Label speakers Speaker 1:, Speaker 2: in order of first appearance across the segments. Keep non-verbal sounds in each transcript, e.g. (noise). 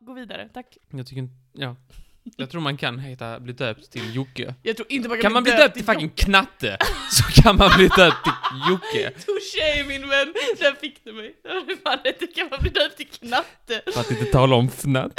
Speaker 1: gå vidare, tack.
Speaker 2: Jag tycker inte- ja. Jag tror man kan heta, bli döpt till Jocke.
Speaker 1: Jag tror inte man kan,
Speaker 2: Kan man bli döpt till fucking Knatte, (laughs) så kan man bli döpt till Jocke.
Speaker 1: (laughs) Touché min vän, där fick du mig. Det var fan inte kan man bli döpt till knatte.
Speaker 2: För att inte tala om fnatt.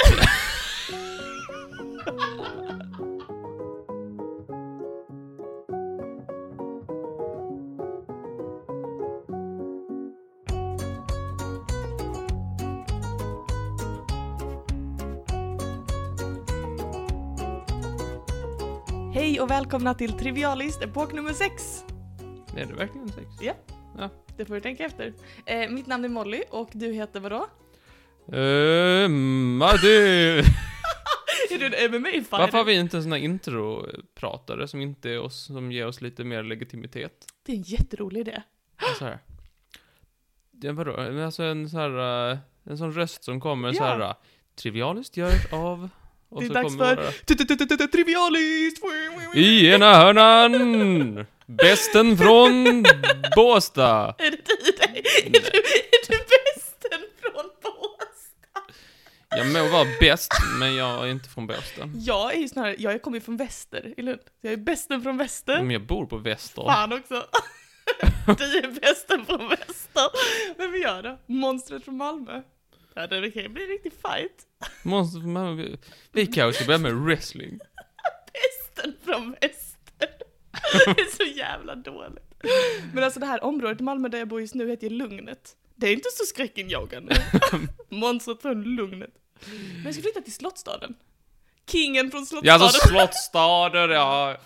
Speaker 1: Hej och välkomna till Trivialist, epok nummer 6.
Speaker 2: Är det verkligen sex?
Speaker 1: Det får du tänka efter. Eh, mitt namn är Molly och du heter vadå?
Speaker 2: Ehm, (laughs) ja, det...
Speaker 1: Är du en MMA-fighter?
Speaker 2: (laughs) Varför har vi inte en sån här intropratare som inte är oss, som ger oss lite mer legitimitet?
Speaker 1: Det är en jätterolig idé.
Speaker 2: Så här. Det, vadå? Men Alltså en sån här, eh, en sån röst som kommer så här.
Speaker 1: Ja.
Speaker 2: eh, Trivialist görs av... Och
Speaker 1: Det är
Speaker 2: så
Speaker 1: dags
Speaker 2: kommer
Speaker 1: för-
Speaker 2: våra-
Speaker 1: Trivialist!
Speaker 2: I ena hörnan! Bästen från Båstad!
Speaker 1: Är det du? Nej. Är du, är du bästen från Bås?
Speaker 2: Jag må vara bäst, men jag är inte från Båstad.
Speaker 1: Jag är ju snarare, jag kommer ju från väster i Lund. Jag är bästen från väster.
Speaker 2: Men jag bor på Väster.
Speaker 1: Fan också. (laughs) du är bästen från väster. Vem är jag då? Monstret från Malmö. Ja, det kan bli en riktig fight.
Speaker 2: Monster från Malmö. Vi- Vi kanske ska börja med wrestling.
Speaker 1: Bästen från väster. (laughs) det är så jävla dåligt. Men alltså det här området i Malmö där jag bor just nu heter ju Lugnet. Det är inte så skräckinjagande.
Speaker 2: (laughs)
Speaker 1: Monstret från Lugnet. Men jag ska flytta till Slottsstaden. Kingen från Slottsstaden.
Speaker 2: Ja, alltså Slottsstaden, ja.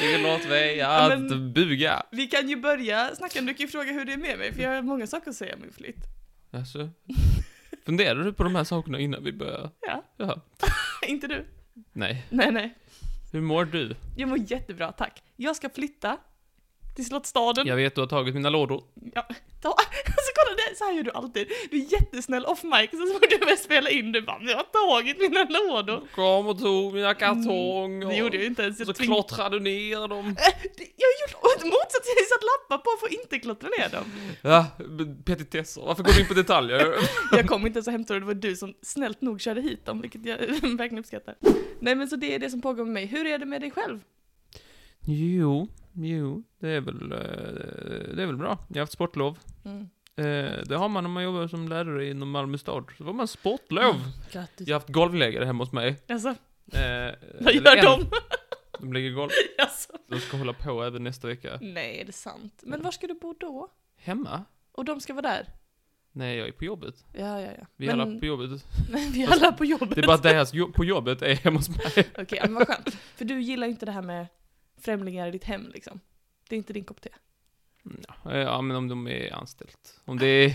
Speaker 2: Tillåt mig
Speaker 1: Ja,
Speaker 2: att
Speaker 1: men-
Speaker 2: buga.
Speaker 1: Vi kan ju börja snacka, du kan ju fråga hur det är med mig för jag har många saker att säga om min flytt.
Speaker 2: Alltså, funderar du på de här sakerna innan vi börjar?
Speaker 1: Ja,
Speaker 2: Ja.
Speaker 1: (laughs) inte du.
Speaker 2: Nej.
Speaker 1: Nej, nej.
Speaker 2: Hur mår du?
Speaker 1: Jag mår jättebra, tack. Jag ska flytta till Slottsstaden.
Speaker 2: Jag vet du har tagit mina lådor.
Speaker 1: Ja. Ta, (laughs) alltså kolla, det, så här gör du alltid. Du är jättesnäll off mic, så fort du börjar spela in, du bara, jag har tagit mina lådor.
Speaker 2: Kom och tog mina kartonger.
Speaker 1: Mm, Det gjorde jag ju inte ens. Jag
Speaker 2: Så
Speaker 1: tving-
Speaker 2: klottrade du ner dem.
Speaker 1: Äh, det- Jag gjorde motsatt, jag satt lappar på för att inte klottra ner dem.
Speaker 2: Ja, men petitesser. Varför går du in på detaljer?
Speaker 1: Jag kom inte ens och hämtade dem, det var du som snällt nog körde hit dem, vilket jag (laughs) verkligen uppskattar. Nej men så det är det som pågår med mig. Hur är det med dig själv?
Speaker 2: (laughs) Jo, jo, det är väl, eh, det är väl bra. Jag har haft sportlov.
Speaker 1: Mm.
Speaker 2: Eh, Det har man när man jobbar som lärare inom Malmö stad. Så var man sportlov.
Speaker 1: Mm, Grattis.
Speaker 2: Mm. Jag har haft golvläggare hemma hos mig. (laughs)
Speaker 1: Alltså,
Speaker 2: Eh,
Speaker 1: vad gör
Speaker 2: eller en,
Speaker 1: de? (laughs)
Speaker 2: De lägger golv.
Speaker 1: Alltså.
Speaker 2: De ska hålla på även nästa vecka.
Speaker 1: Nej, är det sant? Men var ska du bo då?
Speaker 2: Hemma?
Speaker 1: Och de ska vara där?
Speaker 2: Nej, jag är på jobbet.
Speaker 1: Ja, ja, ja.
Speaker 2: Vi
Speaker 1: men, (laughs)
Speaker 2: alla på jobbet.
Speaker 1: vi är alla på jobbet.
Speaker 2: Det är bara deras jobb på jobbet är hemma hos mig.
Speaker 1: (laughs) Okej, ja, men vad skönt. För du gillar ju inte det här med främlingar i ditt hem liksom. Det är inte din kopp te.
Speaker 2: Eh, (laughs) Ja, men om de är anställt. Om det är...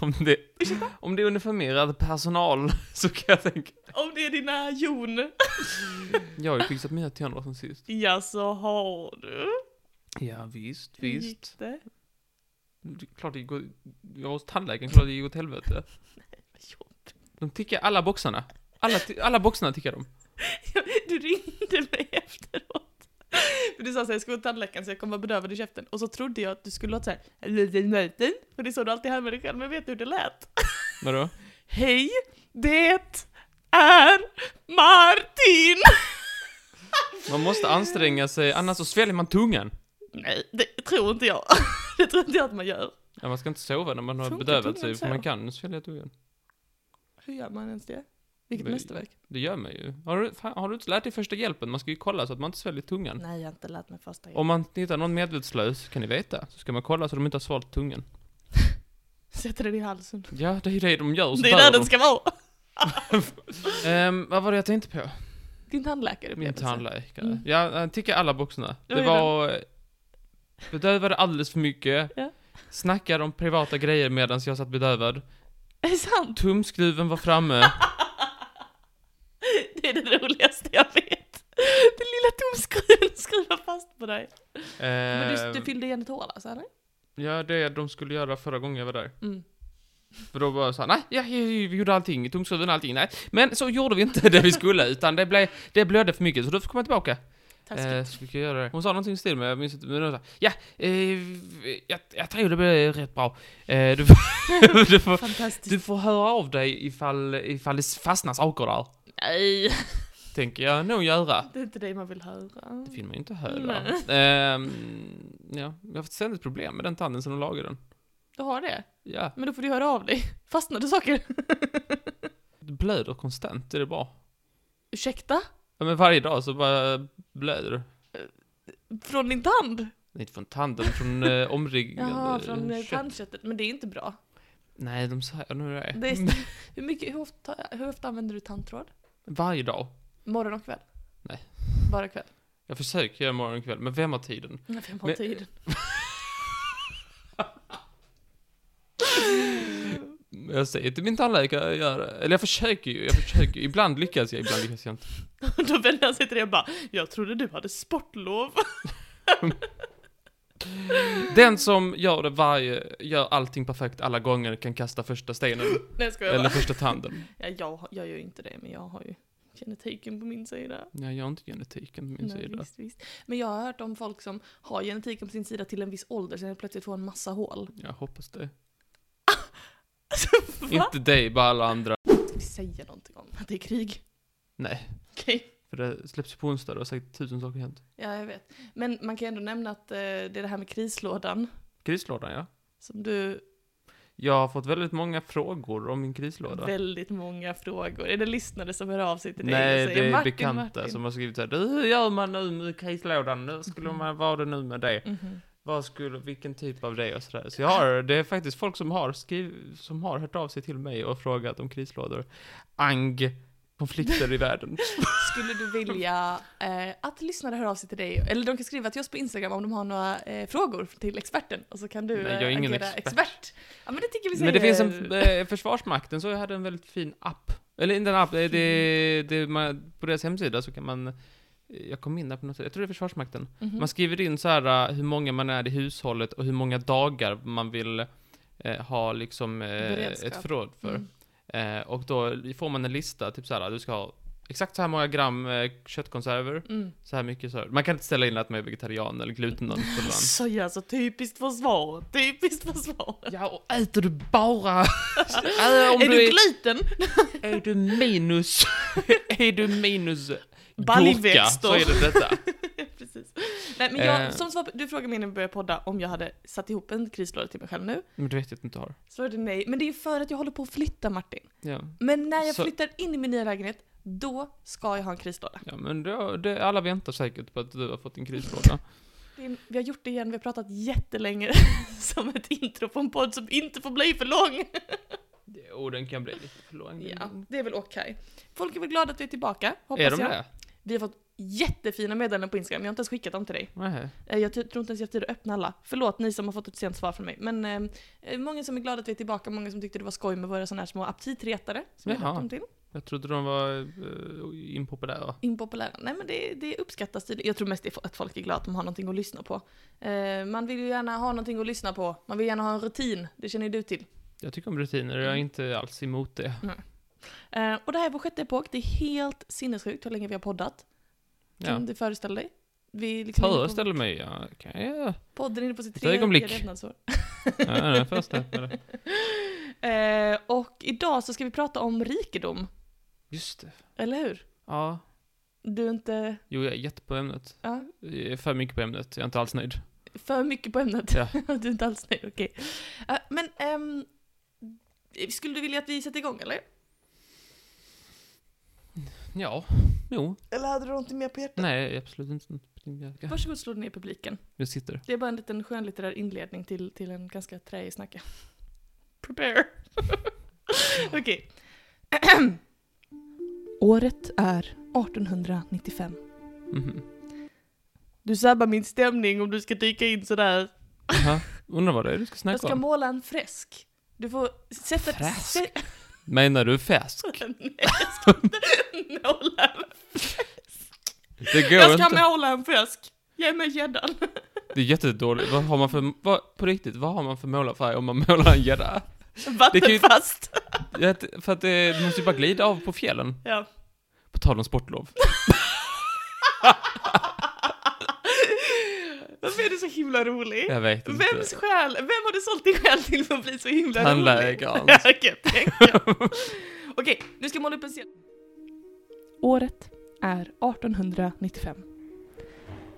Speaker 2: Om det, om det är uniformerad personal (laughs) så kan jag tänka.
Speaker 1: Om det är dina jon.
Speaker 2: Jag har ju fixat mina tänder sen sist.
Speaker 1: Ja, så har du.
Speaker 2: Ja, visst,
Speaker 1: Hur
Speaker 2: visst.
Speaker 1: gick det?
Speaker 2: Det är Klart det går... Jag var hos tandläkaren, klart det gick
Speaker 1: (laughs)
Speaker 2: åt helvete.
Speaker 1: Vad jobbigt.
Speaker 2: De tickar alla boxarna. Alla, ti- alla boxarna tickar de.
Speaker 1: (laughs) Du ringde mig efteråt. För du sa såhär, jag ska gå till tandläkaren så jag kommer vara bedövad i käften. Och så trodde jag att du skulle låta såhär, för det är så du alltid hör med dig själv, men vet du hur det lät? (laughs)
Speaker 2: Vadå?
Speaker 1: Hej, det är Martin!
Speaker 2: Man måste anstränga sig, annars så sväljer man tungan.
Speaker 1: Nej, det tror inte jag. (laughs) Det tror inte jag att man gör.
Speaker 2: Ja, man ska inte sova när man har
Speaker 1: Funkar
Speaker 2: bedövat
Speaker 1: tungan
Speaker 2: sig,
Speaker 1: så?
Speaker 2: för man kan svälja tungan.
Speaker 1: Hur gör man ens det? Vilket
Speaker 2: Nej.
Speaker 1: mästerverk.
Speaker 2: Det gör man ju. Har du, fan, har du inte lärt dig första hjälpen? Man ska ju kolla så att man inte sväljer tungan.
Speaker 1: Nej, jag har inte lärt mig första gången.
Speaker 2: Om man hittar någon medvetslös, kan ni veta, så ska man kolla så att de inte har svalt tungan.
Speaker 1: Sätter den i halsen.
Speaker 2: Ja, det är det de gör, så
Speaker 1: Det är
Speaker 2: dör
Speaker 1: där
Speaker 2: de.
Speaker 1: den ska vara.
Speaker 2: Ehm, vad var det jag tänkte på?
Speaker 1: (laughs) Din tandläkare
Speaker 2: Min tandläkare.
Speaker 1: Mm.
Speaker 2: Ja, han tickade alla boxarna.
Speaker 1: Ja,
Speaker 2: Det
Speaker 1: ja, ja.
Speaker 2: var... eh, Bedövade alldeles för mycket.
Speaker 1: Ja.
Speaker 2: Snackade om privata grejer medan jag satt bedövad.
Speaker 1: Är det sant?
Speaker 2: Tumskruven var framme.
Speaker 1: Det är det roligaste jag vet. Den lilla tumskruven skruvar fast på dig. (laughs) Men du, du
Speaker 2: Ehm,
Speaker 1: fyllde igen ett hål alltså, eller?
Speaker 2: Ja, det de skulle göra förra gången jag var där.
Speaker 1: Mm.
Speaker 2: För då var så här, nej, ja, ja, ja, vi gjorde allting, (laughs) tumskruven och allting, nej. Men så gjorde vi inte det vi skulle, utan det, blev, det blödde för mycket, så då fick man tillbaka.
Speaker 1: Taskigt.
Speaker 2: Eh, skulle kunna göra det. Hon sa någonting till mig, jag minns inte. Men hon sa, ja, eh, jag, jag tror det blir rätt bra. Eh, du, (laughs) får, du, får,
Speaker 1: Fantastiskt.
Speaker 2: eh, du får höra av dig ifall, ifall det fastnar saker där.
Speaker 1: Nej,
Speaker 2: Tänker jag nog göra.
Speaker 1: det är inte det man vill höra.
Speaker 2: Det vill man ju inte höra. Ehm, ja, jag har haft ständigt problem med den tanden som de lagade den.
Speaker 1: Du har det?
Speaker 2: Ja,
Speaker 1: Men då får du höra av dig. (laughs) Fastnade saker?
Speaker 2: det blöder konstant, är det bra?
Speaker 1: Ursäkta?
Speaker 2: Ja, men varje dag så bara blöder det.
Speaker 1: Från din tand?
Speaker 2: Nej, Inte från tanden,
Speaker 1: (laughs)
Speaker 2: från eh, omringande
Speaker 1: Jaha, från eh,
Speaker 2: kött.
Speaker 1: tandköttet. Men det är inte bra.
Speaker 2: Nej, de säger nu det.
Speaker 1: Det är,
Speaker 2: (laughs)
Speaker 1: hur, mycket, hur, ofta, hur ofta använder du tandtråd?
Speaker 2: Varje dag.
Speaker 1: Morgon och kväll?
Speaker 2: Nej.
Speaker 1: Bara kväll?
Speaker 2: Jag försöker göra morgon och kväll, men vem har tiden?
Speaker 1: Nej, vem har
Speaker 2: Men-
Speaker 1: tid?
Speaker 2: Jag säger till min tandläkare, jag gör det. Eller jag försöker ju, jag försöker. Ibland lyckas jag, ibland lyckas jag inte.
Speaker 1: (laughs) Då vänder han sig till dig och bara Jag trodde du hade sportlov. (laughs)
Speaker 2: Den som gör det varje, gör allting perfekt alla gånger kan kasta första stenen.
Speaker 1: Nej jag skojar
Speaker 2: Eller
Speaker 1: bara.
Speaker 2: första tanden.
Speaker 1: Ja, jag, jag gör ju inte det men jag har ju genetiken på min sida.
Speaker 2: Nej, jag har inte genetiken på min
Speaker 1: Nej,
Speaker 2: sida.
Speaker 1: Visst, visst. Men jag har hört om folk som har genetiken på sin sida till en viss ålder sen plötsligt får en massa hål.
Speaker 2: Jag hoppas det.
Speaker 1: Alltså, Va?
Speaker 2: Inte dig, bara alla andra.
Speaker 1: Ska vi säga någonting om att det är krig? (laughs)
Speaker 2: Nej,
Speaker 1: Okej.
Speaker 2: för det släpps ju på onsdag, det har säkert tusen saker hänt.
Speaker 1: Ja, jag vet. Men man kan ändå nämna att eh, det är det här med krislådan
Speaker 2: Krislådan, ja.
Speaker 1: som du...
Speaker 2: Jag har fått väldigt många frågor om min krislåda.
Speaker 1: Väldigt många frågor. Är det lyssnare som hör av sig till dig
Speaker 2: Nej,
Speaker 1: och säger,
Speaker 2: det är
Speaker 1: "Martin,
Speaker 2: bekanta
Speaker 1: Martin."
Speaker 2: som har skrivit så här, "Du, hur gör man nu med krislådan? Nu skulle
Speaker 1: Mm.
Speaker 2: man, vad är det nu med det?
Speaker 1: Mhm.
Speaker 2: Vad skulle, vilken typ av det och sådär. Så jag har, det är faktiskt folk som har skriv, som har hört av sig till mig och frågat om krislådor. Ang, konflikter i världen.
Speaker 1: (laughs) Skulle du vilja eh, att lyssnare hör av sig till dig? Eller de kan skriva till oss på Instagram om de har några eh, frågor till experten. Och så kan du
Speaker 2: Nej,
Speaker 1: eh,
Speaker 2: jag är ingen
Speaker 1: agera
Speaker 2: expert.
Speaker 1: Ja men det tycker vi säger.
Speaker 2: Men det finns en, eh, Försvarsmakten, så jag hade en väldigt fin app. Eller inte en app, eh, det, det, man, på deras hemsida så kan man, eh, jag kom in där på något sätt, jag tror det är Försvarsmakten.
Speaker 1: Mhm.
Speaker 2: Man skriver in så här eh, hur många man är i hushållet och hur många dagar man vill eh, ha liksom eh,
Speaker 1: Beredskap.
Speaker 2: ett förråd för.
Speaker 1: Mm.
Speaker 2: Eh, och då får man en lista, typ så här, du ska ha exakt så här många gram eh, köttkonserver,
Speaker 1: Mm.
Speaker 2: så här mycket så här. Man kan inte ställa in att man är vegetarian eller glutenobservant.
Speaker 1: Så ja, så typiskt försvar. Typiskt försvar.
Speaker 2: (laughs) Ja, och äter du bara... (laughs) Äh, om
Speaker 1: är du
Speaker 2: du är,
Speaker 1: gluten?
Speaker 2: är du minus... (laughs) är du minus... Gurka,
Speaker 1: Baljväxter.
Speaker 2: så är det (laughs) detta.
Speaker 1: (laughs) Precis. Nej men jag,
Speaker 2: Eh.
Speaker 1: som svar på, du frågade mig innan vi började podda om jag hade satt ihop en krislåda till mig själv nu.
Speaker 2: Men du vet jag att du inte har.
Speaker 1: Svarade nej. Men det är ju för att jag håller på att flytta Martin.
Speaker 2: Ja.
Speaker 1: Men när jag
Speaker 2: Så-
Speaker 1: flyttar in i min nya lägenhet, då ska jag ha en krislåda.
Speaker 2: Ja, men det, det, alla väntar säkert på att du har fått din krislåda.
Speaker 1: Det är- Vi har gjort det igen, vi har pratat jättelänge (laughs) som ett intro på en podd som inte får bli för lång.
Speaker 2: Det- Och den kan bli lite för lång.
Speaker 1: Ja, det är väl okej. Folk är väl glada att du är tillbaka, hoppas
Speaker 2: Mm. är de
Speaker 1: jag.
Speaker 2: det?
Speaker 1: Vi har fått jättefina meddelanden på Instagram, jag har inte ens skickat dem till dig.
Speaker 2: Nej.
Speaker 1: Eh, Jag ty- tror inte ens jag har tid att öppna alla. Förlåt ni som har fått ett sent svar från mig. Men eh, eh, många som är glada att vi är tillbaka, många som tyckte det var skoj med våra sådana här små aptitretare. Som jag
Speaker 2: Jaha.
Speaker 1: döpt dem till.
Speaker 2: Jag trodde de var uh, impopulära.
Speaker 1: Impopulära. Nej men det, det uppskattas tydligen. Jag tror mest det är fo- att folk är glada att de har någonting att lyssna på. Eh, man vill ju gärna ha någonting att lyssna på. Man vill gärna ha en rutin. Det känner ju du till.
Speaker 2: Jag tycker om rutiner, jag är
Speaker 1: Mm.
Speaker 2: inte alls emot det.
Speaker 1: Eh, och det här är vår sjätte epok. Det är helt sinnessjukt hur länge vi har poddat. Kan
Speaker 2: Ja.
Speaker 1: du föreställa dig? Vi är liksom inne på-
Speaker 2: Föreställ mig, ja, kan jag
Speaker 1: podden är inne på sitt
Speaker 2: Ett ögonblick.
Speaker 1: tredje levnadsår.
Speaker 2: Ja, ja, föreställ mig
Speaker 1: (laughs)
Speaker 2: det.
Speaker 1: Eh, och idag så ska vi prata om rikedom.
Speaker 2: Just det.
Speaker 1: Eller hur?
Speaker 2: Ja.
Speaker 1: Du är inte
Speaker 2: Jo, jag är jätte på ämnet.
Speaker 1: ja,
Speaker 2: Jag är för mycket på ämnet, jag är inte alls nöjd.
Speaker 1: för mycket på ämnet.
Speaker 2: Ja.
Speaker 1: (laughs) du är inte alls nöjd, okej. Ja, men ehm, skulle du vilja att vi sätter igång eller?
Speaker 2: Ja, jo.
Speaker 1: Eller hade du någonting mer på hjärtat?
Speaker 2: Nej, absolut inte. Jag-
Speaker 1: Varsågod slå dig ner i publiken.
Speaker 2: Jag sitter.
Speaker 1: Det är bara en liten skönlitterär inledning till, till en ganska träig snacka. Prepare. (laughs) Okej. (clears throat) Året är 1895.
Speaker 2: Mhm.
Speaker 1: Du sabbar min stämning om du ska dyka in sådär.
Speaker 2: Jaha. Undrar vad det är du ska
Speaker 1: Jag
Speaker 2: snacka
Speaker 1: ska
Speaker 2: om?
Speaker 1: måla en fresk. Du får sätta...
Speaker 2: Fräsk?
Speaker 1: sä-
Speaker 2: Menar du (laughs) fäsk?
Speaker 1: (laughs) Nej, jag ska inte måla en
Speaker 2: Det går
Speaker 1: Jag ska
Speaker 2: inte.
Speaker 1: måla en fisk. Ge mig gäddan.
Speaker 2: Det är jättedåligt. Vad har man för, vad, på riktigt, vad har man för målarfärg om man målar en gädda? ju-
Speaker 1: Vattenfast.
Speaker 2: Jag vet- För att det, det måste ju bara (laughs) glida av på fjällen.
Speaker 1: Ja.
Speaker 2: På tal om sportlov.
Speaker 1: Varför är du så himla rolig?
Speaker 2: Jag vet inte.
Speaker 1: Vems själ, vem har du sålt din själ till för att bli så himla (laughs)
Speaker 2: Tandläkaren.
Speaker 1: rolig? Jag kan
Speaker 2: (laughs)
Speaker 1: tänka. Okej, nu ska jag måla upp en scen. Året är 1895.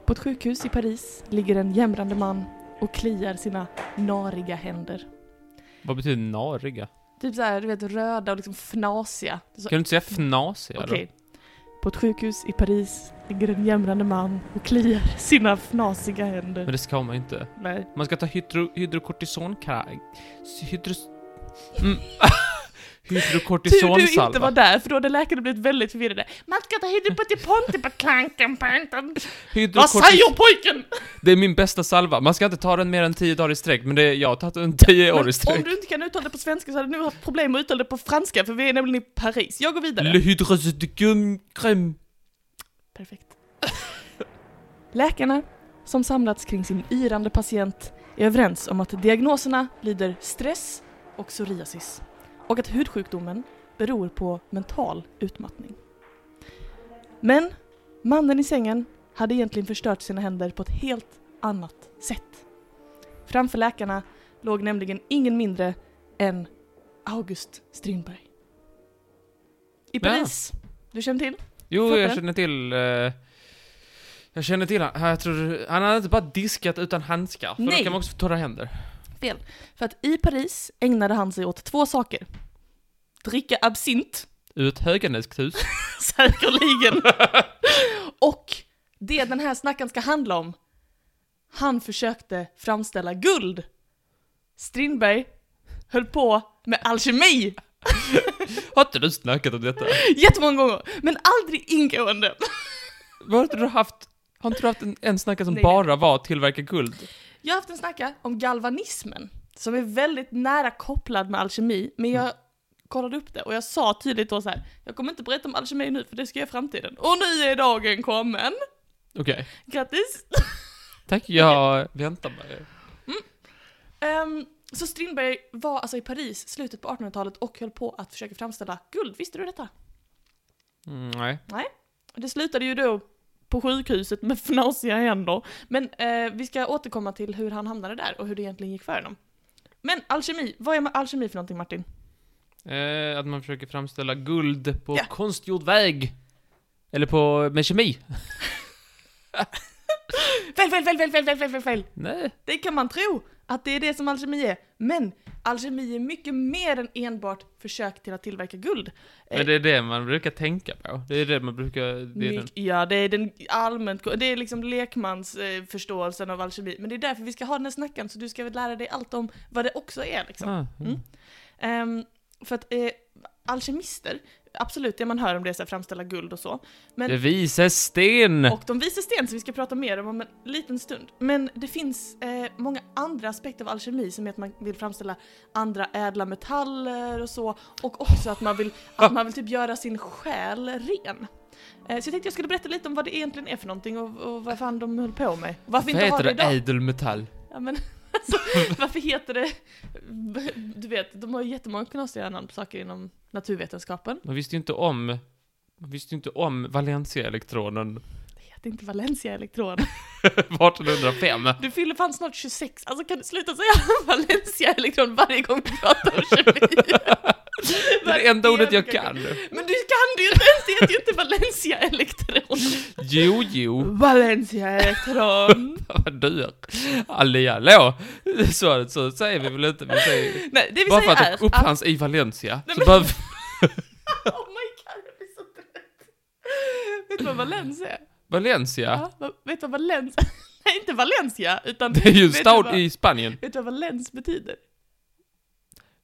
Speaker 1: På ett sjukhus i Paris ligger en jämrande man och kliar sina nariga händer.
Speaker 2: Vad betyder nariga?
Speaker 1: Typ såhär, du vet röda och liksom fnasiga. Så-
Speaker 2: Kan du inte säga fnasiga
Speaker 1: Okej. På ett sjukhus i Paris ligger en jämrande man och kliar sina fnasiga
Speaker 2: då?
Speaker 1: händer.
Speaker 2: Men det ska man ju inte.
Speaker 1: Nej.
Speaker 2: Man ska ta hydro, hydrokortisonkrag... Hydros... Mm. (laughs)
Speaker 1: Tur du inte var
Speaker 2: Hydrokortisonsalva.
Speaker 1: där, för då hade läkarna blivit väldigt förvirrade. Man ska ta hydropatiponti på klanken, panten. Vad
Speaker 2: Hydrokortis...
Speaker 1: säger pojken?
Speaker 2: Det är min bästa salva. Man ska inte ta den mer än 10 dagar i sträck, men det är, jag har tagit (laughs) den 10 år i
Speaker 1: Men om
Speaker 2: sträck.
Speaker 1: du inte kan uttala det på svenska så hade du nu haft problem med att uttala det på franska, för vi är nämligen i Paris. Jag går vidare.
Speaker 2: Le hydrosedicum...
Speaker 1: Perfekt. Läkarna, som samlats kring sin irande patient, är överens om att diagnoserna lyder stress och psoriasis och att hudsjukdomen beror på mental utmattning. Men mannen i sängen hade egentligen förstört sina händer på ett helt annat sätt. Framför läkarna låg nämligen ingen mindre än August Strindberg. I
Speaker 2: Ja.
Speaker 1: Paris. Du känner till?
Speaker 2: Jo,
Speaker 1: Fattar
Speaker 2: jag
Speaker 1: du?
Speaker 2: känner till... eh, jag känner till han. Jag tror, han hade inte bara diskat utan handskar. För
Speaker 1: Nej.
Speaker 2: då kan man också få torra händer.
Speaker 1: För att i Paris ägnade han sig åt två saker. Dricka absint, (laughs)
Speaker 2: Ur ett höganäskhus.
Speaker 1: säkerligen. Och det den här snacken ska handla om. Han försökte framställa guld. Strindberg höll på med alkemi
Speaker 2: (laughs) Har inte du snackat om detta?
Speaker 1: jättemånga gånger, men aldrig ingående.
Speaker 2: Var inte du haft... Har inte du haft en, en snackare som
Speaker 1: Nej.
Speaker 2: bara var att tillverka guld?
Speaker 1: Jag har haft en snacka om galvanismen, som är väldigt nära kopplad med alkemi, men jag kollade upp det och jag sa tydligt då så här, jag kommer inte berätta om alkemi nu för det ska jag i framtiden. Och nu är dagen kommen!
Speaker 2: Okej.
Speaker 1: Grattis!
Speaker 2: Tack, jag väntar mig.
Speaker 1: Ehm, så Strindberg var alltså i Paris slutet på 1800-talet och höll på att försöka framställa guld, visste du detta?
Speaker 2: Mm, nej.
Speaker 1: Det slutade ju då på sjukhuset med fnasiga händer. Men eh, vi ska återkomma till hur han hamnade där och hur det egentligen gick för honom. Men alkemi, vad är alkemi för någonting Martin?
Speaker 2: Eh, att man försöker framställa guld på
Speaker 1: Ja.
Speaker 2: konstgjord väg. Eller på... med kemi.
Speaker 1: Fel, fel, fel, fel, fel, fel, fel, fel, fel!
Speaker 2: Nej.
Speaker 1: Det kan man tro att det är det som alkemi är. Men alkemi är mycket mer än enbart försök till att tillverka guld.
Speaker 2: Men det är det man brukar tänka på. Det är det man brukar... Det är den.
Speaker 1: Myck- Ja, det är den allmänt, det är liksom lekmans eh, förståelsen av alkemi. Men det är därför vi ska ha den här snackaren, så du ska väl lära dig allt om vad det också är liksom.
Speaker 2: Ah,
Speaker 1: Mm. Ehm, för att eh, alkemister, absolut det man hör om det är så här, framställa guld och så. Men-
Speaker 2: Det visar sten! (laughs)
Speaker 1: Och de vises sten som vi ska prata mer om om en liten stund. Men det finns eh, många andra aspekter av alkemi som är att man vill framställa andra ädla metaller och så. Och också att man vill, att man vill typ göra sin själ ren. Eh, så jag tänkte jag skulle berätta lite om vad det egentligen är för någonting och, och vad fan de höll på med. Varför
Speaker 2: Vad
Speaker 1: inte ha
Speaker 2: heter
Speaker 1: det
Speaker 2: det?
Speaker 1: idag?
Speaker 2: Ädelmetall?
Speaker 1: Ja, men, (laughs) alltså, varför heter det... Du vet, de har ju jättemånga knasiga namn på saker inom naturvetenskapen.
Speaker 2: Man visste ju inte om... Man visste ju inte om Valencia-elektronen (laughs)
Speaker 1: Det heter inte Valencia-elektron.
Speaker 2: 1805.
Speaker 1: Du fyller fan snart 26, alltså kan du sluta säga (laughs) Valencia elektron varje gång vi pratar om kemi?
Speaker 2: (laughs) Det enda ordet jag kan.
Speaker 1: Men du kan det ju inte ens, det heter ju inte Valencia elektron.
Speaker 2: Jo, jo.
Speaker 1: Valencia elektron.
Speaker 2: (laughs) Vad dyr. Alli hallå. Så, så säger vi väl inte. Vi säger,
Speaker 1: Nej, det vi
Speaker 2: bara för
Speaker 1: säger
Speaker 2: att
Speaker 1: är
Speaker 2: det uppfanns i Valencia.
Speaker 1: Nej,
Speaker 2: Så
Speaker 1: men-
Speaker 2: behöver,
Speaker 1: att... (laughs) Oh my god, jag blir så trött. Vet du vad Valencia är?
Speaker 2: Valencia.
Speaker 1: Ja, vad- vet du vad Valencia... (laughs) Nej, inte Valencia, utan...
Speaker 2: Det är ju en
Speaker 1: vet du
Speaker 2: stad
Speaker 1: vad-
Speaker 2: i Spanien.
Speaker 1: Vet du vad Valens betyder?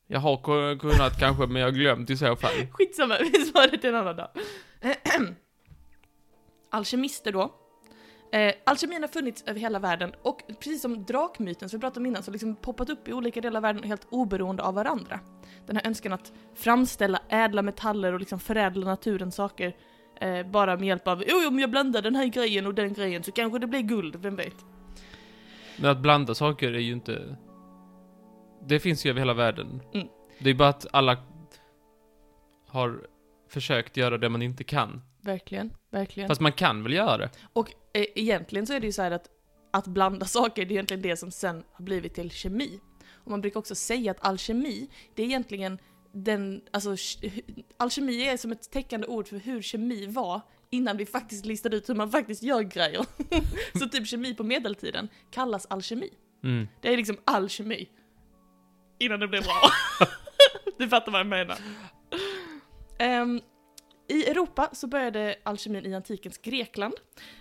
Speaker 2: Jag har ku- kunnat kanske, men jag har glömt i så fall.
Speaker 1: Skitsamma, (laughs) vi sparar det till en annan dag. (clears throat) Alkemister då. Eh, alkemin har funnits över hela världen och precis som drakmyten som vi pratade om innan så har liksom poppat upp i olika delar av världen helt oberoende av varandra. Den här önskan att framställa ädla metaller och liksom förädla naturens saker eh, bara med hjälp av jo, jo, men jag blandar den här grejen och den grejen så kanske det blir guld, vem vet?
Speaker 2: Men att blanda saker är ju inte... Det finns ju över hela världen.
Speaker 1: Mm.
Speaker 2: Det är bara att alla har försökt göra det man inte kan.
Speaker 1: Verkligen, verkligen.
Speaker 2: Fast man kan väl göra det?
Speaker 1: Och eh, egentligen så är det ju så här att att blanda (laughs) saker, det är egentligen det som sen har blivit till kemi. Och man brukar också säga att alkemi, det är egentligen den, alltså ke- alkemi är som ett täckande ord för hur kemi var innan vi faktiskt listade ut hur man faktiskt gör grejer. (laughs) Så typ kemi på medeltiden kallas alkemi.
Speaker 2: Mm.
Speaker 1: Det är liksom all kemi. Innan det blir
Speaker 2: (laughs)
Speaker 1: bra. du fattar vad jag menar. Ehm, I Europa så började alkemin i antikens Grekland.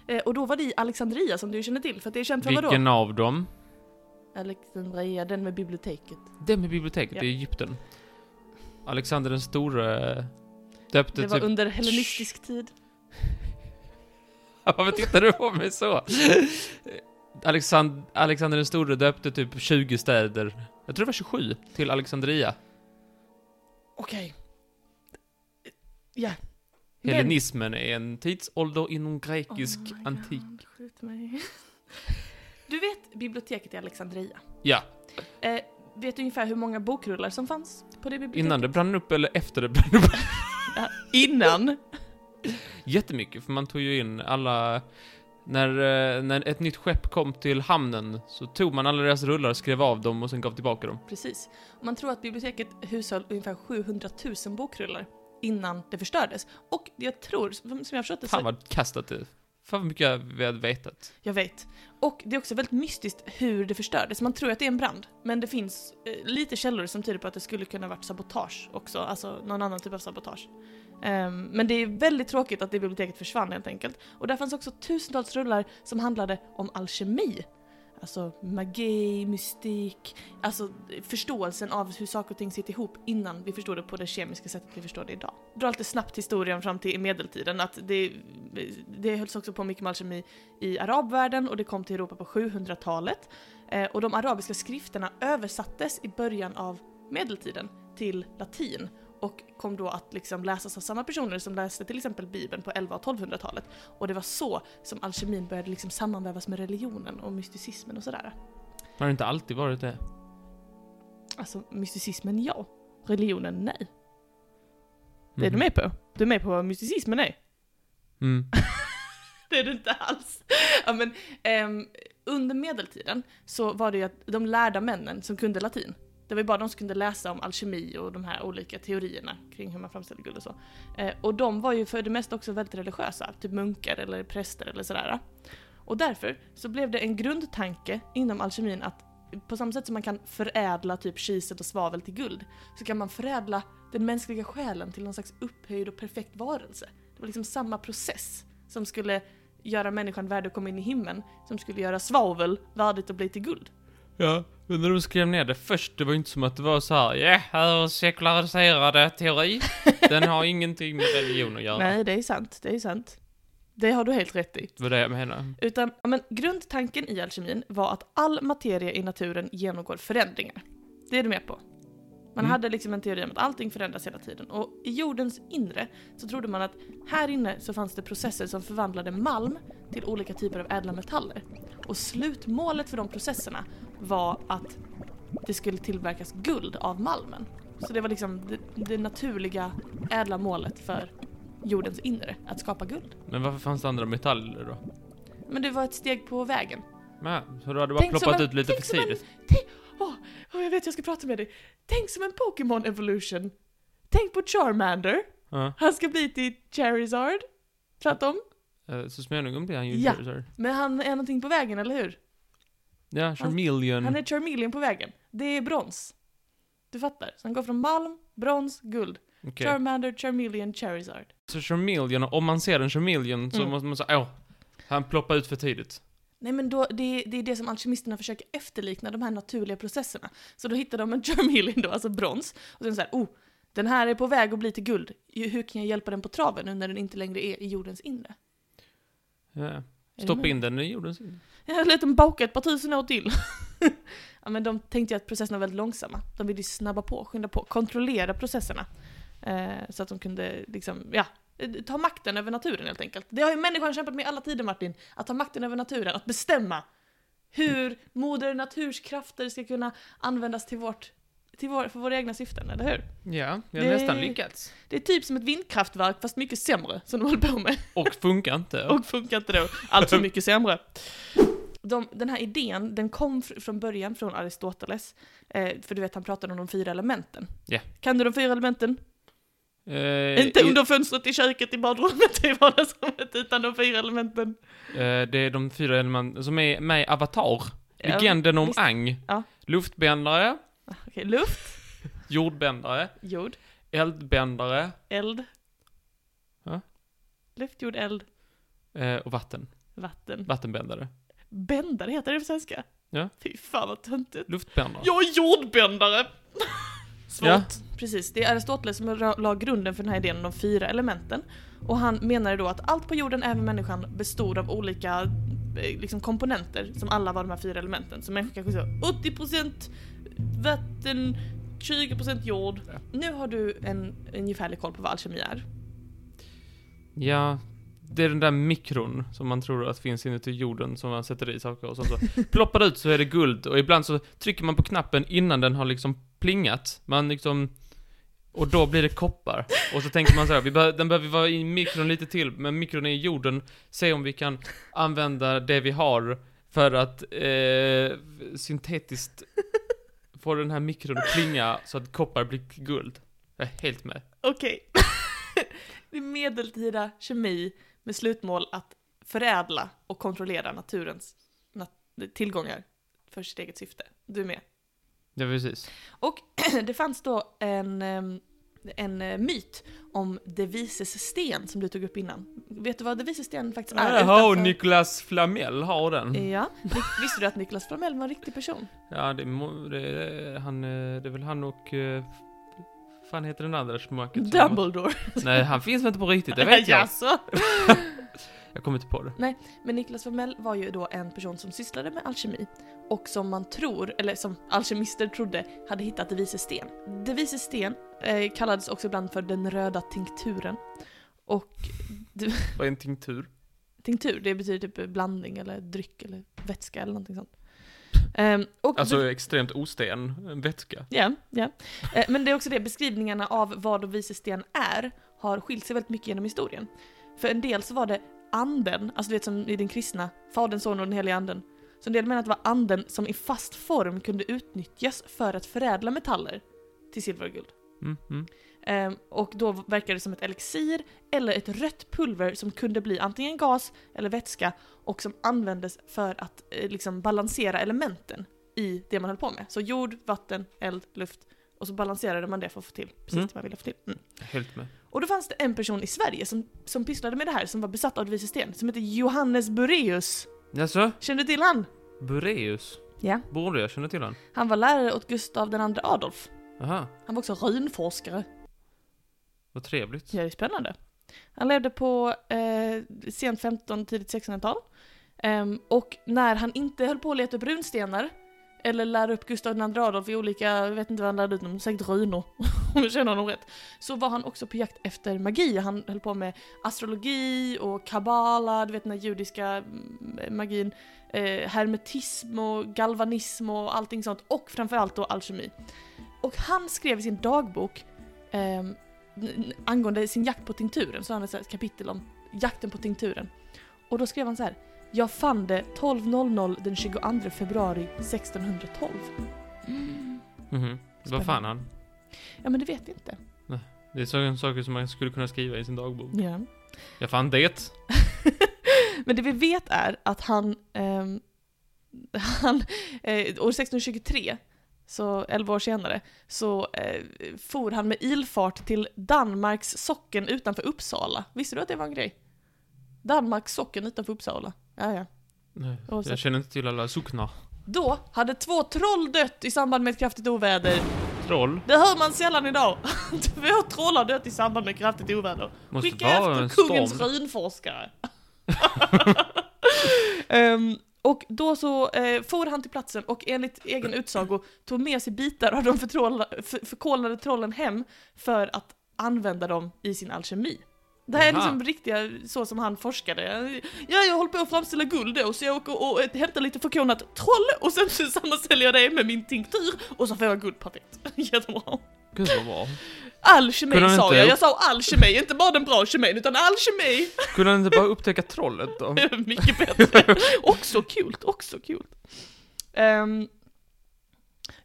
Speaker 1: Eh, och då var det i Alexandria som du känner till, för att det är känt för vadå?
Speaker 2: Vilken av dem?
Speaker 1: Alexandria, den med biblioteket.
Speaker 2: Den med biblioteket
Speaker 1: Ja.
Speaker 2: i Egypten. Alexander den store eh, döpte
Speaker 1: Det var
Speaker 2: typ...
Speaker 1: under hellenistisk tid.
Speaker 2: (laughs) Varför tittar du på mig så? Alexand... Alexander den store döpte typ 20 städer. Jag tror det var 27 till Alexandria.
Speaker 1: Okej. Ja.
Speaker 2: Hellenismen är en tidsålder inom grekisk
Speaker 1: Oh my God,
Speaker 2: antik.
Speaker 1: skjut mig. (laughs) Du vet biblioteket i Alexandria?
Speaker 2: Ja.
Speaker 1: Eh, vet du ungefär hur många bokrullar som fanns på det biblioteket?
Speaker 2: Innan det brann upp eller efter det brann upp?
Speaker 1: Ja, innan?
Speaker 2: Jättemycket, för man tog ju in alla... När, eh, när ett nytt skepp kom till hamnen så tog man alla deras rullar, skrev av dem och sen gav tillbaka dem.
Speaker 1: Precis. Man tror att biblioteket hushöll ungefär 700 000 bokrullar innan det förstördes. Och jag tror, som som jag har förstått det,
Speaker 2: Fan
Speaker 1: så,
Speaker 2: vad kastat det. Fan vad mycket vi hade vetat.
Speaker 1: jag vet. Och det är också väldigt mystiskt hur det förstördes. Man tror att det är en brand, men det finns eh, lite källor som tyder på att det skulle kunna varit sabotage också, alltså någon annan typ av sabotage. Ehm, men det är väldigt tråkigt att det biblioteket försvann helt enkelt. Och där fanns också tusentals rullar som handlade om alkemi. Alltså magi, mystik, alltså förståelsen av hur saker och ting sitter ihop innan vi förstår det på det kemiska sättet vi förstår det idag. Dra lite snabbt historien fram till medeltiden, att det, det hölls också på mycket med alkemi i arabvärlden och det kom till Europa på 700-talet. Eh, och de arabiska skrifterna översattes i början av medeltiden till latin och kom då att liksom läsas av samma personer som läste till exempel Bibeln på 11 och 1200-talet. Och det var så som alkemin började liksom sammanvävas med religionen och mysticismen och sådär.
Speaker 2: Har det inte alltid varit det?
Speaker 1: Alltså mysticismen ja, religionen nej. Det är du
Speaker 2: Mhm.
Speaker 1: med på? Du är med på vad mysticismen är?
Speaker 2: Mm.
Speaker 1: (laughs) Det är det inte alls. Ja, men, ehm, under medeltiden så var det ju att de lärda männen som kunde latin, det var ju bara de som kunde läsa om alkemi och de här olika teorierna kring hur man framställer guld och så. Eh, och de var ju för det mesta också väldigt religiösa, typ munkar eller präster eller sådär. Och därför så blev det en grundtanke inom alkemin att på samma sätt som man kan förädla typ kisel och svavel till guld, så kan man förädla den mänskliga själen till någon slags upphöjd och perfekt varelse. Det var liksom samma process som skulle göra människan värdig att komma in i himlen, som skulle göra svavel värdigt att bli till guld.
Speaker 2: Ja, men när de skrev ner det först, det var ju inte som att det var så här, ja, här är sekulariserade
Speaker 1: (laughs)
Speaker 2: teori. Den har ingenting med religion att göra.
Speaker 1: Nej, det är sant, det är sant. Det har du helt rätt i.
Speaker 2: Det var det jag menade.
Speaker 1: Utan, ja, men grundtanken i alkemin var att all materia i naturen genomgår förändringar. Det är du med på? Man
Speaker 2: Mm.
Speaker 1: hade liksom en teori om att allting förändras hela tiden och i jordens inre så trodde man att här inne så fanns det processer som förvandlade malm till olika typer av ädla metaller. Och slutmålet för de processerna var att det skulle tillverkas guld av malmen. Så det var liksom det, det naturliga ädla målet för jordens inre, att skapa guld.
Speaker 2: Men varför fanns det andra metaller då?
Speaker 1: Men det var ett steg på vägen.
Speaker 2: Ja, så då hade det bara
Speaker 1: Tänk som
Speaker 2: ploppat
Speaker 1: en-
Speaker 2: ut lite för
Speaker 1: tänk som en-
Speaker 2: tidigt.
Speaker 1: Åh, jag vet jag ska prata med dig. Tänk som en Pokémon evolution. Tänk på Charmander.
Speaker 2: Ja.
Speaker 1: Han ska bli till Charizard. Tvärtom.
Speaker 2: Eh, Så småningom blir han ju
Speaker 1: Ja.
Speaker 2: Charizard.
Speaker 1: Men han är någonting på vägen, eller hur?
Speaker 2: Ja, Charmeleon.
Speaker 1: Han är Charmeleon på vägen. Det är brons. Du fattar. Så han går från malm, brons, guld.
Speaker 2: Okej.
Speaker 1: Charmander, Charmeleon, Charizard.
Speaker 2: Så Charmeleon, om man ser en Charmeleon så
Speaker 1: Mm.
Speaker 2: måste man säga åh, han ploppade ut för tidigt.
Speaker 1: Nej men då, det, det är det som alkemisterna försöker efterlikna, de här naturliga processerna. Så då hittar de en (laughs) Charmeleon då, alltså brons, och sen så här, oh, den här är på väg att bli till guld. Ju- Hur kan jag hjälpa den på traven nu när den inte längre är i jordens inre?
Speaker 2: Ja.
Speaker 1: Är
Speaker 2: Stoppa
Speaker 1: du
Speaker 2: in den i jordens inre.
Speaker 1: (laughs) med? Ja, låt dem baka ett par tusen år till. (laughs) ja men de tänkte ju att processerna var väldigt långsamma. De ville ju snabba på, skynda på, kontrollera processerna. Eh, så att de kunde liksom, ja, eh, ta makten över naturen helt enkelt. Det har ju människan kämpat med i alla tider Martin, att ta makten över naturen, att bestämma hur moder naturs krafter ska kunna användas till vårt, till vår, för våra egna syften, eller hur?
Speaker 2: Ja, vi har
Speaker 1: Det-
Speaker 2: nästan lyckats.
Speaker 1: Det är typ som ett vindkraftverk fast mycket sämre som de håller på med. (laughs)
Speaker 2: Och funkar inte.
Speaker 1: Och funkar inte då. Allt för mycket sämre. de, den här idén, den kom fr- från början från Aristoteles. Eh, för du vet, han pratade om de fyra elementen.
Speaker 2: Ja.
Speaker 1: Kan du de fyra elementen?
Speaker 2: Eh,
Speaker 1: Inte
Speaker 2: i-
Speaker 1: under fönstret i köket, i badrummet, i vardagsrummet, utan de fyra elementen.
Speaker 2: eh, det är de fyra elementen som är med i Avatar.
Speaker 1: Ja,
Speaker 2: Legenden om
Speaker 1: visst.
Speaker 2: Ang.
Speaker 1: Ja.
Speaker 2: Luftbändare,
Speaker 1: Ah, Okej, luft,
Speaker 2: jordbändare,
Speaker 1: jord,
Speaker 2: eldbändare
Speaker 1: eld.
Speaker 2: Ja.
Speaker 1: Luft, jord, eld,
Speaker 2: eh, och vatten.
Speaker 1: vatten.
Speaker 2: Vattenbändare.
Speaker 1: Bändare heter det på svenska.
Speaker 2: Ja.
Speaker 1: Fy fan vad töntigt.
Speaker 2: Luftbändare.
Speaker 1: Jag är
Speaker 2: (laughs)
Speaker 1: jordbändare! Svårt.
Speaker 2: Ja.
Speaker 1: Precis, det är Aristoteles som ra- la grunden för den här idén om de fyra elementen. Och han menade då att allt på jorden, även människan, bestod av olika eh, liksom, komponenter som alla var de här fyra elementen. Så människan kanske sa 80% vatten, 20% jord.
Speaker 2: Ja.
Speaker 1: Nu har du en ungefärlig koll på vad alkemi
Speaker 2: (laughs)
Speaker 1: är.
Speaker 2: Ja, det är den där mikron som man tror att finns inuti jorden som man sätter i saker och sånt. Så ploppar det ut så är det guld och ibland så trycker man på knappen innan den har liksom plingat. Man liksom... Och då blir det koppar. Och så tänker man så här, vi behö- den behöver vara i mikron lite till, men mikron är i jorden. Se om vi kan använda det vi har för att eh, syntetiskt få den här mikron att klinga så att koppar blir guld. Jag är helt med.
Speaker 1: Okej. (laughs) det är medeltida kemi med slutmål att förädla och kontrollera naturens nat- tillgångar för sitt eget syfte. Du är med. (clears throat)
Speaker 2: Ja, precis.
Speaker 1: Och det fanns då en, ehm, en eh, myt om de vises sten som du tog upp innan. Vet du vad de vises sten faktiskt är?
Speaker 2: Jaha, Mm. och
Speaker 1: utanför-
Speaker 2: Niklas Flamel har den.
Speaker 1: Ja, Ni- visste du att Niklas Flamel var en riktig person?
Speaker 2: Ja, det, är mo- det, är han, eh, det är väl han och... eh, fan heter den andra schmucket? som-
Speaker 1: Dumbledore.
Speaker 2: Nej, han finns väl inte på riktigt,
Speaker 1: (laughs)
Speaker 2: det vet jag.
Speaker 1: Jaså?
Speaker 2: Jag kommer inte på det.
Speaker 1: Men Niklas Flamel var ju då en person som sysslade med alkemi och som man tror, eller som alkemister trodde, hade hittat de vises sten. De vises sten eh, kallades också ibland för den röda tinkturen. Och
Speaker 2: Vad är en tinktur?
Speaker 1: (laughs) tinktur, det betyder typ blandning eller dryck eller vätska eller någonting sånt. Ehm, och
Speaker 2: Alltså extremt osten, en vätska.
Speaker 1: Ja, ja. Eh, Men det är också det, beskrivningarna av vad de vises sten är har skilt sig väldigt mycket genom historien. För en del så var det anden, alltså du vet som i den kristna, Fadern, Sonen och den heliga anden. Så en del menar att det var anden som i fast form kunde utnyttjas för att förädla metaller till silver och guld.
Speaker 2: Mm, mm.
Speaker 1: Ehm, och då verkar det som ett elixir eller ett rött pulver som kunde bli antingen gas eller vätska och som användes för att eh, liksom balansera elementen i det man höll på med. Så jord, vatten, eld, luft och så balanserade man det för att få till precis
Speaker 2: Mm.
Speaker 1: det man ville få till. Mm.
Speaker 2: Helt med.
Speaker 1: Och då fanns det en person i Sverige som, som pysslade med det här som var besatt av det vises sten som heter Johannes Bureus.
Speaker 2: Jaså?
Speaker 1: Känner du till han?
Speaker 2: Bureus?
Speaker 1: Ja.
Speaker 2: Borde jag känna till han?
Speaker 1: Han var lärare åt Gustav den andra Adolf.
Speaker 2: Aha,
Speaker 1: Han var också runforskare.
Speaker 2: vad trevligt.
Speaker 1: Ja, det är spännande. Han levde på eh, sent 15, tidigt 1600-tal. Ehm, och när han inte höll på att leta upp runstenar, eller lära upp Gustav II Adolf i olika, jag vet inte vad han lärde ut dem, säkert runor, (laughs) om jag känner honom rätt. Så var han också på jakt efter magi. Han höll på med astrologi och kabbala, du vet den här judiska mm, magin, eh, hermetism och galvanism och allting sånt. Och framförallt då alkemi. Och han skrev i sin dagbok ehm, n- angående sin jakt på tinkturen så har han ett så här kapitel om jakten på tinkturen. Och då skrev han så här. Jag fann det 12.00 den 22 februari 1612.
Speaker 2: Mhm. Vad fan
Speaker 1: Spännande.
Speaker 2: han?
Speaker 1: Ja men det vet jag inte.
Speaker 2: Det är sådana saker som man skulle kunna skriva i sin dagbok.
Speaker 1: Ja.
Speaker 2: Jag fann det.
Speaker 1: Men det vi vet är att han, ehm, (laughs) han eh, år 1623, så 11 år senare, så eh, for han med ilfart till Danmarks socken utanför Uppsala. Visste du att det var en grej? Danmarks socken utanför Uppsala. Ja, ja.
Speaker 2: Nej,
Speaker 1: Och så-
Speaker 2: Jag känner inte till alla socknar.
Speaker 1: Då hade två troll dött i samband med ett kraftigt oväder.
Speaker 2: Troll.
Speaker 1: Det hör man sällan idag. (laughs) Två troll har dött i samband med kraftigt oväder.
Speaker 2: Måste
Speaker 1: Skicka
Speaker 2: vara
Speaker 1: efter
Speaker 2: en
Speaker 1: kungens
Speaker 2: storm.
Speaker 1: runforskare. (laughs) Ehm, och då så eh, for han till platsen och enligt egen utsago tog med sig bitar av de förtrolla- för, förkolade trollen hem för att använda dem i sin alkemi. Det här är
Speaker 2: Aha.
Speaker 1: liksom riktiga, så som han forskade. Ja, jag håller på att framställa guld då, så jag åker och, eh, hämtar lite förkolnat troll och sen så sammantställer jag det med min tinktur och så får jag guldpatent. (laughs) Jättebra.
Speaker 2: Gud vad bra.
Speaker 1: All kemi
Speaker 2: Kunde de
Speaker 1: sa
Speaker 2: inte
Speaker 1: jag,
Speaker 2: upp-
Speaker 1: jag sa all kemi, inte bara den bra kemin utan all kemi!
Speaker 2: Kunde han inte bara upptäcka trollet då?
Speaker 1: (laughs) Mycket
Speaker 2: (laughs)
Speaker 1: bättre. också kul, också kul. Ehm,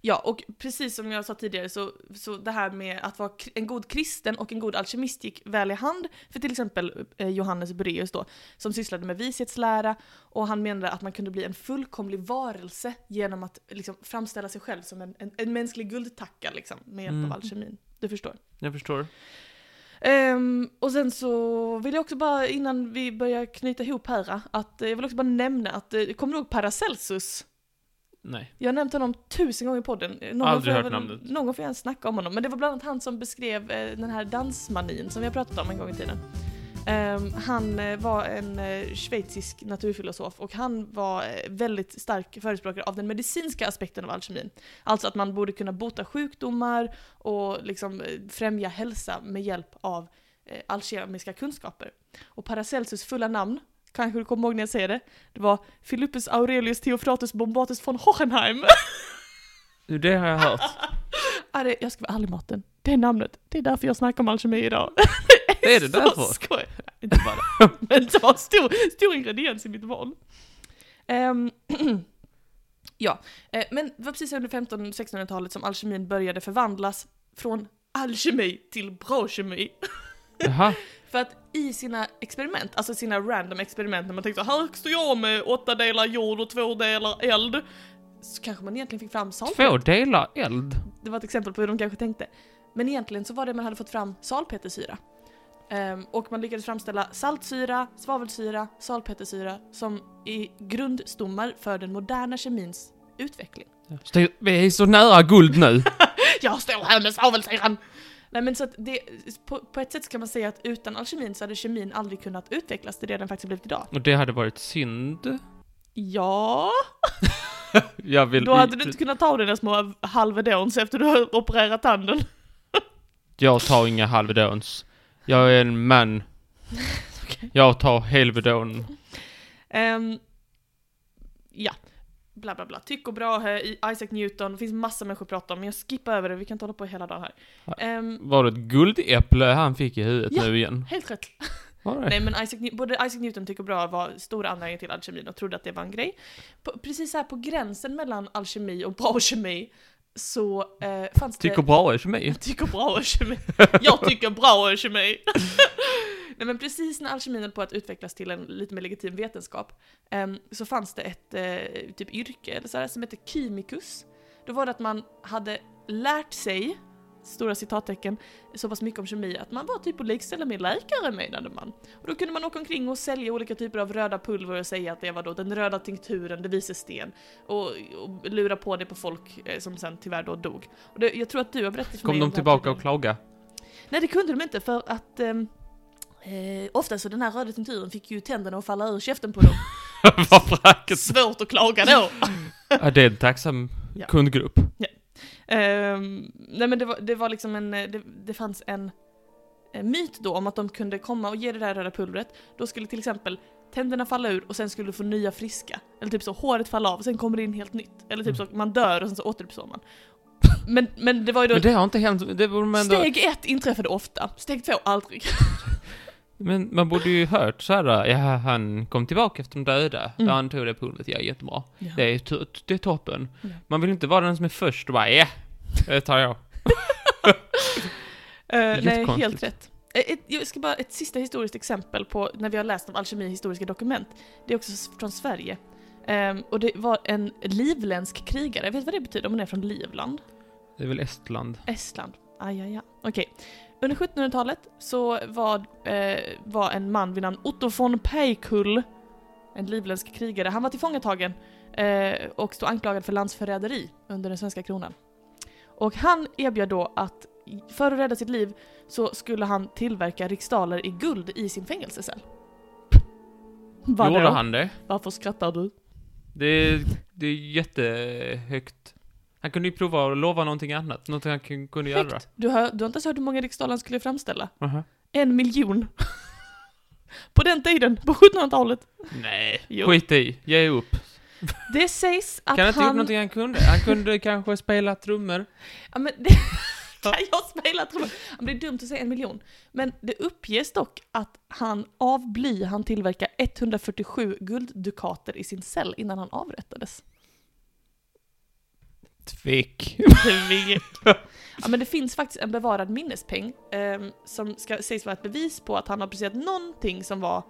Speaker 1: ja, och precis som jag sa tidigare så, så det här med att vara kr- en god kristen och en god alkemist gick väl i hand för till exempel eh, Johannes Bureus då, som sysslade med vishetslära och han menade att man kunde bli en fullkomlig varelse genom att liksom, framställa sig själv som en, en, en mänsklig guldtacka liksom, med hjälp
Speaker 2: Mm.
Speaker 1: av alkemin. Du förstår.
Speaker 2: Jag förstår.
Speaker 1: Ehm, och sen så vill jag också bara, innan vi börjar knyta ihop här, att eh, jag vill också bara nämna att, eh, kommer du ihåg Paracelsus?
Speaker 2: Nej.
Speaker 1: Jag har nämnt honom tusen gånger i podden. Eh, Någon
Speaker 2: Aldrig
Speaker 1: får jag
Speaker 2: hört
Speaker 1: väl-
Speaker 2: namnet.
Speaker 1: Någon får gärna snacka om honom. Men det var bland annat han som beskrev eh, den här dansmanin som vi har pratat om en gång i tiden. Ehm, han eh, var en eh, schweizisk naturfilosof och han var eh, väldigt stark förespråkare av den medicinska aspekten av alkemin. Alltså att man borde kunna bota sjukdomar och liksom eh, främja hälsa med hjälp av eh, alkemiska kunskaper. Och Paracelsus fulla namn, kanske du kommer ihåg när jag säger det, det var Philippus Aurelius Theophratus Bombatus von
Speaker 2: (laughs)
Speaker 1: Hohenheim.
Speaker 2: Det har jag hört.
Speaker 1: (laughs) Ja, det, jag ska vara ärlig Martin, det är namnet. Det är därför jag snackar om alkemi idag.
Speaker 2: Det är det
Speaker 1: (laughs) så
Speaker 2: därför.
Speaker 1: Skoj. Nej, Inte bara
Speaker 2: (laughs)
Speaker 1: det. Men det var en stor, stor ingrediens i mitt val. Ehm, (clears throat) ja, eh, men det var precis under 1500-1600-talet som alkemin började förvandlas från alkemi till bra kemi.
Speaker 2: Jaha.
Speaker 1: För att i sina experiment, alltså sina random experiment när man tänkte så här står jag med åtta delar jord och två delar eld. Så kanske man egentligen fick fram salpeter.
Speaker 2: Två delar eld.
Speaker 1: Det var ett exempel på hur de kanske tänkte. Men egentligen så var det man hade fått fram salpetersyra. Ehm, och man lyckades framställa saltsyra, svavelsyra, salpetersyra som är grundstommar för den moderna kemins utveckling.
Speaker 2: Styr- Vi är så nära guld (laughs) nu.
Speaker 1: Jag står här med svavelsyran! Nej men så att det, på, på ett sätt så kan man säga att utan alkemin så hade kemin aldrig kunnat utvecklas till det den faktiskt har blivit idag.
Speaker 2: Och det hade varit synd.
Speaker 1: Ja,
Speaker 2: Jag vill...
Speaker 1: då hade du inte kunnat ta dina små halvedons efter du har opererat tanden.
Speaker 2: Jag tar inga halvedons. Jag är
Speaker 1: (laughs)
Speaker 2: en man. Jag tar helvedon.
Speaker 1: Ehm, ja, bla bla bla. Tycho Brahe, I- Isaac Newton, det finns massa människor att prata om, men jag skippar över det, vi kan inte hålla på hela dagen här.
Speaker 2: Ja.
Speaker 1: Ehm,
Speaker 2: Var det ett guldäpple han fick i huvudet
Speaker 1: Ja.
Speaker 2: nu igen?
Speaker 1: helt rätt.
Speaker 2: Var det?
Speaker 1: Nej men Isaac, New- både Isaac Newton och Tycho Brahe var stora anhängare till alkemin och trodde att det var en grej. På, precis här på gränsen mellan alkemi och bra kemi så eh, fanns det...
Speaker 2: Tycker bra är kemi.
Speaker 1: Jag tycker bra om kemi. Jag tycker bra om kemi. Nej men precis när alkemin höll på att utvecklas till en lite mer legitim vetenskap em, så fanns det ett eh, typ yrke eller så här, som hette kymikus. Då var det att man hade lärt sig, stora citattecken, så pass mycket om kemi att man var typ att likställa med läkare menade man. Och då kunde man åka omkring och sälja olika typer av röda pulver och säga att det var då den röda tinkturen, det visar sten och, och lura på det på folk eh, som sen tyvärr då dog. Och det, jag tror att du har berättat för mig
Speaker 2: Kom
Speaker 1: om
Speaker 2: de
Speaker 1: det här
Speaker 2: tillbaka
Speaker 1: tidigare.
Speaker 2: och klaga? (laughs)
Speaker 1: Nej det kunde de inte för att ehm, eh, ofta så den här röda tinturen fick ju tänderna att falla ur käften
Speaker 2: (laughs)
Speaker 1: på dem.
Speaker 2: Vad fräcket.
Speaker 1: Svårt att klaga då!
Speaker 2: Ja, det är en tacksam
Speaker 1: Ja.
Speaker 2: kundgrupp.
Speaker 1: Ehm, nej men det var, det var liksom en, eh, det, det fanns en eh, myt då om att de kunde komma och ge det där röda pulvret. Då skulle till exempel tänderna falla ur och sen skulle du få nya friska. Eller typ så, håret faller av och sen kommer det in helt nytt. Eller
Speaker 2: Mm.
Speaker 1: typ så, man dör och sen så återuppstår
Speaker 2: (laughs)
Speaker 1: man. Men, men det var ju då...
Speaker 2: Men det har inte hänt, det borde man ändå...
Speaker 1: Steg ett inträffade ofta, steg två aldrig.
Speaker 2: Men man borde ju hört så här. ja han kom tillbaka efter de döda,
Speaker 1: Mm.
Speaker 2: där han tog det pulvret, ja jättebra.
Speaker 1: Ja.
Speaker 2: Det är, to- det är toppen.
Speaker 1: Ja.
Speaker 2: Man vill inte vara den som är först och bara ja, det tar jag.
Speaker 1: Eh, nej,
Speaker 2: Jättekonstigt.
Speaker 1: helt rätt. Eh, Ett, jag ska bara, ett sista historiskt exempel på när vi har läst om alkemi i historiska dokument. Det är också s- från Sverige. Ehm, och det var en livländsk krigare, jag vet vad det betyder om man är från Livland?
Speaker 2: Det är väl Estland.
Speaker 1: Estland? Aj, aj, aj. Okej. Under 1700-talet så var, eh, var en man vid namn Otto von Peikull, en livländsk krigare, han var tillfångatagen eh, och stod anklagad för landsförräderi under den svenska kronan. Och han erbjöd då att i- för att rädda sitt liv så skulle han tillverka riksdaler i guld i sin fängelsecell. Vadå?
Speaker 2: Gjorde han det?
Speaker 1: Varför skrattar du?
Speaker 2: Det är, det är jättehögt. Han kunde ju prova att lova någonting annat, något han kun- kunde göra.
Speaker 1: Högt. Du har, du har inte ens hört hur många riksdaler han skulle framställa?
Speaker 2: Aha.
Speaker 1: En miljon. (laughs) på den tiden, på 1700-talet.
Speaker 2: Nej,
Speaker 1: Jo.
Speaker 2: skit i, ge upp.
Speaker 1: Det sägs att
Speaker 2: kan typ han inte gjort
Speaker 1: han...
Speaker 2: någonting han kunde? Han kunde kanske spela trummor.
Speaker 1: Ja, men det, (laughs) kan jag spela trummor? Han blir dumt att säga en miljon. Men det uppges dock att han av bly han tillverka 147 gulddukater i sin cell innan han avrättades.
Speaker 2: Tvek.
Speaker 1: Ja, men det finns faktiskt en bevarad minnespeng ehm, som ska sägs vara ett bevis på att han har presterat någonting som var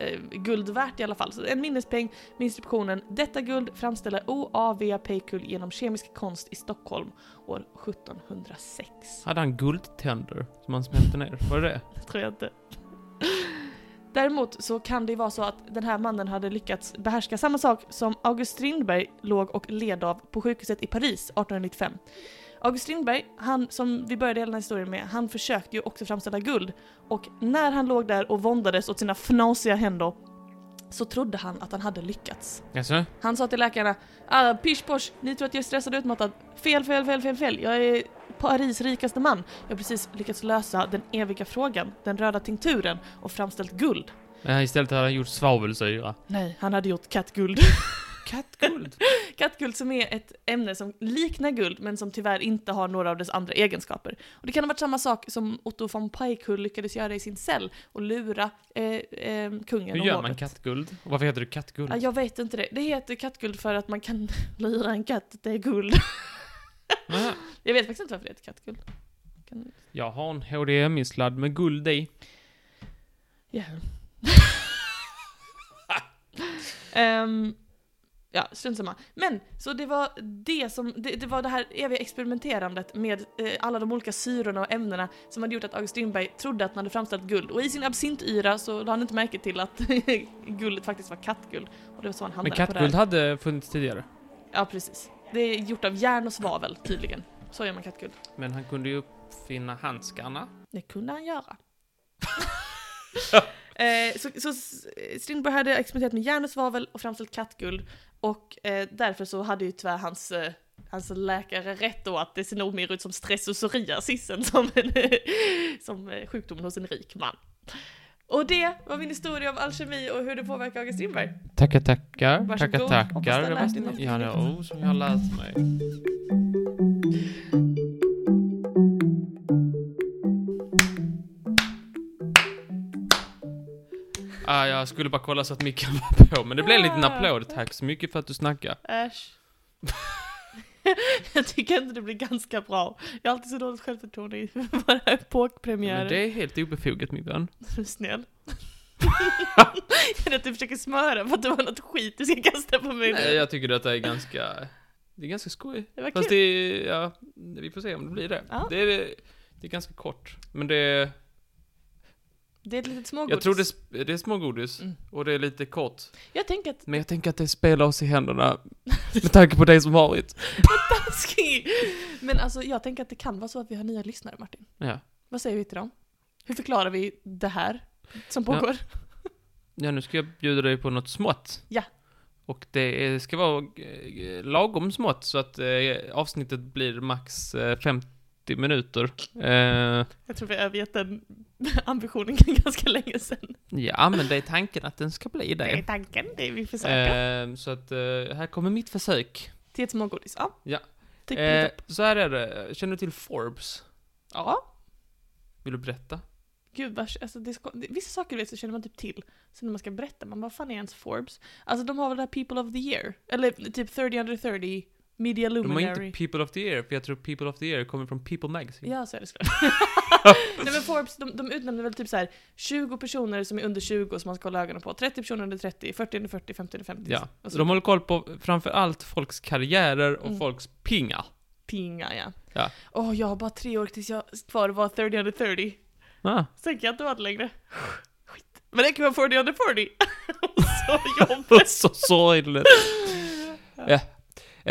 Speaker 1: eh, guld värt i alla fall. Så en minnespeng med instruktionen “Detta guld framställer OAV Peikul genom kemisk konst i Stockholm år 1706”.
Speaker 2: Hade han guldtänder som han smälte ner? Var det det?
Speaker 1: Det tror jag inte. Däremot så kan det ju vara så att den här mannen hade lyckats behärska samma sak som August Strindberg låg och led av på sjukhuset i Paris 1895. August Strindberg, han som vi började hela den här historien med, han försökte ju också framställa guld. Och när han låg där och våndades åt sina fnasiga händer så trodde han att han hade lyckats.
Speaker 2: Jaså?
Speaker 1: Han sa till läkarna ah, pish posh, ni tror att jag är stressad och utmattad. Fel, fel, fel, fel, fel. Jag är Paris rikaste man. Jag har precis lyckats lösa den eviga frågan, den röda tinkturen och framställt guld.
Speaker 2: Nej, Eh, istället hade han gjort svavelsyra.
Speaker 1: Nej, han hade gjort
Speaker 2: (laughs)
Speaker 1: kattguld.
Speaker 2: Kattguld?
Speaker 1: kattguld som är ett ämne som liknar guld men som tyvärr inte har några av dess andra egenskaper. Och det kan ha varit samma sak som Otto von Paikull lyckades göra i sin cell och lura eh, eh, kungen
Speaker 2: (laughs) Hur
Speaker 1: och
Speaker 2: gör man
Speaker 1: hovet.
Speaker 2: kattguld? Och varför heter det
Speaker 1: Ja,
Speaker 2: kattguld?
Speaker 1: jag vet inte det. Det heter kattguld för att man kan (laughs) lura en katt att det är guld.
Speaker 2: Aha.
Speaker 1: Jag vet faktiskt inte varför det heter kattguld. Kan...
Speaker 2: Jag har en HDMI-sladd med guld i.
Speaker 1: Ja. (laughs) Ehm, ja, strunt samma. Men, så det var det som, det, det var det här eviga experimenterandet med eh, alla de olika syrorna och ämnena som hade gjort att August Strindberg trodde att han hade framställt guld. Och i sin absintyra så lade han inte märke till att (laughs) guldet faktiskt var kattguld. Och det var så han
Speaker 2: Men
Speaker 1: hamnade på det
Speaker 2: kattguld
Speaker 1: här.
Speaker 2: hade funnits tidigare.
Speaker 1: Ja, precis. Det är gjort av järn och svavel, tydligen. Så gör man kattguld.
Speaker 2: Men han kunde ju uppfinna handskarna.
Speaker 1: Det kunde han göra. (laughs) eh, så, så S- Strindberg hade experimenterat med järn och svavel och framställt kattguld. Och eh, därför så hade ju tyvärr hans, eh, hans läkare rätt då att det ser nog mer ut som stress och psoriasisen som, en, (laughs) som eh, sjukdomen hos en rik man. Och det var min historia om alkemi och hur det påverkar August Strindberg.
Speaker 2: Tackar, tackar.
Speaker 1: Varsågod.
Speaker 2: Tackar,
Speaker 1: Hoppas du har
Speaker 2: tackar.
Speaker 1: lärt dig något.
Speaker 2: ja, det var ord som jag har lärt mig. Ah, jag skulle bara kolla så att micken var på, men det blev en
Speaker 1: Ah.
Speaker 2: liten applåd. Tack så mycket för att du snackade.
Speaker 1: Äsch. (laughs) Jag tycker ändå det blir ganska bra. Jag har alltid så dåligt självförtroende i (laughs) våra epokpremiärer.
Speaker 2: Men det är helt obefogat, min vän.
Speaker 1: Är du snäll? Är det att du försöker smöra för att det var något skit du ska kasta på mig
Speaker 2: Nej,
Speaker 1: nu?
Speaker 2: jag tycker att det är ganska... Det är ganska skoj.
Speaker 1: Det var kul.
Speaker 2: Fast det är, ja, vi får se om det blir det.
Speaker 1: Ja.
Speaker 2: Det, är, det är ganska kort, men det är...
Speaker 1: Det är ett litet smågodis.
Speaker 2: Jag tror det, är sp- det är smågodis,
Speaker 1: Mm.
Speaker 2: och det är lite kort.
Speaker 1: Jag tänker att (laughs)
Speaker 2: Men jag tänker att det spelar oss i händerna, (laughs) med tanke på det som varit.
Speaker 1: Taskig! Men alltså jag tänker att det kan vara så att vi har nya lyssnare Martin.
Speaker 2: Ja,
Speaker 1: Vad säger vi till dem? Hur förklarar vi det här som pågår?
Speaker 2: ja nu ska jag bjuda dig på något smått.
Speaker 1: Ja.
Speaker 2: Och det är- ska vara eh, lagom smått, så att eh, avsnittet blir max eh, 50 minuter. Eh,
Speaker 1: Jag tror vi har övergett den (laughs) ambitionen (laughs) ganska länge sedan.
Speaker 2: ja, men det är tanken att den ska bli
Speaker 1: Det är
Speaker 2: det.
Speaker 1: tanken, det är vi försöker.
Speaker 2: Eh, så att eh, här kommer mitt försök.
Speaker 1: Till ett smågodis, ja.
Speaker 2: Ja.
Speaker 1: Typ
Speaker 2: Eh,
Speaker 1: lite-
Speaker 2: så här är det, känner du till Forbes?
Speaker 1: ja.
Speaker 2: Vill du berätta?
Speaker 1: Gud vad, alltså det är sko- det- vissa saker du vet så känner man typ till. Sen när man ska berätta, man bara, vad fan är ens Forbes? Alltså de har väl det här People of the Year? Eller typ 30 under 30, Media
Speaker 2: De har
Speaker 1: Luminary.
Speaker 2: inte People of the Year, för jag tror People of the Year kommer från People Magazine.
Speaker 1: Ja, så är det
Speaker 2: (laughs)
Speaker 1: såklart. Nej men Forbes, de, de utnämner väl typ så här 20 personer som är under 20 som man ska hålla ögonen på, 30 personer under 30, 40 under 40, 50 under 50.
Speaker 2: Ja,
Speaker 1: Och
Speaker 2: så
Speaker 1: så
Speaker 2: de håller koll på framför allt folks karriärer och
Speaker 1: Mm.
Speaker 2: folks pingar.
Speaker 1: pinga ja.
Speaker 2: Ja.
Speaker 1: Åh, jag har bara tre år tills jag kvar var 30 under 30.
Speaker 2: Ah.
Speaker 1: Sen kan jag inte vara det längre. Skit. Men det kan vara 40 under 40. (laughs)
Speaker 2: (laughs)
Speaker 1: så jobbigt.
Speaker 2: så sorgligt. ja.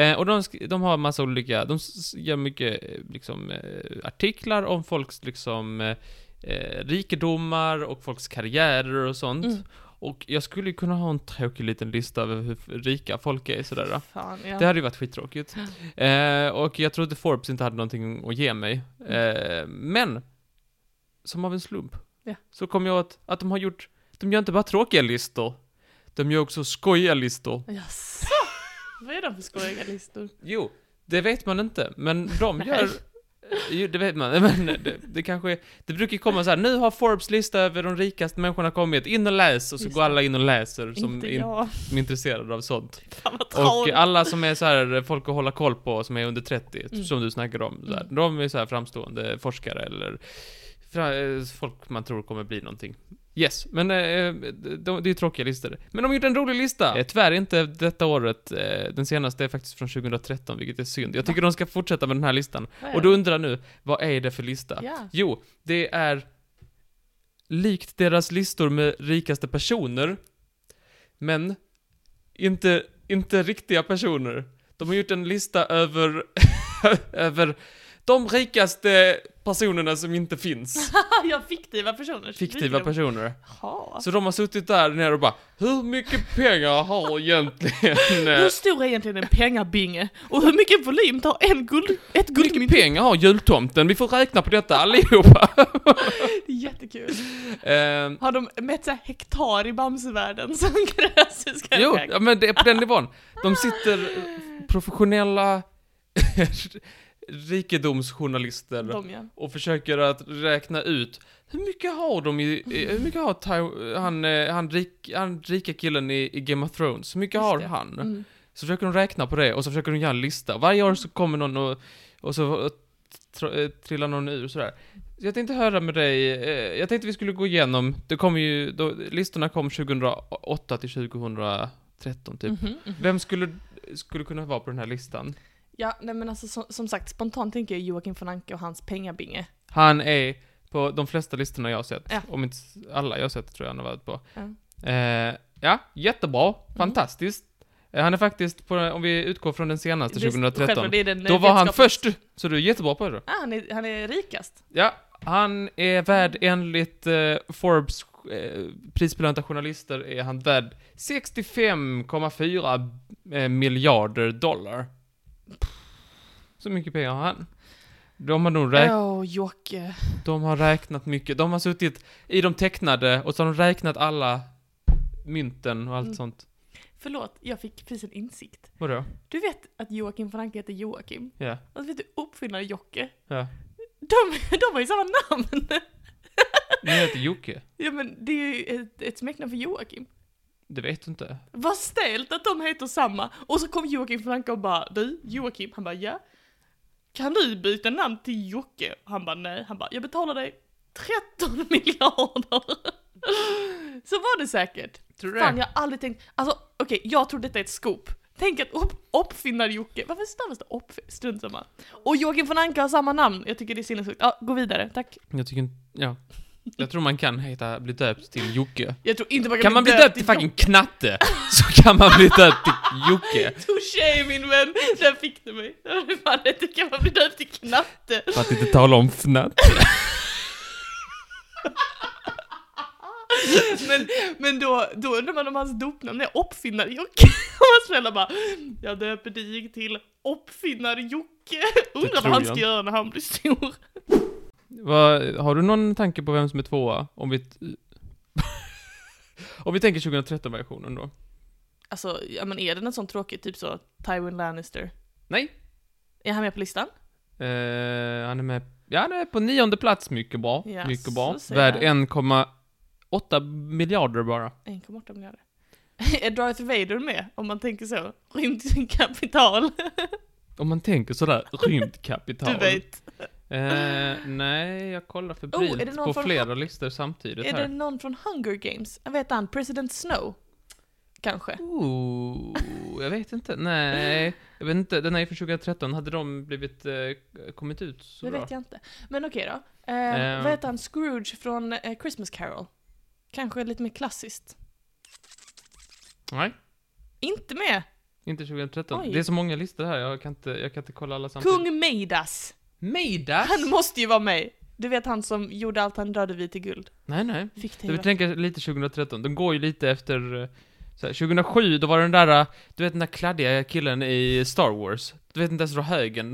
Speaker 2: Eh, och de, sk- de har massa olika, de s- s- gör mycket eh, liksom, eh, artiklar om folks liksom, eh, eh, rikedomar och folks karriärer och sånt.
Speaker 1: Mm.
Speaker 2: Och jag skulle ju kunna ha en tråkig liten lista över hur f- rika folk är sådär. Då.
Speaker 1: Fan ja.
Speaker 2: Det hade ju varit skittråkigt. Eh, och jag trodde Forbes inte hade någonting att ge mig. Eh, men, som av en slump,
Speaker 1: Ja.
Speaker 2: så kom jag åt att de har gjort, de gör inte bara tråkiga listor, de gör också
Speaker 1: (laughs)
Speaker 2: skojiga listor.
Speaker 1: Jaså? Vad är de för skojiga listor?
Speaker 2: Jo, det vet man inte, men de
Speaker 1: Nej.
Speaker 2: gör Jo, det vet man. (laughs) Men det, det kanske är, Det brukar ju komma så här. nu har Forbes lista över de rikaste människorna kommit, in och läs! Och så
Speaker 1: Just
Speaker 2: går
Speaker 1: det.
Speaker 2: alla in och läser som,
Speaker 1: Inte
Speaker 2: in,
Speaker 1: jag.
Speaker 2: som är intresserade av sånt.
Speaker 1: Fan vad
Speaker 2: Och
Speaker 1: tråkigt.
Speaker 2: alla som är så här, folk att hålla koll på, som är under 30,
Speaker 1: Mm.
Speaker 2: som du snackar om, så här,
Speaker 1: Mm.
Speaker 2: de är så här framstående forskare eller fra- eh, folk man tror kommer bli någonting. Yes, men eh, de, det är ju tråkiga listor. Men de har gjort en rolig lista! Eh, Tyvärr inte detta året, eh, den senaste är faktiskt från 2013, vilket är synd. Jag tycker de ska fortsätta med den här listan. Och då undrar jag nu, vad är det för lista?
Speaker 1: Ja.
Speaker 2: Jo, det är likt deras listor med rikaste personer, men inte, inte riktiga personer. De har gjort en lista över, (laughs) över de rikaste personerna som inte finns.
Speaker 1: ja, (laughs) fiktiva personer.
Speaker 2: Fiktiva personer.
Speaker 1: personer.
Speaker 2: Så de har suttit där nere och bara, hur mycket pengar har egentligen... eh,
Speaker 1: Hur stor är egentligen en pengabinge? Och hur mycket volym tar en guld, ett
Speaker 2: Hur mycket
Speaker 1: guldmynt?
Speaker 2: pengar har jultomten? Vi får räkna på detta allihopa.
Speaker 1: Det är jättekul.
Speaker 2: Eh,
Speaker 1: Har de mätt så här hektar i Bamsevärlden som (laughs) krävs? i Skype?
Speaker 2: Jo, ja, men det är på den nivån. De sitter professionella (laughs) rikedomsjournalister
Speaker 1: De ja.
Speaker 2: och försöker att räkna ut hur mycket har de i, i- hur mycket har Ty, han, eh, han, rik, han rika killen i, i Game of Thrones, hur mycket
Speaker 1: Just
Speaker 2: har
Speaker 1: det.
Speaker 2: han?
Speaker 1: Mm.
Speaker 2: Så försöker de räkna på det och så försöker de göra en lista. Varje år så kommer någon och, och så eh, tr- eh, trillar någon ur sådär. Så jag tänkte höra med dig, eh, jag tänkte vi skulle gå igenom, det kom ju, då, listorna kom 2008 till 2013 typ.
Speaker 1: Mhm, mhm.
Speaker 2: Vem skulle, skulle kunna vara på den här listan?
Speaker 1: Ja, nej men alltså som, som sagt, spontant tänker jag Joakim von Anka och hans pengabinge.
Speaker 2: Han är på de flesta listorna jag har sett,
Speaker 1: Ja.
Speaker 2: om inte alla jag har sett tror jag han har varit på.
Speaker 1: Ja.
Speaker 2: Eh, ja, jättebra, fantastiskt. Eh, Han är faktiskt, på, om vi utgår från den senaste,
Speaker 1: Det är-
Speaker 2: 2013,
Speaker 1: Mm. självklart, det är den,
Speaker 2: Då
Speaker 1: eh,
Speaker 2: var han
Speaker 1: vetskapen-
Speaker 2: först, så du är jättebra på det.
Speaker 1: Ah, han, är, han är rikast.
Speaker 2: Ja, han är värd enligt eh, Forbes eh, prisbelönta journalister är han värd 65,4 eh, miljarder dollar. Så mycket pengar har han. De har nog räk-
Speaker 1: Åh, Jocke.
Speaker 2: de har räknat mycket. De har suttit i de tecknade och så har de räknat alla mynten och allt
Speaker 1: Mm.
Speaker 2: sånt.
Speaker 1: Förlåt, jag fick precis en insikt.
Speaker 2: Vadå?
Speaker 1: Du vet att Joakim von Anka heter Joakim?
Speaker 2: Ja.
Speaker 1: Och vet du, uppfinnare Jocke,
Speaker 2: ja.
Speaker 1: de, (laughs) de har ju samma namn! (laughs)
Speaker 2: Nu heter Jocke.
Speaker 1: Ja men det är ju ett, ett smeknamn för Joakim.
Speaker 2: Det vet du inte.
Speaker 1: Vad stelt att de heter samma! Och så kom Joakim von Anka och bara du, Joakim, han bara ja. Kan du byta namn till Jocke? Han bara nej, han bara jag betalar dig 13 (laughs) miljarder! Så var det säkert.
Speaker 2: Tror du
Speaker 1: Fan
Speaker 2: det?
Speaker 1: jag har aldrig tänkt, alltså okej jag tror detta är ett scoop. Tänk att upp, uppfinnar-Jocke, varför stavas det upp? Strunt samma. Och Joakim von Anka har samma namn, jag tycker det är sinnessjukt. Ja, gå vidare, tack.
Speaker 2: Jag tycker inte, ja. Jag tror man kan heta, bli döpt till Jocke.
Speaker 1: Jag tror inte man kan,
Speaker 2: Kan man bli döpt till fucking Knatte, så kan man bli döpt till Jocke.
Speaker 1: Touché min vän! Där fick du mig. Där var det Fan, inte kan man bli döpt till knatte.
Speaker 2: För att inte tala om fnatt.
Speaker 1: Men, men då, då undrar man om hans dopnamn är Uppfinnar-Jocke. (laughs) Och hans föräldrar bara, jag döper dig till Uppfinnar-Jocke. Undrar
Speaker 2: tror
Speaker 1: vad han
Speaker 2: jag
Speaker 1: ska
Speaker 2: inte.
Speaker 1: göra när han blir stor.
Speaker 2: Vad- har du någon tanke på vem som är tvåa? Om vi... t- (laughs) om vi tänker 2013-versionen då.
Speaker 1: Alltså, ja men är det något sånt tråkigt, typ så Tywin Lannister?
Speaker 2: Nej.
Speaker 1: Är han med på listan?
Speaker 2: Eh, han är med, ja han är på nionde plats, mycket bra.
Speaker 1: Ja,
Speaker 2: mycket bra.
Speaker 1: så ser
Speaker 2: Värd
Speaker 1: jag.
Speaker 2: 1,8 miljarder bara.
Speaker 1: 1,8 miljarder. (laughs) Är Darth Vader med, om man tänker så? (laughs) Rymdkapital.
Speaker 2: Om man tänker sådär, rymdkapital.
Speaker 1: Du vet.
Speaker 2: Eh, nej, jag kollar
Speaker 1: Oh, är det
Speaker 2: febrilt
Speaker 1: någon
Speaker 2: på
Speaker 1: från-
Speaker 2: flera listor samtidigt
Speaker 1: Är
Speaker 2: här.
Speaker 1: det någon från Hunger Games? Jag vet han, President Snow? Kanske.
Speaker 2: Ooh, jag vet inte. Nej, jag vet inte. Den är ju från 2013. Hade de blivit, eh, kommit ut så
Speaker 1: det
Speaker 2: bra?
Speaker 1: vet jag inte. Men okej då. Eh,
Speaker 2: Ehm.
Speaker 1: Vad heter han? Scrooge från eh, Christmas Carol? Kanske lite mer klassiskt.
Speaker 2: Nej,
Speaker 1: Inte med!
Speaker 2: inte 2013.
Speaker 1: Oj.
Speaker 2: Det är så många listor här. Jag kan inte, jag kan inte kolla alla samtidigt.
Speaker 1: Kung Midas!
Speaker 2: Midas?
Speaker 1: Han måste ju vara med! Du vet han som gjorde allt han rörde vid till guld.
Speaker 2: Nej, nej.
Speaker 1: Fick det
Speaker 2: Jag vill
Speaker 1: ju
Speaker 2: tänka lite 2013. Den går ju lite efter... eh, Så här, 2007, då var den där, eh, du vet den där kladdiga killen i Star Wars. Du vet den där som drar högen.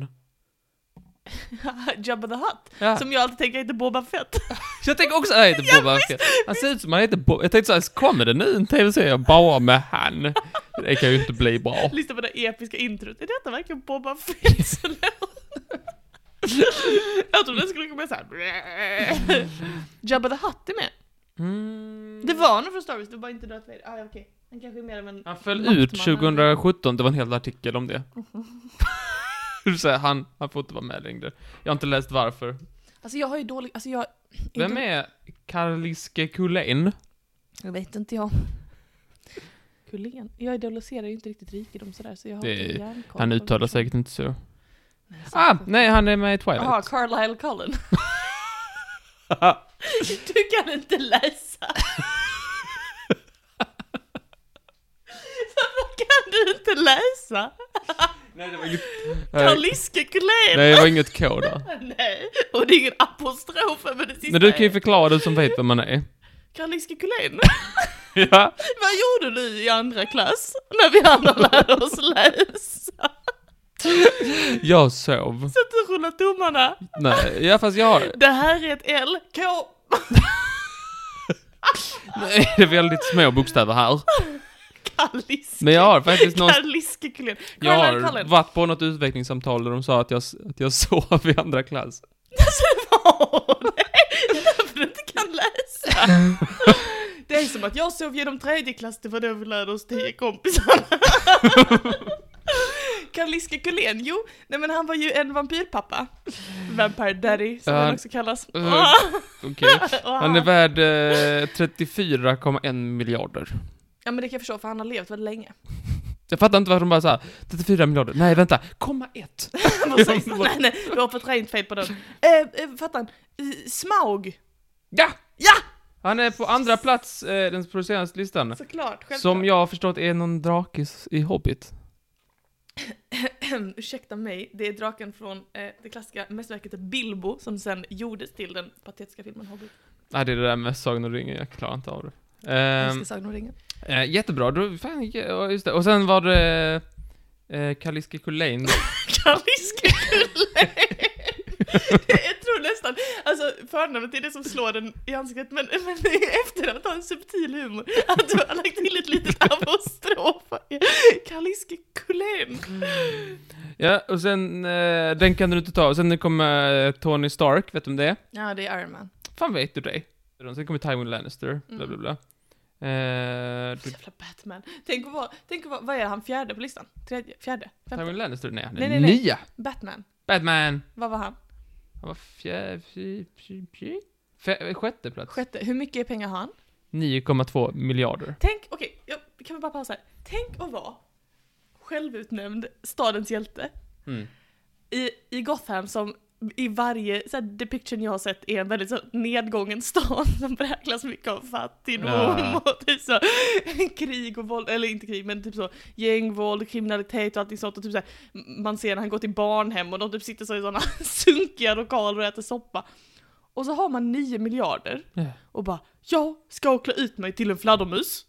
Speaker 1: vara- (laughs) Jabba the Hutt!
Speaker 2: Ja.
Speaker 1: Som jag alltid tänker heter Boba Fett.
Speaker 2: Så Ah. jag tänker också att
Speaker 1: (laughs)
Speaker 2: han heter Boba Fett. Alltså, Han ser ut som han heter Boba... Jag tänkte såhär, kommer det nu en tv-serie bara med han? Det kan ju inte bli bra. (laughs)
Speaker 1: Lyssna på det episka introt. Är detta verkligen Boba Fett? Jag trodde det skulle komma såhär...
Speaker 2: (laughs)
Speaker 1: Jabba the Hutt är med.
Speaker 2: Mm.
Speaker 1: Det var någon från Star Wars, det var bara inte Darth Vader. Ah, ja, okej. Han kanske är mer av en...
Speaker 2: Han föll
Speaker 1: Maktman,
Speaker 2: ut
Speaker 1: eller?
Speaker 2: 2017, det var en hel artikel om det. (laughs) Så här, han, han får inte vara med längre. Jag har inte läst varför.
Speaker 1: Alltså jag har ju dålig... Alltså jag...
Speaker 2: Vem är Karliske Kulén?
Speaker 1: Jag vet inte jag. Kulén. Jag idealiserar ju inte riktigt rikedom sådär så jag har
Speaker 2: Det-
Speaker 1: inte järnkoll.
Speaker 2: Han
Speaker 1: på
Speaker 2: uttalar
Speaker 1: liksom-
Speaker 2: säkert inte så.
Speaker 1: Nej,
Speaker 2: Ah,
Speaker 1: säkert.
Speaker 2: nej, han är med i Twilight.
Speaker 1: Jaha, Carlisle
Speaker 2: (laughs)
Speaker 1: Cullen. (laughs) du kan inte läsa. Varför kan du inte läsa?
Speaker 2: Nej, det var inget...
Speaker 1: Karliske Kulén.
Speaker 2: Eh, Nej, det var inget K där.
Speaker 1: (laughs) Nej, och det är ingen apostrof över det sista.
Speaker 2: Men du kan ju förklara, du som vet vem
Speaker 1: (laughs)
Speaker 2: man är.
Speaker 1: Karliske
Speaker 2: (laughs)
Speaker 1: Kulén.
Speaker 2: Ja.
Speaker 1: Vad gjorde du i andra klass när vi andra lärde oss läsa?
Speaker 2: Jag sov.
Speaker 1: Så att du rullar tummarna.
Speaker 2: Nej, ja fast jag
Speaker 1: (laughs)
Speaker 2: har...
Speaker 1: Det här är ett L, K.
Speaker 2: Nej, det är väldigt små bokstäver här.
Speaker 1: Kalliske.
Speaker 2: Men jag har faktiskt någon...
Speaker 1: Kalliske Kulén.
Speaker 2: Jag
Speaker 1: Caroline
Speaker 2: har
Speaker 1: Cullen.
Speaker 2: varit på något utvecklingssamtal där de sa att jag, att jag (laughs) sov i andra klass.
Speaker 1: (laughs) Alltså vad? Nej, därför du inte kan läsa. Det är som att jag sov genom tredje klass, det var då vi lärde oss tio kompisar. Karliske Kulén, jo, nej men han var ju en vampyrpappa. Vampire daddy, som
Speaker 2: Ja,
Speaker 1: han
Speaker 2: han-
Speaker 1: också kallas.
Speaker 2: Eh,
Speaker 1: Ah,
Speaker 2: Okej.
Speaker 1: (laughs) och
Speaker 2: Han är värd eh, 34,1 miljarder.
Speaker 1: Ja men det kan jag förstå, för han har levt väldigt länge. (laughs)
Speaker 2: Jag fattar inte varför de bara såhär, 34 miljarder, nej vänta, komma ett.
Speaker 1: Precis. nej, nej, vi har fått rent fel på
Speaker 2: (laughs)
Speaker 1: den. Eh, eh, fattar han? Eh, Smaug!
Speaker 2: Ja!
Speaker 1: Ja!
Speaker 2: Han är på andra plats, eh, den producerande listan.
Speaker 1: Såklart, självklart.
Speaker 2: Som jag har förstått är någon drake i, i Hobbit.
Speaker 1: (clears throat) Ursäkta mig, det är draken från eh, det klassiska mästerverket Bilbo som sen gjordes till den patetiska filmen Hobbit.
Speaker 2: Nej, det är det där med Sagan om ringen, jag klarar inte av det.
Speaker 1: Jag
Speaker 2: Ehm,
Speaker 1: älskar Sagan om ringen. (laughs)
Speaker 2: Eh, jättebra, då, fan, ja, just det. Och sen var det eh, Kaliske Kulén.
Speaker 1: Kaliske (laughs) Jag tror nästan, alltså förnamnet är det som slår den i ansiktet men, men efternamnet har en subtil humor. Att du har lagt till ett litet apostrof. Kaliske Kulén.
Speaker 2: Mm. ja, och sen, eh, den kan du inte ta. Och sen kom eh, Tony Stark, vet du om det är?
Speaker 1: Ja, det är Iron Man.
Speaker 2: Fan vet du det? Sen kommer Tywin Lannister, bla
Speaker 1: Mm.
Speaker 2: bla bla. Eh, du-
Speaker 1: Jävla Batman. Tänk att vara, tänk att vara, vad är han fjärde på listan? Tredje? Fjärde? Femte?
Speaker 2: Tywin Lannister? Nej, han är
Speaker 1: Nej, nej, nej.
Speaker 2: nia!
Speaker 1: Batman.
Speaker 2: Batman!
Speaker 1: Vad var han?
Speaker 2: Han var fjär, fj, fj, fj, fj, sjätte plats.
Speaker 1: Sjätte. Hur mycket pengar har han?
Speaker 2: 9,2 miljarder.
Speaker 1: Tänk, okej, jag kan vi bara pausa här. Tänk att vara självutnämnd stadens hjälte
Speaker 2: Mm.
Speaker 1: i, i Gotham som i varje så här, depiction jag har sett är en väldigt så nedgången stad (laughs) som präglas mycket av fattigdom
Speaker 2: Ja.
Speaker 1: och typ så, (laughs) krig och våld, eller inte krig men typ så gängvåld, kriminalitet och allting sånt och typ så här, man ser när han går till barnhem och de typ sitter så i sådana (laughs) sunkiga lokaler och äter soppa. Och så har man 9 miljarder
Speaker 2: Ja.
Speaker 1: och bara jag ska klä ut mig till en fladdermus.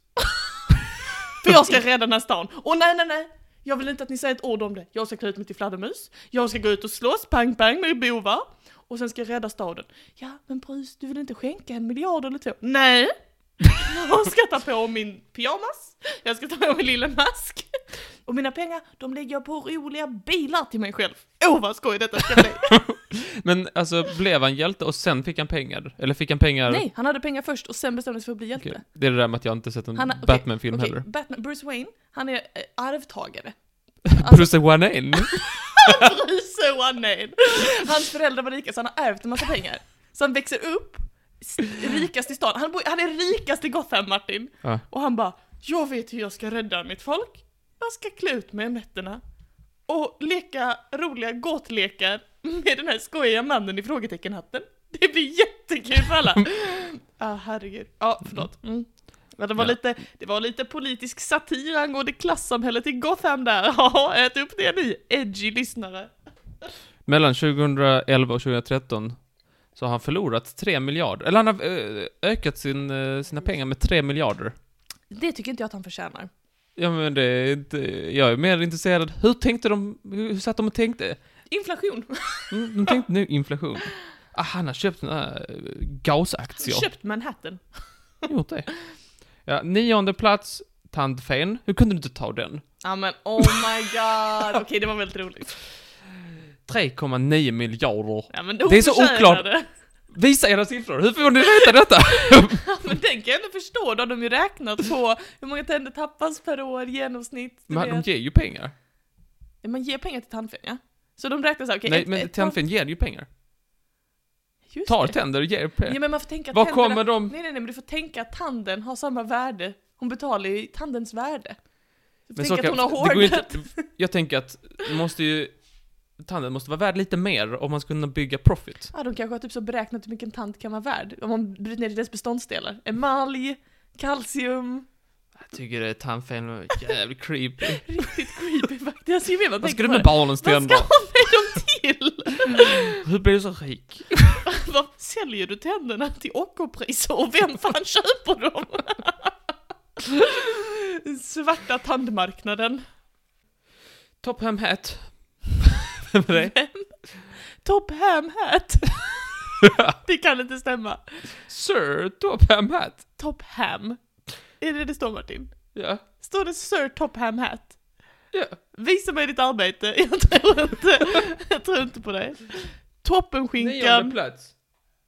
Speaker 1: (laughs) För jag ska rädda den här stan. Och nej, nej, nej. Jag vill inte att ni säger ett ord om det. Jag ska klä ut mig till fladdermus. Jag ska gå ut och slåss, pang, pang, med bovar. Och sen ska jag rädda staden. Ja, men Brus, du vill inte skänka en miljard eller två? Nej! Jag ska ta på min pyjamas, jag ska ta på min lilla mask. Och mina pengar, de lägger jag på roliga bilar till mig själv. Åh, vad skoj detta ska bli!
Speaker 2: Men alltså, blev han hjälte och sen fick han pengar? Eller fick han pengar?
Speaker 1: Nej, han hade pengar först och sen bestämde sig för att bli hjälte.
Speaker 2: Okej, Det är det där med att jag inte sett en
Speaker 1: Han har- okej,
Speaker 2: Batman-film
Speaker 1: Okej,
Speaker 2: heller.
Speaker 1: Batman, Bruce Wayne, han är eh, arvtagare. alltså-
Speaker 2: Bruce Wayne?
Speaker 1: (laughs) Bruce Wayne! Hans föräldrar var rika så han har ärvt en massa pengar. Så han växer upp, s- rikast i stan. Han, bor, han är rikast i Gotham, Martin.
Speaker 2: Ja.
Speaker 1: Och han bara, jag vet hur jag ska rädda mitt folk. Jag ska klä ut mig om nätterna och leka roliga gåtlekar med den här skojiga mannen i frågeteckenhatten. Det blir jättekul för
Speaker 2: Mm.
Speaker 1: alla. Ja, herregud. Ja, förlåt. Mm. Men det var,
Speaker 2: Ja.
Speaker 1: lite, det var lite politisk satir angående klassamhället i Gotham där. (laughs) Ja, ät upp det ni edgy lyssnare.
Speaker 2: Mellan 2011 och 2013 så har han förlorat 3 miljarder. Eller han har eh, ökat sin, eh, sina pengar med 3 miljarder.
Speaker 1: Det tycker inte jag att han förtjänar.
Speaker 2: Ja men det är inte, jag är mer intresserad, hur tänkte de, hur hur satt de och tänkte?
Speaker 1: Inflation.
Speaker 2: Mm, de tänkte nu inflation. Ah, han har köpt såna här eh, Gauss-aktier.
Speaker 1: Köpt Manhattan.
Speaker 2: Gjort det. Ja, nionde plats, Tandfen. Hur kunde du inte ta den?
Speaker 1: (laughs) Ja men oh my god. Okej, det var väldigt roligt.
Speaker 2: 3,9 miljarder.
Speaker 1: Ja, men
Speaker 2: Det är så
Speaker 1: oförtjänade.
Speaker 2: Visa era siffror, hur får ni veta detta?
Speaker 1: (laughs) Ja, men den kan jag ändå förstå, då har de ju räknat på hur många tänder tappas per år i genomsnitt. du
Speaker 2: Men de
Speaker 1: vet.
Speaker 2: ger ju pengar.
Speaker 1: Ja, Man ger pengar till tandfen, ja. Så de räknar så här, okej,
Speaker 2: Nej,
Speaker 1: ett-
Speaker 2: men
Speaker 1: ett-
Speaker 2: tandfen ger ju pengar.
Speaker 1: Just
Speaker 2: Tar
Speaker 1: det.
Speaker 2: tänder och ger pengar.
Speaker 1: Ja, men man får tänka att
Speaker 2: Vad
Speaker 1: tänderna-
Speaker 2: kommer de...
Speaker 1: Nej, nej, nej, men du får tänka att tanden har samma värde. Hon betalar ju tandens värde. Du får
Speaker 2: Men
Speaker 1: tänka att
Speaker 2: kan-
Speaker 1: hon har
Speaker 2: det går ju
Speaker 1: hårdnat.
Speaker 2: inte- Jag tänker att det måste ju... Tanden måste vara värd lite mer om man ska kunna bygga profit.
Speaker 1: Ja, de kanske har typ så beräknat hur mycket en tand kan vara värd. Om man bryter ner det i dess beståndsdelar. Emalj,
Speaker 2: (laughs)
Speaker 1: kalcium.
Speaker 2: Jag tycker det tandfen var jävligt creepy.
Speaker 1: Riktigt creepy faktiskt. Alltså, ju mer man
Speaker 2: Vad ska
Speaker 1: tänker
Speaker 2: du
Speaker 1: på
Speaker 2: med
Speaker 1: det.
Speaker 2: barnens
Speaker 1: Vad ska
Speaker 2: tänder?
Speaker 1: (laughs) hon med dem till? (laughs)
Speaker 2: Hur blir du så rik?
Speaker 1: Vad säljer du tänderna till ockerpriser och vem fan köper dem? (laughs) Den Svarta tandmarknaden.
Speaker 2: Top hem hat. Vem är det?
Speaker 1: Top Ham
Speaker 2: (laughs)
Speaker 1: Hat. det kan inte stämma.
Speaker 2: Sir Top hem hat.
Speaker 1: Top Ham. Är det det står Martin?
Speaker 2: Ja,
Speaker 1: Står det Sir Top Ham Hat?
Speaker 2: ja.
Speaker 1: Visa mig ditt arbete. (laughs) Jag tror inte, jag tror inte på dig.
Speaker 2: Nionde
Speaker 1: (laughs) Toppenskinkan.
Speaker 2: plats.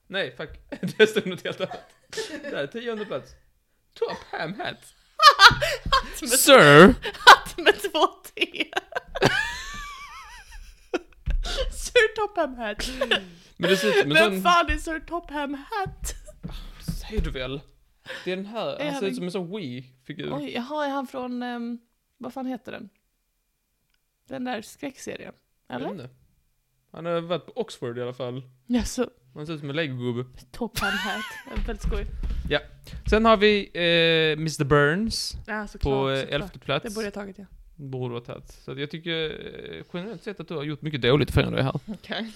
Speaker 2: Nej, fuck. (laughs) Det stod något helt annat. Där, tionde plats. Top ham hat.
Speaker 1: Som ett-
Speaker 2: Sir.
Speaker 1: Hatt med två T. (laughs) Sir Topham Hat.
Speaker 2: Men det ser ut som en
Speaker 1: Vem
Speaker 2: sån...
Speaker 1: fan är Sir Topham Hat?
Speaker 2: Säger du väl? Det är den här,
Speaker 1: Är
Speaker 2: han
Speaker 1: han
Speaker 2: ser ut
Speaker 1: en-
Speaker 2: som en sån Wii-figur.
Speaker 1: Oj, jaha, är han från, ehm, vad fan heter den? Den där skräckserien?
Speaker 2: Jag vet
Speaker 1: Eller?
Speaker 2: inte. Mm. Han har varit på Oxford i alla fall.
Speaker 1: Jaså,
Speaker 2: Han ser ut som en legogubbe.
Speaker 1: Topham Hat. Väldigt skoj.
Speaker 2: Sen har vi eh, Mr. Burns
Speaker 1: Ja, såklart.
Speaker 2: på eh,
Speaker 1: såklart.
Speaker 2: elfte plats.
Speaker 1: Det borde jag tagit, ja.
Speaker 2: Borde ha tagit. Så att jag tycker eh, generellt sett att du har gjort mycket dåligt för dig här.
Speaker 1: (laughs) Okej.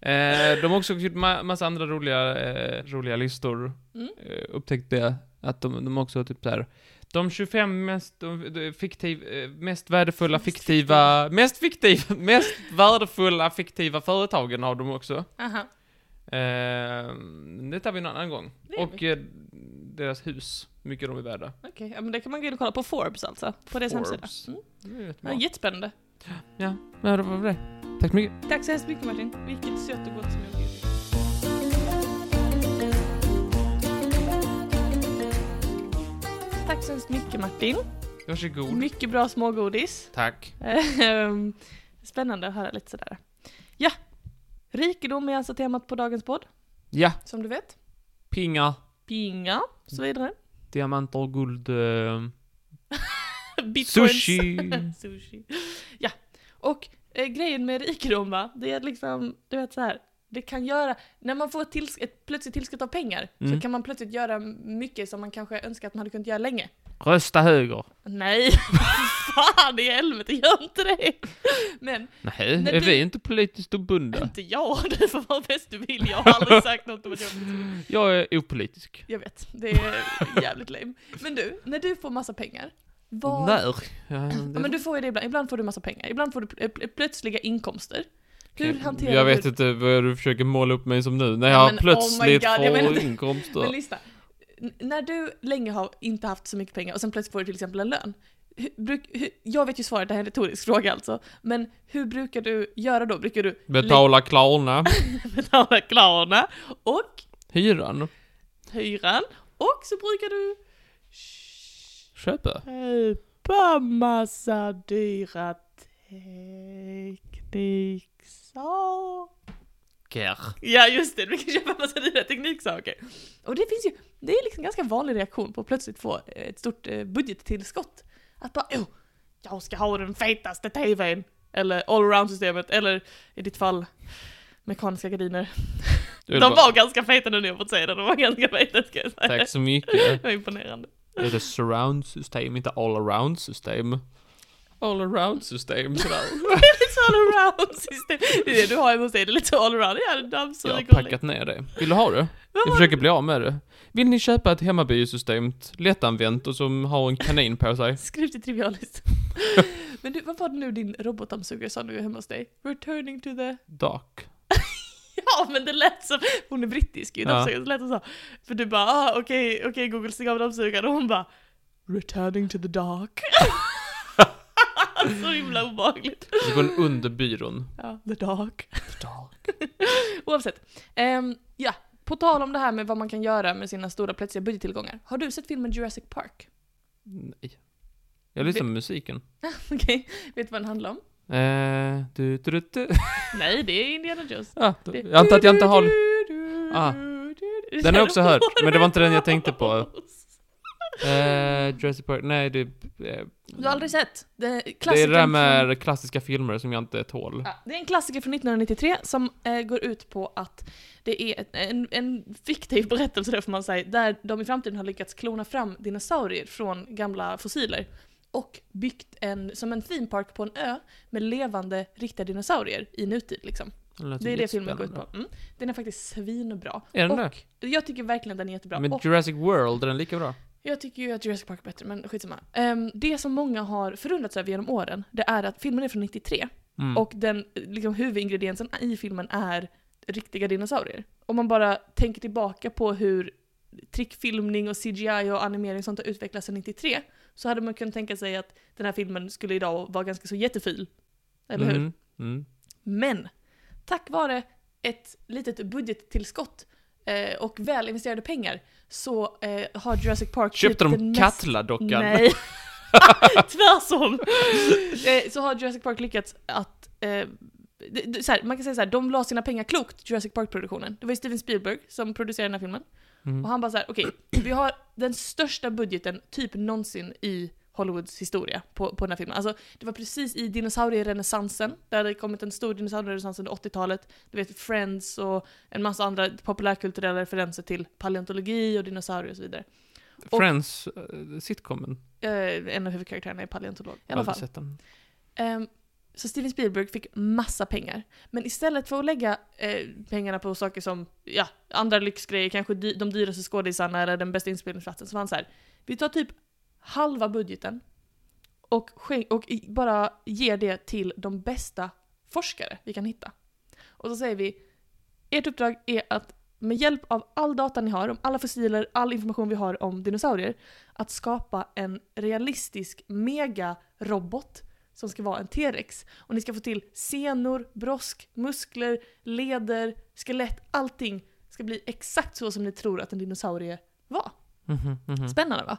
Speaker 2: Eh, de har också gjort ma- massa andra roliga, eh, roliga listor.
Speaker 1: Mm.
Speaker 2: Eh, upptäckte jag att de, de också har typ såhär. De 25 mest, de, de, fiktiv, eh, mest värdefulla
Speaker 1: Mest
Speaker 2: fiktiva, mest fiktiva, (laughs) mest värdefulla fiktiva företagen har de också.
Speaker 1: Aha.
Speaker 2: Eh, det tar vi en annan gång.
Speaker 1: Det gör
Speaker 2: Och eh, deras hus, hur mycket de är värda.
Speaker 1: Okej, ja, men det kan man gå in och kolla på Forbes alltså. På deras
Speaker 2: Forbes.
Speaker 1: hemsida. Mm.
Speaker 2: Det är rätt
Speaker 1: Ja,
Speaker 2: bra.
Speaker 1: jättespännande.
Speaker 2: Ja, men det var väl det. Tack så mycket.
Speaker 1: Tack så hemskt mycket Martin. Vilket sött och gott som jag bjudit. Tack så hemskt mycket Martin.
Speaker 2: Varsågod.
Speaker 1: Mycket bra smågodis.
Speaker 2: Tack.
Speaker 1: Ehm, Spännande att höra lite sådär. Ja, rikedom är alltså temat på dagens podd,
Speaker 2: Ja,
Speaker 1: som du vet.
Speaker 2: pingar,
Speaker 1: Pinga, så vidare.
Speaker 2: diamanter och guld. Eh,
Speaker 1: Bitcoins.
Speaker 2: sushi.
Speaker 1: (laughs) Sushi. Ja, och eh, grejen med rikedom va, det är liksom, du vet så här. Det kan göra, när man får ett, tills, ett plötsligt tillskott av pengar
Speaker 2: Mm.
Speaker 1: så kan man plötsligt göra mycket som man kanske önskar att man hade kunnat göra länge.
Speaker 2: Rösta höger.
Speaker 1: Nej, (laughs) fan i helvete, gör inte det! Men,
Speaker 2: Nej,
Speaker 1: Nej,
Speaker 2: är
Speaker 1: du-
Speaker 2: vi inte politiskt obundna?
Speaker 1: inte jag, (laughs) du får vara bäst du vill, jag har aldrig sagt något om att jag
Speaker 2: Jag är opolitisk.
Speaker 1: Jag vet, det är jävligt lame. Men du, när du får massa pengar, vad...
Speaker 2: När? Ja, det-
Speaker 1: Ja, men du får ju det ibland, ibland får du massa pengar, ibland får du pl- pl- plötsliga inkomster. Hur hanterar
Speaker 2: jag vet
Speaker 1: du...
Speaker 2: inte vad du försöker måla upp mig som nu, när
Speaker 1: Ja,
Speaker 2: jag
Speaker 1: men oh my
Speaker 2: plötsligt
Speaker 1: God, jag
Speaker 2: får
Speaker 1: menar- (laughs) Men
Speaker 2: inkomster.
Speaker 1: lyssna. N- när du länge har inte haft så mycket pengar och sen plötsligt får du till exempel en lön. Hur, bruk, hur, jag vet ju svaret, det här är en retorisk fråga alltså. Men hur brukar du göra då? Brukar du (laughs)
Speaker 2: Betala Klarna,
Speaker 1: betala Klarna och
Speaker 2: hyran,
Speaker 1: hyran och så brukar du
Speaker 2: köpa.
Speaker 1: Köpa massa dyra tekniksaker. Ja just det, du kan köpa massa dyra tekniksaker. Och det finns ju, det är liksom en ganska vanlig reaktion på att plötsligt få ett stort eh, budgettillskott. Att bara oh, jag ska ha den fetaste TVn. Eller allround-systemet, eller i ditt fall mekaniska gardiner. De
Speaker 2: Jag vill bara-
Speaker 1: var ganska feta nu när jag fått säga det, de var ganska feta ska jag säga.
Speaker 2: Tack så mycket.
Speaker 1: Det var imponerande.
Speaker 2: Det är ett surround-system, inte all-around-system. All-around-system, sådär.
Speaker 1: (laughs) Det är lite allround system. Det är det du har hemma hos dig, det är lite allround. Ja, du
Speaker 2: Jag har
Speaker 1: dammsuger och
Speaker 2: packat ner det. Vill du ha det?
Speaker 1: Vad
Speaker 2: Jag
Speaker 1: var
Speaker 2: försöker bli av med det. Vill ni köpa ett hemmabiosystem, lättanvänt och som har en kanin på sig?
Speaker 1: Skriv till trivialist. Men du, vad var det nu din robotdammsugare sa nu hemma hos dig? Returning to the...
Speaker 2: Dock.
Speaker 1: Ja, men det lät som... Hon är brittisk ju,
Speaker 2: Ja.
Speaker 1: dammsugaren. så lät hon så. För du bara, ah, okej, okej Google, stäng av dammsugaren. Och hon bara, returning to the dark. (laughs) Så himla obehagligt.
Speaker 2: Det går Alltså, en under byrån.
Speaker 1: Ja, the dog. Oavsett. Ehm, ja, på tal om det här med vad man kan göra med sina stora plötsliga budgettillgångar. Har du sett filmen Jurassic Park? (laughs)
Speaker 2: Nej. Jag lyssnar på musiken.
Speaker 1: Okej, vet du vad den handlar om?
Speaker 2: Eh, du, du, du,
Speaker 1: (laughs)
Speaker 2: du.
Speaker 1: Nej, det är Indiana Jones.
Speaker 2: Ah, då-
Speaker 1: Det-
Speaker 2: jag antar att jag
Speaker 1: (laughs)
Speaker 2: inte har... Ah.
Speaker 1: Den
Speaker 2: har jag också hört, men det var inte den jag tänkte på. Eh, Jurassic Park, nej det... eh,
Speaker 1: Du har aldrig sett? Det är,
Speaker 2: det är
Speaker 1: klassikern
Speaker 2: det där
Speaker 1: från-
Speaker 2: med klassiska filmer som jag inte tål.
Speaker 1: Ja, det är en klassiker från 1993 som eh, går ut på att det är ett, en, en fiktiv berättelse där får man säga, där de i framtiden har lyckats klona fram dinosaurier från gamla fossiler. Och byggt en, som en theme park på en ö med levande riktiga dinosaurier i nutid liksom.
Speaker 2: låter
Speaker 1: Det är det filmen går ut
Speaker 2: jättespännande.
Speaker 1: på. Mm. Den är faktiskt svinbra.
Speaker 2: Är den
Speaker 1: Och
Speaker 2: det?
Speaker 1: Jag tycker verkligen den är jättebra.
Speaker 2: Men
Speaker 1: Och
Speaker 2: Jurassic World, är den lika bra?
Speaker 1: jag tycker ju att Jurassic Park är bättre, men skitsamma. Um, det som många har förundrats över genom åren, det är att filmen är från 93.
Speaker 2: Mm.
Speaker 1: Och den liksom, huvudingrediensen i filmen är riktiga dinosaurier. Om man bara tänker tillbaka på hur trickfilmning och CGI och animering och sånt har utvecklats sedan 93 så hade man kunnat tänka sig att den här filmen skulle idag vara ganska så jättefil. Eller hur? Typ
Speaker 2: Mm. Mm.
Speaker 1: Men tack vare ett litet budgettillskott eh, och väl investerade pengar så eh, har Jurassic Park
Speaker 2: Köpte
Speaker 1: blivit
Speaker 2: de
Speaker 1: den mest-
Speaker 2: Katla-dockan?
Speaker 1: Nej. Tvärsom! Eh, så har Jurassic Park lyckats att... Eh, det- det- så här, man kan säga så här, de la sina pengar klokt, Jurassic Park-produktionen. Det var ju Steven Spielberg som producerade den här filmen.
Speaker 2: (laughs) Mm.
Speaker 1: Och han bara så här: okej, vi har den största budgeten typ någonsin i Hollywoods historia på, på den här filmen. Alltså, det var precis i dinosaurierenässansen, där det kommit en stor dinosaurierenässans under 80-talet. Du vet, Friends och en massa andra populärkulturella referenser till paleontologi och dinosaurier och så vidare. Och-
Speaker 2: Friends, eh, sitcomen.
Speaker 1: Eh, en av huvudkaraktärerna är paleontolog. I
Speaker 2: Jag
Speaker 1: alla
Speaker 2: har aldrig
Speaker 1: fall.
Speaker 2: sett den.
Speaker 1: Ehm, så Steven Spielberg fick massa pengar. Men istället för att lägga eh, pengarna på saker som, ja, andra lyxgrejer, kanske dy- de dyraste skådisarna eller den bästa inspelningsplatsen, så var han så här, vi tar typ halva budgeten och, skän- och i- bara ger det till de bästa forskare vi kan hitta. Och så säger vi, ert uppdrag är att med hjälp av all data ni har, om alla fossiler, all information vi har om dinosaurier, att skapa en realistisk megarobot som ska vara en T-rex. Och ni ska få till senor, brosk, muskler, leder, skelett, allting ska bli exakt så som ni tror att en dinosaurie var.
Speaker 2: Mhm, mhm.
Speaker 1: Spännande va?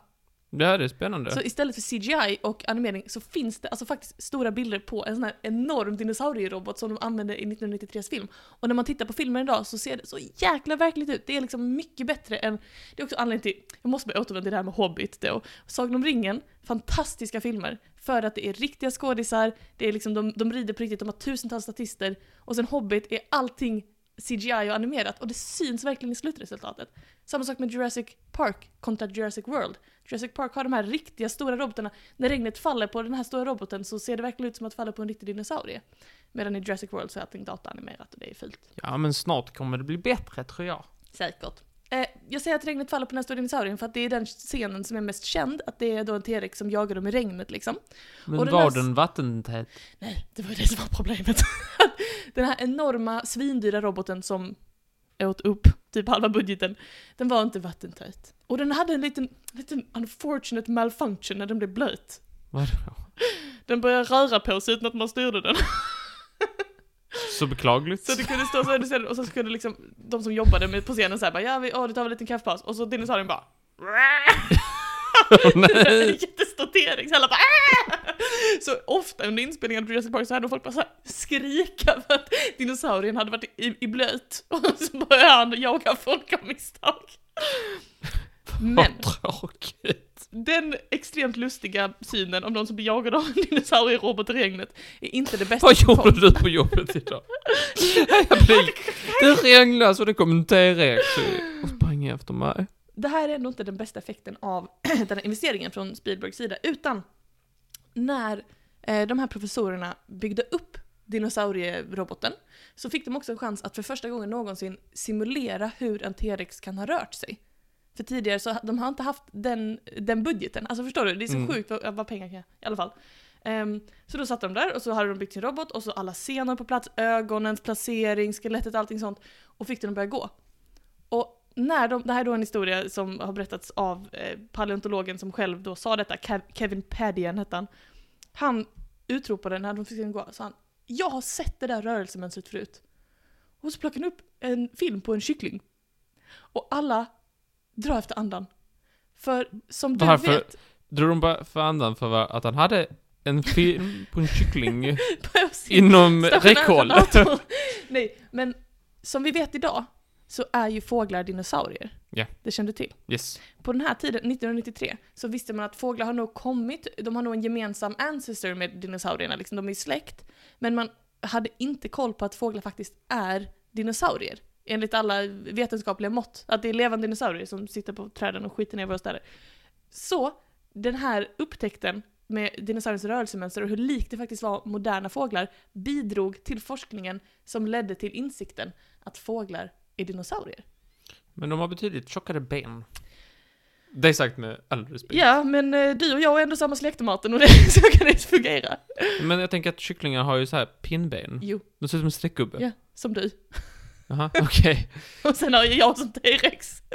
Speaker 2: Det här är spännande.
Speaker 1: Så istället för CGI och animering så finns det alltså faktiskt stora bilder på en sån här enorm dinosaurierobot som de använde i 1993s film. Och när man tittar på filmen idag så ser det så jäkla verkligt ut. Det är liksom mycket bättre än... Det är också anledningen till... Jag måste bara återvända till det här med Hobbit då. Sagan om ringen, fantastiska filmer. För att det är riktiga skådisar, det är liksom, de, de rider på riktigt, de har tusentals statister. Och sen Hobbit är allting CGI och animerat och det syns verkligen i slutresultatet. Samma sak med Jurassic Park kontra Jurassic World. Jurassic Park har de här riktiga stora robotarna. När regnet faller på den här stora roboten så ser det verkligen ut som att det faller på en riktig dinosaurie. Medan i Jurassic World så är allting dataanimerat och det är fult.
Speaker 2: Ja, men snart kommer det bli bättre, tror jag.
Speaker 1: Säkert. Eh, jag säger att regnet faller på den här stora dinosaurien för att det är den scenen som är mest känd. Att det är då en T-rex som jagar dem i regnet liksom.
Speaker 2: Men
Speaker 1: Och den
Speaker 2: var
Speaker 1: här-
Speaker 2: den vattentät?
Speaker 1: Nej, det var ju det som var problemet. (laughs) den här enorma svindyra roboten som åt upp typ halva budgeten, den var inte vattentät. Och den hade en liten, liten unfortunate malfunction när den blev blöt.
Speaker 2: Vadå?
Speaker 1: Den började röra på sig utan att man styrde den.
Speaker 2: Så beklagligt. (laughs)
Speaker 1: Så det kunde stå så här under scenen och så kunde liksom de som jobbade med på scenen säga bara ja, vi, åh, det tar vi en liten kaffepaus. Och så dinosaurien bara
Speaker 2: (laughs) Åh,
Speaker 1: en (laughs)
Speaker 2: nej.
Speaker 1: jättestor T-rex, alla bara "Ah!" Så ofta under inspelningen på Jurassic Park så hade folk bara så här skrika för att dinosaurien hade varit i, i blöt (laughs) och så började han jaga folk av misstag. Men
Speaker 2: Vad tråkigt.
Speaker 1: den extremt lustiga synen om någon som blir jagad av en dinosaurie-robot i regnet är inte det bästa
Speaker 2: Vad
Speaker 1: som
Speaker 2: gjorde
Speaker 1: kom.
Speaker 2: du på
Speaker 1: (laughs)
Speaker 2: jobbet idag? Jag blev... Det regnade så det kom en T-rex och sprang efter mig.
Speaker 1: det här är ändå inte den bästa effekten av (clears throat) den här investeringen från Spielbergs sida, utan när eh, de här professorerna byggde upp dinosaurieroboten så fick de också en chans att för första gången någonsin simulera hur en T-rex kan ha rört sig. För tidigare så ha- de har inte haft den, den budgeten. Alltså förstår du? Det är så
Speaker 2: Mm.
Speaker 1: sjukt vad, vad pengar kan göra, i alla fall. Ehm, så då satt de där och så hade de byggt sin robot och så alla senor på plats, ögonens placering, skelettet, allting sånt. Och fick den att börja gå. Och när de, det här är då en historia som har berättats av eh, paleontologen som själv då sa detta, Kev- Kevin Padian hette han. Han utropade när de fick den gå, sa han Jag har sett det där rörelsemönstret förut. Och så plockade han upp en film på en kyckling. Och alla drar efter andan. För som du
Speaker 2: Varför?
Speaker 1: vet, (laughs)
Speaker 2: Drog de bara för andan för vad- att han hade en film på en kyckling
Speaker 1: på sin
Speaker 2: inom
Speaker 1: stationära
Speaker 2: räckhåll?
Speaker 1: dator. (laughs) Nej, men som vi vet idag så är ju fåglar dinosaurier.
Speaker 2: Ja.
Speaker 1: Det kände du till.
Speaker 2: Yes.
Speaker 1: På den här tiden, 1993, så visste man att fåglar har nog kommit, de har nog en gemensam ancestor med dinosaurierna, liksom, de är ju släkt. Men man hade inte koll på att fåglar faktiskt är dinosaurier. Enligt alla vetenskapliga mått. Att det är levande dinosaurier som sitter på träden och skiter ner våra städer. Så, den här upptäckten med dinosauriens rörelsemönster och hur likt det faktiskt var moderna fåglar bidrog till forskningen som ledde till insikten att fåglar är dinosaurier.
Speaker 2: Men de har betydligt tjockare ben. Det är sagt med all respekt.
Speaker 1: Ja, men eh, du och jag är ändå samma släktmaten och det, (laughs) så kan det inte fungera.
Speaker 2: Men jag tänker att kycklingar har ju så här pinnben.
Speaker 1: Jo,
Speaker 2: De ser ut som en streckgubbe.
Speaker 1: ja, som du. (laughs)
Speaker 2: Jaha, okej.
Speaker 1: Och sen har ju jag som T-rex. (laughs)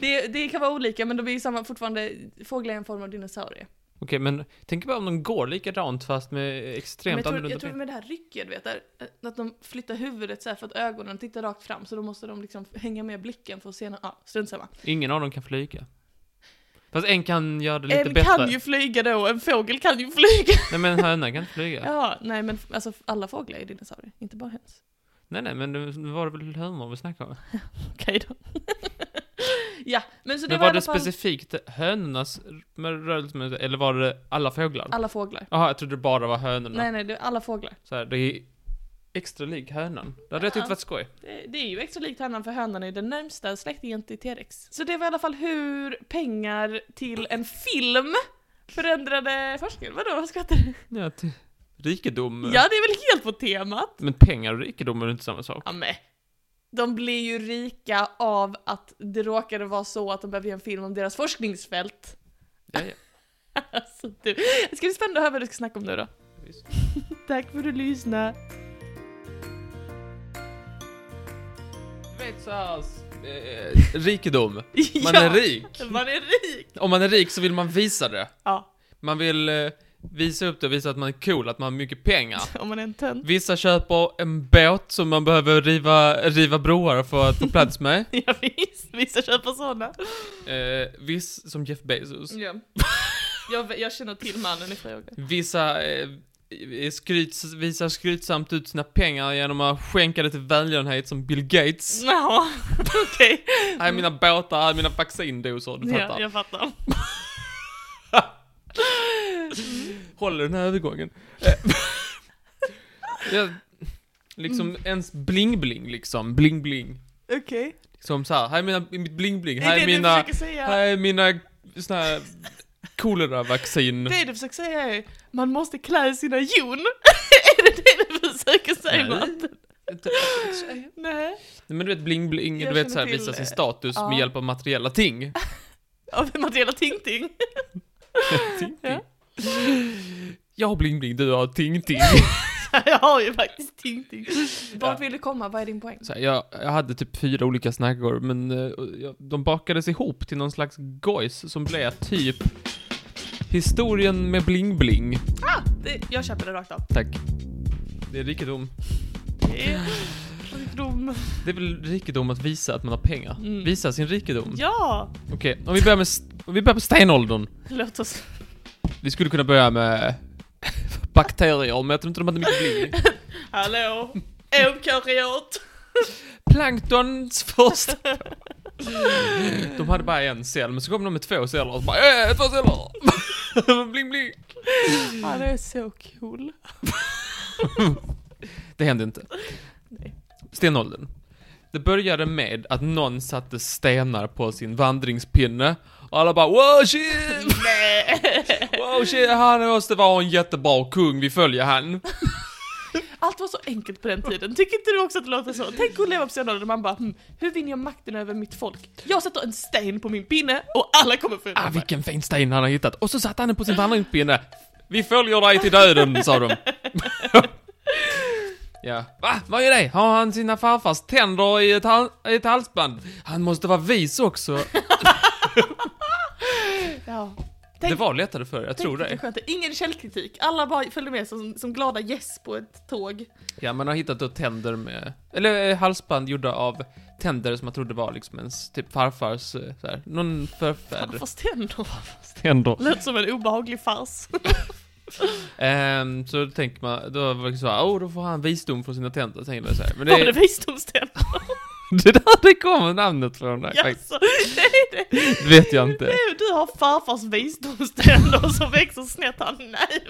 Speaker 1: Det, det kan vara olika, men de är ju samma, fortfarande, fåglar är en form av dinosaurie.
Speaker 2: Okej, men tänk bara om de går likadant fast med
Speaker 1: Men jag
Speaker 2: extremt
Speaker 1: tror, jag
Speaker 2: annorlunda
Speaker 1: tror
Speaker 2: ben.
Speaker 1: med det här rycket, vet du, att de flyttar huvudet så här för att ögonen tittar rakt fram, så då måste de liksom hänga med blicken för att se, nå- ja, strunt samma.
Speaker 2: Ingen av dem kan flyga. Fast en kan göra det lite
Speaker 1: En
Speaker 2: bättre.
Speaker 1: kan ju flyga då, en fågel kan ju flyga!
Speaker 2: Nej men en höna kan inte flyga.
Speaker 1: (laughs) Ja, nej men alltså alla fåglar är dinosaurier, inte bara höns.
Speaker 2: Nej nej, men det var det väl hönor vi snackade om?
Speaker 1: Okej då. (laughs) ja, men så det
Speaker 2: Men
Speaker 1: var,
Speaker 2: var
Speaker 1: i
Speaker 2: det
Speaker 1: alla fall
Speaker 2: specifikt hönornas r- med rörelsemönster, eller var det alla fåglar?
Speaker 1: alla fåglar.
Speaker 2: Jaha, jag trodde det bara var hönorna.
Speaker 1: Nej, nej, det är alla fåglar.
Speaker 2: Så här, det är extra lik hönan. Det hade jag
Speaker 1: Ja.
Speaker 2: tyckt varit skoj.
Speaker 1: Det, det är ju extra likt hönan för hönan är den närmsta släktingen till T-rex. Så det var i alla fall hur pengar till en film förändrade forskningen. Vadå, vad skrattar du?
Speaker 2: Ja, till rikedom.
Speaker 1: Ja, det är väl helt på temat?
Speaker 2: Men pengar och rikedom är inte samma sak.
Speaker 1: Ja, men. De blir ju rika av att det råkade vara så att de behöver göra en film om deras forskningsfält.
Speaker 2: Ja,
Speaker 1: (laughs)
Speaker 2: ja.
Speaker 1: Alltså du. Ska vi spänna över vad du ska snacka om nu då?
Speaker 2: Visst.
Speaker 1: Tack för att du lyssnade.
Speaker 2: Du vet såhär, eh, rikedom. Man
Speaker 1: (laughs) Ja.
Speaker 2: är rik.
Speaker 1: Man är rik!
Speaker 2: Om man är rik så vill man visa det.
Speaker 1: Ja,
Speaker 2: Man vill eh, visa upp det och visa att man är cool, att man har mycket pengar.
Speaker 1: (laughs) om man är en tönt.
Speaker 2: Vissa köper en båt som man behöver riva, riva broar för att få plats med.
Speaker 1: (laughs) Ja, visst, vissa köper sådana.
Speaker 2: Eh, viss, som Jeff Bezos.
Speaker 1: Ja. Jag, jag känner till mannen i fråga.
Speaker 2: Vissa eh, skryts, visar skrytsamt ut sina pengar genom att skänka det till välgörenhet som Bill Gates.
Speaker 1: Ja, (laughs) okej.
Speaker 2: Här är mina båtar, här är mina vaccindoser, du
Speaker 1: Mm. Ja,
Speaker 2: fattar.
Speaker 1: jag fattar.
Speaker 2: Håller den
Speaker 1: (laughs)
Speaker 2: här övergången. Eh, jag, liksom
Speaker 1: Mm.
Speaker 2: ens bling-bling liksom, bling-bling.
Speaker 1: Okej.
Speaker 2: Som så här, här är mina, mitt bling-bling,
Speaker 1: Det
Speaker 2: här
Speaker 1: är
Speaker 2: är
Speaker 1: det
Speaker 2: mina...
Speaker 1: du försöker säga.
Speaker 2: Här är mina såna här koleravaccin.
Speaker 1: Det du försöker säga är man måste klä sina jon. (laughs) är det det du försöker säga?
Speaker 2: Nej.
Speaker 1: Martin?
Speaker 2: Nej,
Speaker 1: Nej.
Speaker 2: Men du vet bling-bling,
Speaker 1: Jag
Speaker 2: du vet
Speaker 1: känner
Speaker 2: såhär
Speaker 1: till,
Speaker 2: visa sin
Speaker 1: eh,
Speaker 2: status
Speaker 1: ja.
Speaker 2: med hjälp av materiella ting.
Speaker 1: Av Matilda Ting-Ting.
Speaker 2: ting, ting.
Speaker 1: Ja.
Speaker 2: Jag har bling-bling, du har ting-ting.
Speaker 1: (laughs) jag har ju faktiskt Ting-Ting.
Speaker 2: Ja.
Speaker 1: Vart vill du komma? Vad är din poäng?
Speaker 2: Så här, jag, jag hade typ fyra olika snackor, men eh, jag- de bakades ihop till någon slags gojs som blev typ historien med bling-bling.
Speaker 1: Ah, det, jag köper det rakt av.
Speaker 2: Tack. Det är rikedom.
Speaker 1: Det är rikedom.
Speaker 2: Det är väl rikedom att visa att man har pengar.
Speaker 1: Mm.
Speaker 2: Visa sin rikedom.
Speaker 1: Ja,
Speaker 2: Okej, om vi börjar med, st- om vi börjar med stenåldern.
Speaker 1: låt oss.
Speaker 2: Vi skulle kunna börja med (laughs) bakterier, men jag tror inte de hade mycket bling.
Speaker 1: Hallå, eukaryot.
Speaker 2: Planktons först. (laughs) De hade bara en cell, men så kom de med två celler och så bara äh, två celler! (laughs) bling bling!
Speaker 1: Han är så cool.
Speaker 2: Det hände inte.
Speaker 1: Nej.
Speaker 2: Stenåldern. Det började med att någon satte stenar på sin vandringspinne och alla bara wow shit! Wow shit, han måste vara en jättebra kung, vi följer han.
Speaker 1: Allt var så enkelt på den tiden, tycker inte du också att det låter så? Tänk att leva på senare där man bara hm, hur vinner jag makten över mitt folk? Jag sätter en sten på min pinne och alla kommer följa
Speaker 2: Ah,
Speaker 1: mig.
Speaker 2: vilken fin sten han har hittat. Och så satte han den på sin vandringspinne. Vi följer dig till döden, sa de. (laughs) ja. Va? Vad är det? Har han sina farfars tänder i ett, hal- i ett halsband? Han måste vara vis också.
Speaker 1: Ja.
Speaker 2: det var lättare förr, jag tror
Speaker 1: tänk
Speaker 2: det.
Speaker 1: vilken skönt. Ingen källkritik. Alla bara följde med som, som glada gäss på ett tåg.
Speaker 2: Ja, man har hittat då tänder med, eller eh, halsband gjorda av tänder som man trodde var liksom ens typ farfars, eh, så här, någon förfäder.
Speaker 1: Fast ändå.
Speaker 2: Tänder.
Speaker 1: Lät som en obehaglig fars.
Speaker 2: Ehm, så då tänker man, då var det så här, oh, då får han visdom från sina tänder, tänker man
Speaker 1: (laughs)
Speaker 2: så här. Men
Speaker 1: Var det
Speaker 2: det,
Speaker 1: visdomständer?
Speaker 2: (laughs) det där det kommer namnet från, där, faktiskt.
Speaker 1: Jaså, det är det.
Speaker 2: det vet jag inte.
Speaker 1: Nej, du har farfars visdomständer som växer snett här. Nej,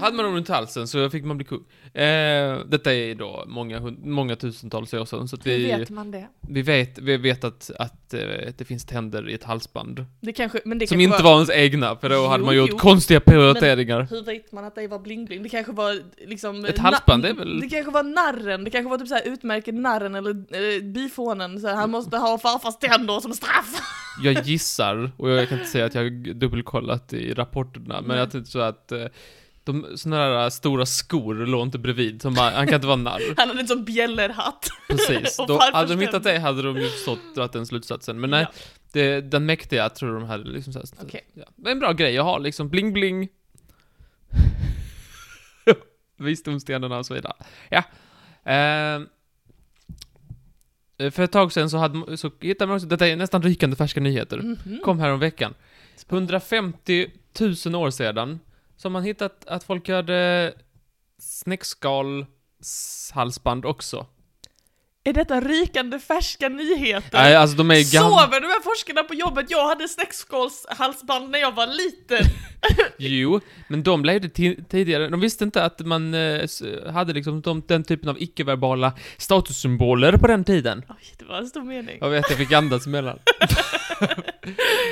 Speaker 2: Hade man dem runt halsen så fick man bli kung. Ehm, detta är då många, hund- många tusentals år sedan, så att vi,
Speaker 1: Hur vet man det?
Speaker 2: vi vet, vi vet att, att eh, det finns tänder i ett halsband.
Speaker 1: Det kanske, men det
Speaker 2: Som
Speaker 1: kanske
Speaker 2: inte var ens egna, för då hade
Speaker 1: Jo,
Speaker 2: man gjort
Speaker 1: jo.
Speaker 2: konstiga prioriteringar.
Speaker 1: Hur vet man att det var bling-bling? Det kanske var liksom...
Speaker 2: Ett
Speaker 1: na-
Speaker 2: halsband, det är väl-
Speaker 1: Det kanske var narren, det kanske var typ såhär utmärker narren eller, eller bifånen, så här, han måste ha farfars tänder som straff! (laughs)
Speaker 2: Jag gissar, och jag kan inte säga att jag har dubbelkollat i rapporterna, men
Speaker 1: Nej.
Speaker 2: jag tänkte så att eh, de såna där stora skor låg inte bredvid, som man, han kan inte vara narr.
Speaker 1: Han hade en sån bjällerhatt. (laughs)
Speaker 2: Precis.
Speaker 1: Och
Speaker 2: Då,
Speaker 1: varför
Speaker 2: hade de
Speaker 1: stämde?
Speaker 2: hittat det hade de ju förstått dragit den slutsatsen, men nej.
Speaker 1: Ja.
Speaker 2: Det, den mäktiga tror de hade liksom såhär,
Speaker 1: Okej.
Speaker 2: ja. Det är en bra grej att ha liksom,
Speaker 1: (laughs)
Speaker 2: bling bling. Visdomstenarna och så vidare. Ja. Ehm. Eh, för ett tag sedan så, hade, så hittade man också, detta är nästan rykande färska nyheter
Speaker 1: Mhm.
Speaker 2: kom här om veckan. 150 000 år sedan så har man hittat att folk hade snäckskal s- halsband också.
Speaker 1: Är detta rykande färska nyheter?
Speaker 2: Nej, alltså de är gamla.
Speaker 1: Sover de här forskarna på jobbet? Jag hade snäckskålshalsband när jag var
Speaker 2: (laughs)
Speaker 1: liten.
Speaker 2: Jo, men de levde ti- tidigare. De visste inte att man eh, s- hade liksom de, den typen av icke-verbala statussymboler på den tiden.
Speaker 1: Oj, det var en stor mening.
Speaker 2: Jag vet, jag fick andas emellan.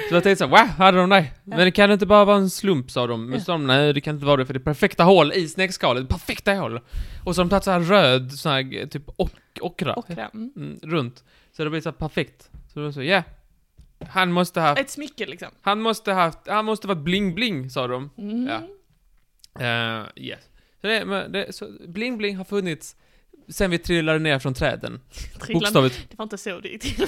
Speaker 2: så jag tänkte såhär, wow, hade de det? Men det kan inte bara vara en slump, sa de. Men så sa de, nej det kan inte vara det, för det är perfekta hål i snäckskalet. Perfekta hål! Och så har de tagit såhär röd, sån här typ och, ockra,
Speaker 1: Och kräm.
Speaker 2: Mm, runt. Så det blir såhär perfekt. Så de sa, ja. Han måste ha,
Speaker 1: Ett smycke liksom.
Speaker 2: han måste ha, han måste varit bling-bling, sa de.
Speaker 1: Mm.
Speaker 2: Ja. Eh, yes. Så det, men det, så bling-bling har funnits sen vi trillade ner från träden.
Speaker 1: Trilla-
Speaker 2: Bokstavligt
Speaker 1: (laughs) Det var inte så det gick till.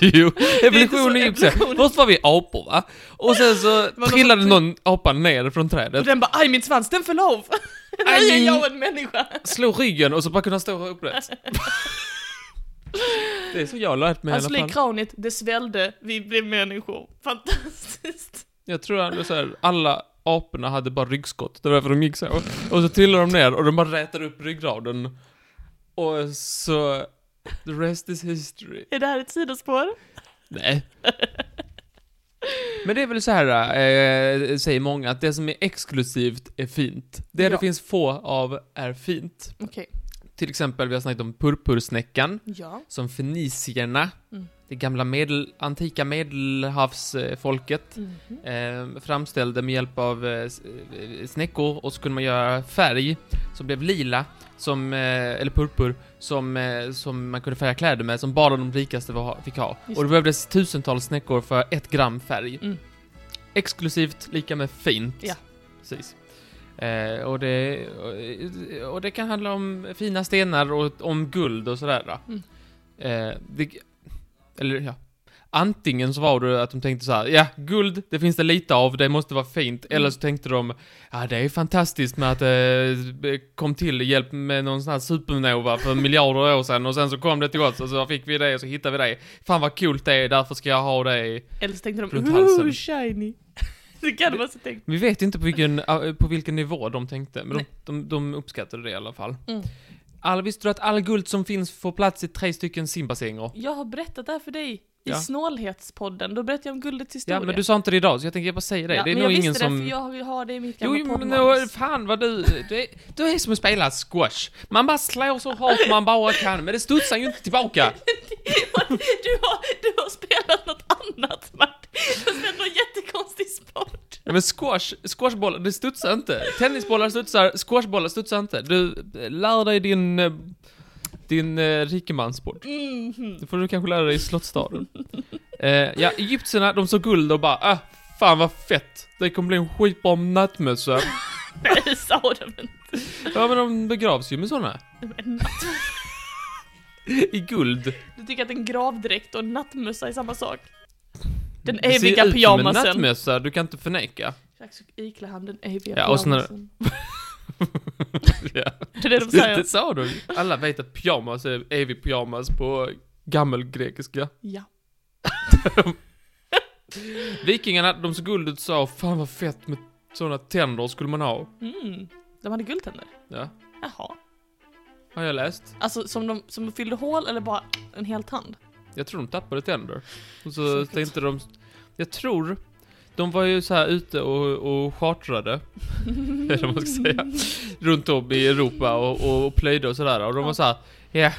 Speaker 2: Jo,
Speaker 1: så
Speaker 2: evolutionen gick så.
Speaker 1: evolution.
Speaker 2: Först var vi apor va? Och sen så
Speaker 1: någon
Speaker 2: trillade
Speaker 1: som-
Speaker 2: någon apa ner från
Speaker 1: Och (laughs)
Speaker 2: trädet,
Speaker 1: den bara, aj min svans, den föll av! (laughs) Nu är
Speaker 2: Aj.
Speaker 1: jag en människa!
Speaker 2: slog ryggen och så bara kunde han stå upprätt. Det är så jag har lärt mig i
Speaker 1: Han
Speaker 2: alla
Speaker 1: slog i
Speaker 2: fall.
Speaker 1: kraniet, Alltså, det svällde, vi blev människor. (laughs) Fantastiskt!
Speaker 2: Jag tror att så här, alla aporna hade bara ryggskott, det var därför de gick så. Och så trillade de ner och de bara rätade upp ryggraden. Och så... The rest is history.
Speaker 1: Är det här ett sidospår?
Speaker 2: Nej. Men det är väl så här, eh, säger många, att det som är exklusivt är fint. Det
Speaker 1: Ja.
Speaker 2: det finns få av är fint.
Speaker 1: Okej.
Speaker 2: Till exempel, vi har snackat om purpursnäckan,
Speaker 1: Ja.
Speaker 2: som fenicierna,
Speaker 1: Mm.
Speaker 2: det gamla medel, antika medelhavsfolket,
Speaker 1: Mhm.
Speaker 2: eh, framställde med hjälp av eh, s- eh, snäckor och så kunde man göra färg som blev lila, som, eh, eller purpur, som, eh, som man kunde färga kläder med, som bara de rikaste var, fick ha.
Speaker 1: Just
Speaker 2: och
Speaker 1: det.
Speaker 2: det behövdes tusentals snäckor för ett gram färg.
Speaker 1: Mm.
Speaker 2: Exklusivt lika med fint.
Speaker 1: Ja.
Speaker 2: Precis. Eh, och, det, och, och det kan handla om fina stenar och om guld och sådär.
Speaker 1: Mm.
Speaker 2: Eh, det, eller ja, Antingen så var det att de tänkte så här, ja, guld, det finns det lite av, det måste vara fint. Eller så tänkte de, ja, det är fantastiskt med att det kom till hjälp med någon sån här supernova för miljarder år sedan och sen så kom det till oss och så fick vi det och så hittade vi det. Fan vad coolt det är, därför ska jag ha det.
Speaker 1: Eller så tänkte de,
Speaker 2: Runt halsen.
Speaker 1: ooh, shiny! (laughs) Det kan vara så tänkt.
Speaker 2: Vi vet inte på vilken, eh, på vilken nivå de tänkte, men de, de, de uppskattade det i alla fall.
Speaker 1: Mm.
Speaker 2: All, visste du att all guld som finns får plats i tre stycken simbassänger?
Speaker 1: Jag har berättat det här för dig i
Speaker 2: Ja.
Speaker 1: snålhetspodden, då berättade jag om guldets historia.
Speaker 2: Ja, men du sa inte det idag, så jag tänker jag bara säga det.
Speaker 1: Ja,
Speaker 2: det är
Speaker 1: men
Speaker 2: nog
Speaker 1: jag
Speaker 2: ingen
Speaker 1: visste
Speaker 2: som...
Speaker 1: det, för jag vill ha det i mitt
Speaker 2: Jo,
Speaker 1: gamla
Speaker 2: jo, men
Speaker 1: poddmanus.
Speaker 2: då, fan vad du, du, är- du är som att spela squash. Man bara slår så hårt man bara kan, men det studsar ju inte tillbaka.
Speaker 1: (laughs) du, har, du har spelat något annat Martin. Du har spelat någon jättekonstig sport.
Speaker 2: Ja, Men squash, squashbollar, det studsar inte. Tennisbollar studsar, squashbollar studsar inte. Du, eh, lär dig din, eh, din eh, rikemansport.
Speaker 1: Mhm.
Speaker 2: Det får du kanske lära dig i Slottstaden. eh, ja, egyptierna, de såg guld och bara, ah, fan vad fett. Det kommer bli en skitbra nattmössa.
Speaker 1: (laughs) Nej, det sa de inte.
Speaker 2: Ja, men de begravs ju med såna.
Speaker 1: Men
Speaker 2: I guld.
Speaker 1: Du tycker att en gravdräkt och en nattmössa är samma sak? Den
Speaker 2: Det ser
Speaker 1: eviga
Speaker 2: ut som en
Speaker 1: pyjamasen.
Speaker 2: nattmössa, du kan inte förneka.
Speaker 1: Strax så iklar han den eviga
Speaker 2: Ja, och sen är det-
Speaker 1: pyjamasen.
Speaker 2: ja.
Speaker 1: (laughs) Det är det de
Speaker 2: det,
Speaker 1: säger.
Speaker 2: det sa du. Alla vet att pyjamas är evig pyjamas på gammelgrekiska.
Speaker 1: Ja.
Speaker 2: Vikingarna, de såg guldet och sa fan vad fett med sådana tänder skulle man ha.
Speaker 1: Mm. De hade guldtänder.
Speaker 2: Ja,
Speaker 1: Jaha.
Speaker 2: har jag läst.
Speaker 1: Alltså som de, som de fyllde hål eller bara en hel tand?
Speaker 2: Jag tror de tappade tänder. Och så
Speaker 1: Säkert.
Speaker 2: tänkte de, jag tror, de var ju så här ute och, och
Speaker 1: (laughs)
Speaker 2: chartrade, eller vad man ska säga, runt om i Europa och, och, och plöjde och sådär. Och de var så här, ja,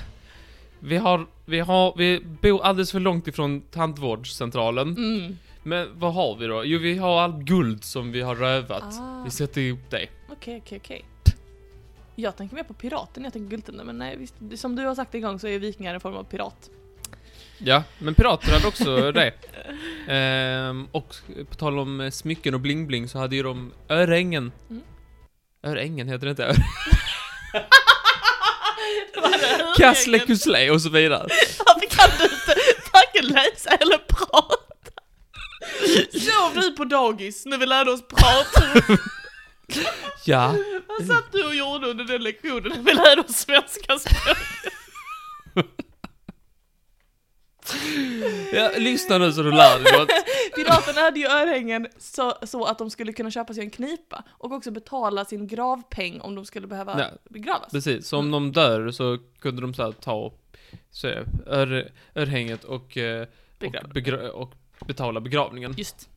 Speaker 2: vi har, vi har, vi bor alldeles för långt ifrån tandvårdscentralen.
Speaker 1: Mm.
Speaker 2: Men vad har vi då? Jo, vi har allt guld som vi har rövat.
Speaker 1: Ah.
Speaker 2: Vi sätter ihop det.
Speaker 1: Okej, okej, okej. Jag tänker mer på piraten, jag tänker guldtänder, men nej visst, det- som du har sagt en gång så är vikingar en form av pirat.
Speaker 2: Ja, men pirater hade också (laughs) det. Ehm, och på tal om eh, smycken och bling-bling så hade ju de örängen.
Speaker 1: Mm.
Speaker 2: Örängen heter det inte?
Speaker 1: Det var det.
Speaker 2: Kassle Kuslé och så vidare.
Speaker 1: (laughs) Varför kan du inte varken läsa eller prata? Sov du på dagis när vi lärde oss prata?
Speaker 2: Ja,
Speaker 1: Vad satt du och gjorde under den lektionen när vi lärde oss svenska språket?
Speaker 2: ja lyssna nu så du lär dig något.
Speaker 1: (laughs) Piraterna hade ju örhängen så, så att de skulle kunna köpa sig en knipa och också betala sin gravpeng om de skulle behöva
Speaker 2: Ja.
Speaker 1: begravas.
Speaker 2: Precis, så om de dör så kunde de så här ta så, här, ör, örhänget och, eh, och,
Speaker 1: Begrav.
Speaker 2: begra- och betala begravningen.
Speaker 1: Just,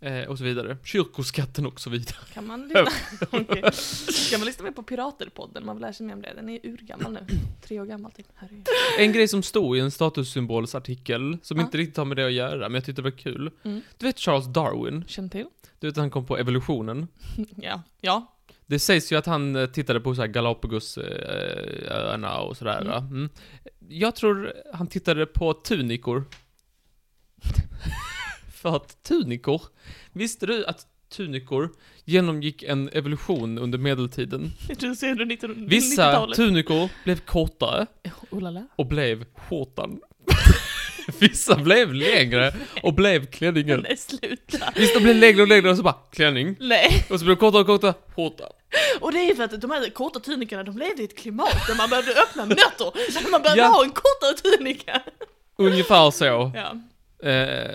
Speaker 2: Eh, och så vidare. Kyrkoskatten och så vidare.
Speaker 1: kan man lyssna? (laughs) Okej. Kan man lyssna mer på Piraterpodden? Man vill lära sig mer om det. Den är urgammal nu. Tre år gammal typ. Herregud.
Speaker 2: En grej som stod i en statussymbolsartikel, som
Speaker 1: Ja.
Speaker 2: inte riktigt har med det att göra, men jag tyckte det var kul.
Speaker 1: Mm.
Speaker 2: Du vet Charles Darwin?
Speaker 1: Känn till? (laughs)
Speaker 2: Du vet han kom på evolutionen?
Speaker 1: Ja. Ja.
Speaker 2: Det sägs ju att han eh, tittade på så här Galapagosöarna och sådär.
Speaker 1: Mm.
Speaker 2: va? Mm. Jag tror han tittade på tunikor. (laughs) För att tunikor, visste du att tunikor genomgick en evolution under medeltiden?
Speaker 1: Du ser under 1990-talet.
Speaker 2: Vissa tunikor blev kortare
Speaker 1: Oh la la.
Speaker 2: och blev skjortan. (laughs) Vissa blev längre och blev klänningen.
Speaker 1: Nej sluta.
Speaker 2: Visst, de blev längre och längre och så bara klänning.
Speaker 1: Nej.
Speaker 2: Och så blev de kortare och kortare, skjorta.
Speaker 1: Och det är för att de här korta tunikorna, de levde i ett klimat där man behövde
Speaker 2: (laughs)
Speaker 1: öppna nötter. Där man behövde
Speaker 2: Ja.
Speaker 1: ha en kortare tunika.
Speaker 2: Ungefär så.
Speaker 1: Ja.
Speaker 2: Eh,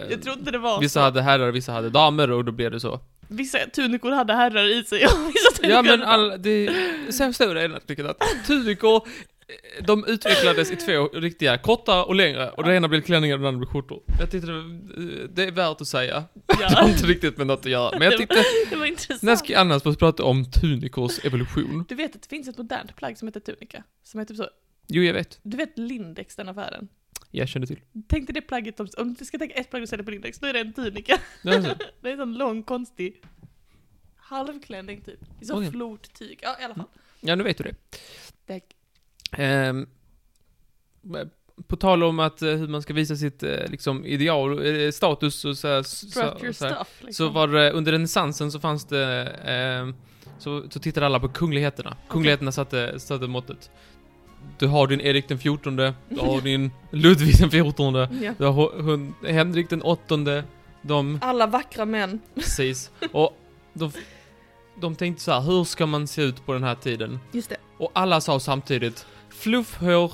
Speaker 1: Jag tror inte det var
Speaker 2: vissa
Speaker 1: så.
Speaker 2: hade herrar och vissa hade damer och då blev det så.
Speaker 1: Vissa tunikor hade herrar i sig (laughs) och vissa tunikor
Speaker 2: Ja men
Speaker 1: hade-
Speaker 2: all, det, sen stod det i den artikeln att tunikor, eh, de utvecklades i två riktiga, korta och längre. Och det ena blev klänningar och det andra blev skjortor. Jag tyckte det, var- det är värt att säga. (laughs) Det har
Speaker 1: ja.
Speaker 2: inte riktigt med något att göra. Men jag tyckte,
Speaker 1: (laughs) Det var intressant.
Speaker 2: när ska jag annars få prata om tunikors evolution?
Speaker 1: Du vet att det finns ett modernt plagg som heter tunika. Som är typ så,
Speaker 2: Jo, jag vet.
Speaker 1: du vet Lindex, den affären?
Speaker 2: Jag kände till.
Speaker 1: Tänk dig det plagget, om, om du ska tänka ett plagg du säljer på Lindex, då är det en tunika. (laughs)
Speaker 2: Det var så.
Speaker 1: Det är en sån lång konstig halvklänning typ. I sån
Speaker 2: Okej.
Speaker 1: florttyg. Ja i alla fall.
Speaker 2: Ja, nu vet du det. Mm.
Speaker 1: Det
Speaker 2: Ehm, eh, på tal om att eh, hur man ska visa sitt eh, liksom, ideal, eh, status och så, här, så,
Speaker 1: Strut your
Speaker 2: så, så, här.
Speaker 1: stuff liksom.
Speaker 2: så var det, under renässansen så fanns det, ehm, så, så tittade alla på kungligheterna. Kungligheterna satte, satte måttet. Du har din Erik den fjortonde,
Speaker 1: (laughs)
Speaker 2: du har din Ludvig den fjortonde,
Speaker 1: ja.
Speaker 2: du har Ho- Hun- Henrik den åttonde,
Speaker 1: (laughs)
Speaker 2: de
Speaker 1: Alla vackra män.
Speaker 2: Precis. Och de, de tänkte så här, hur ska man se ut på den här tiden?
Speaker 1: Just det.
Speaker 2: Och alla sa samtidigt, fluffhår,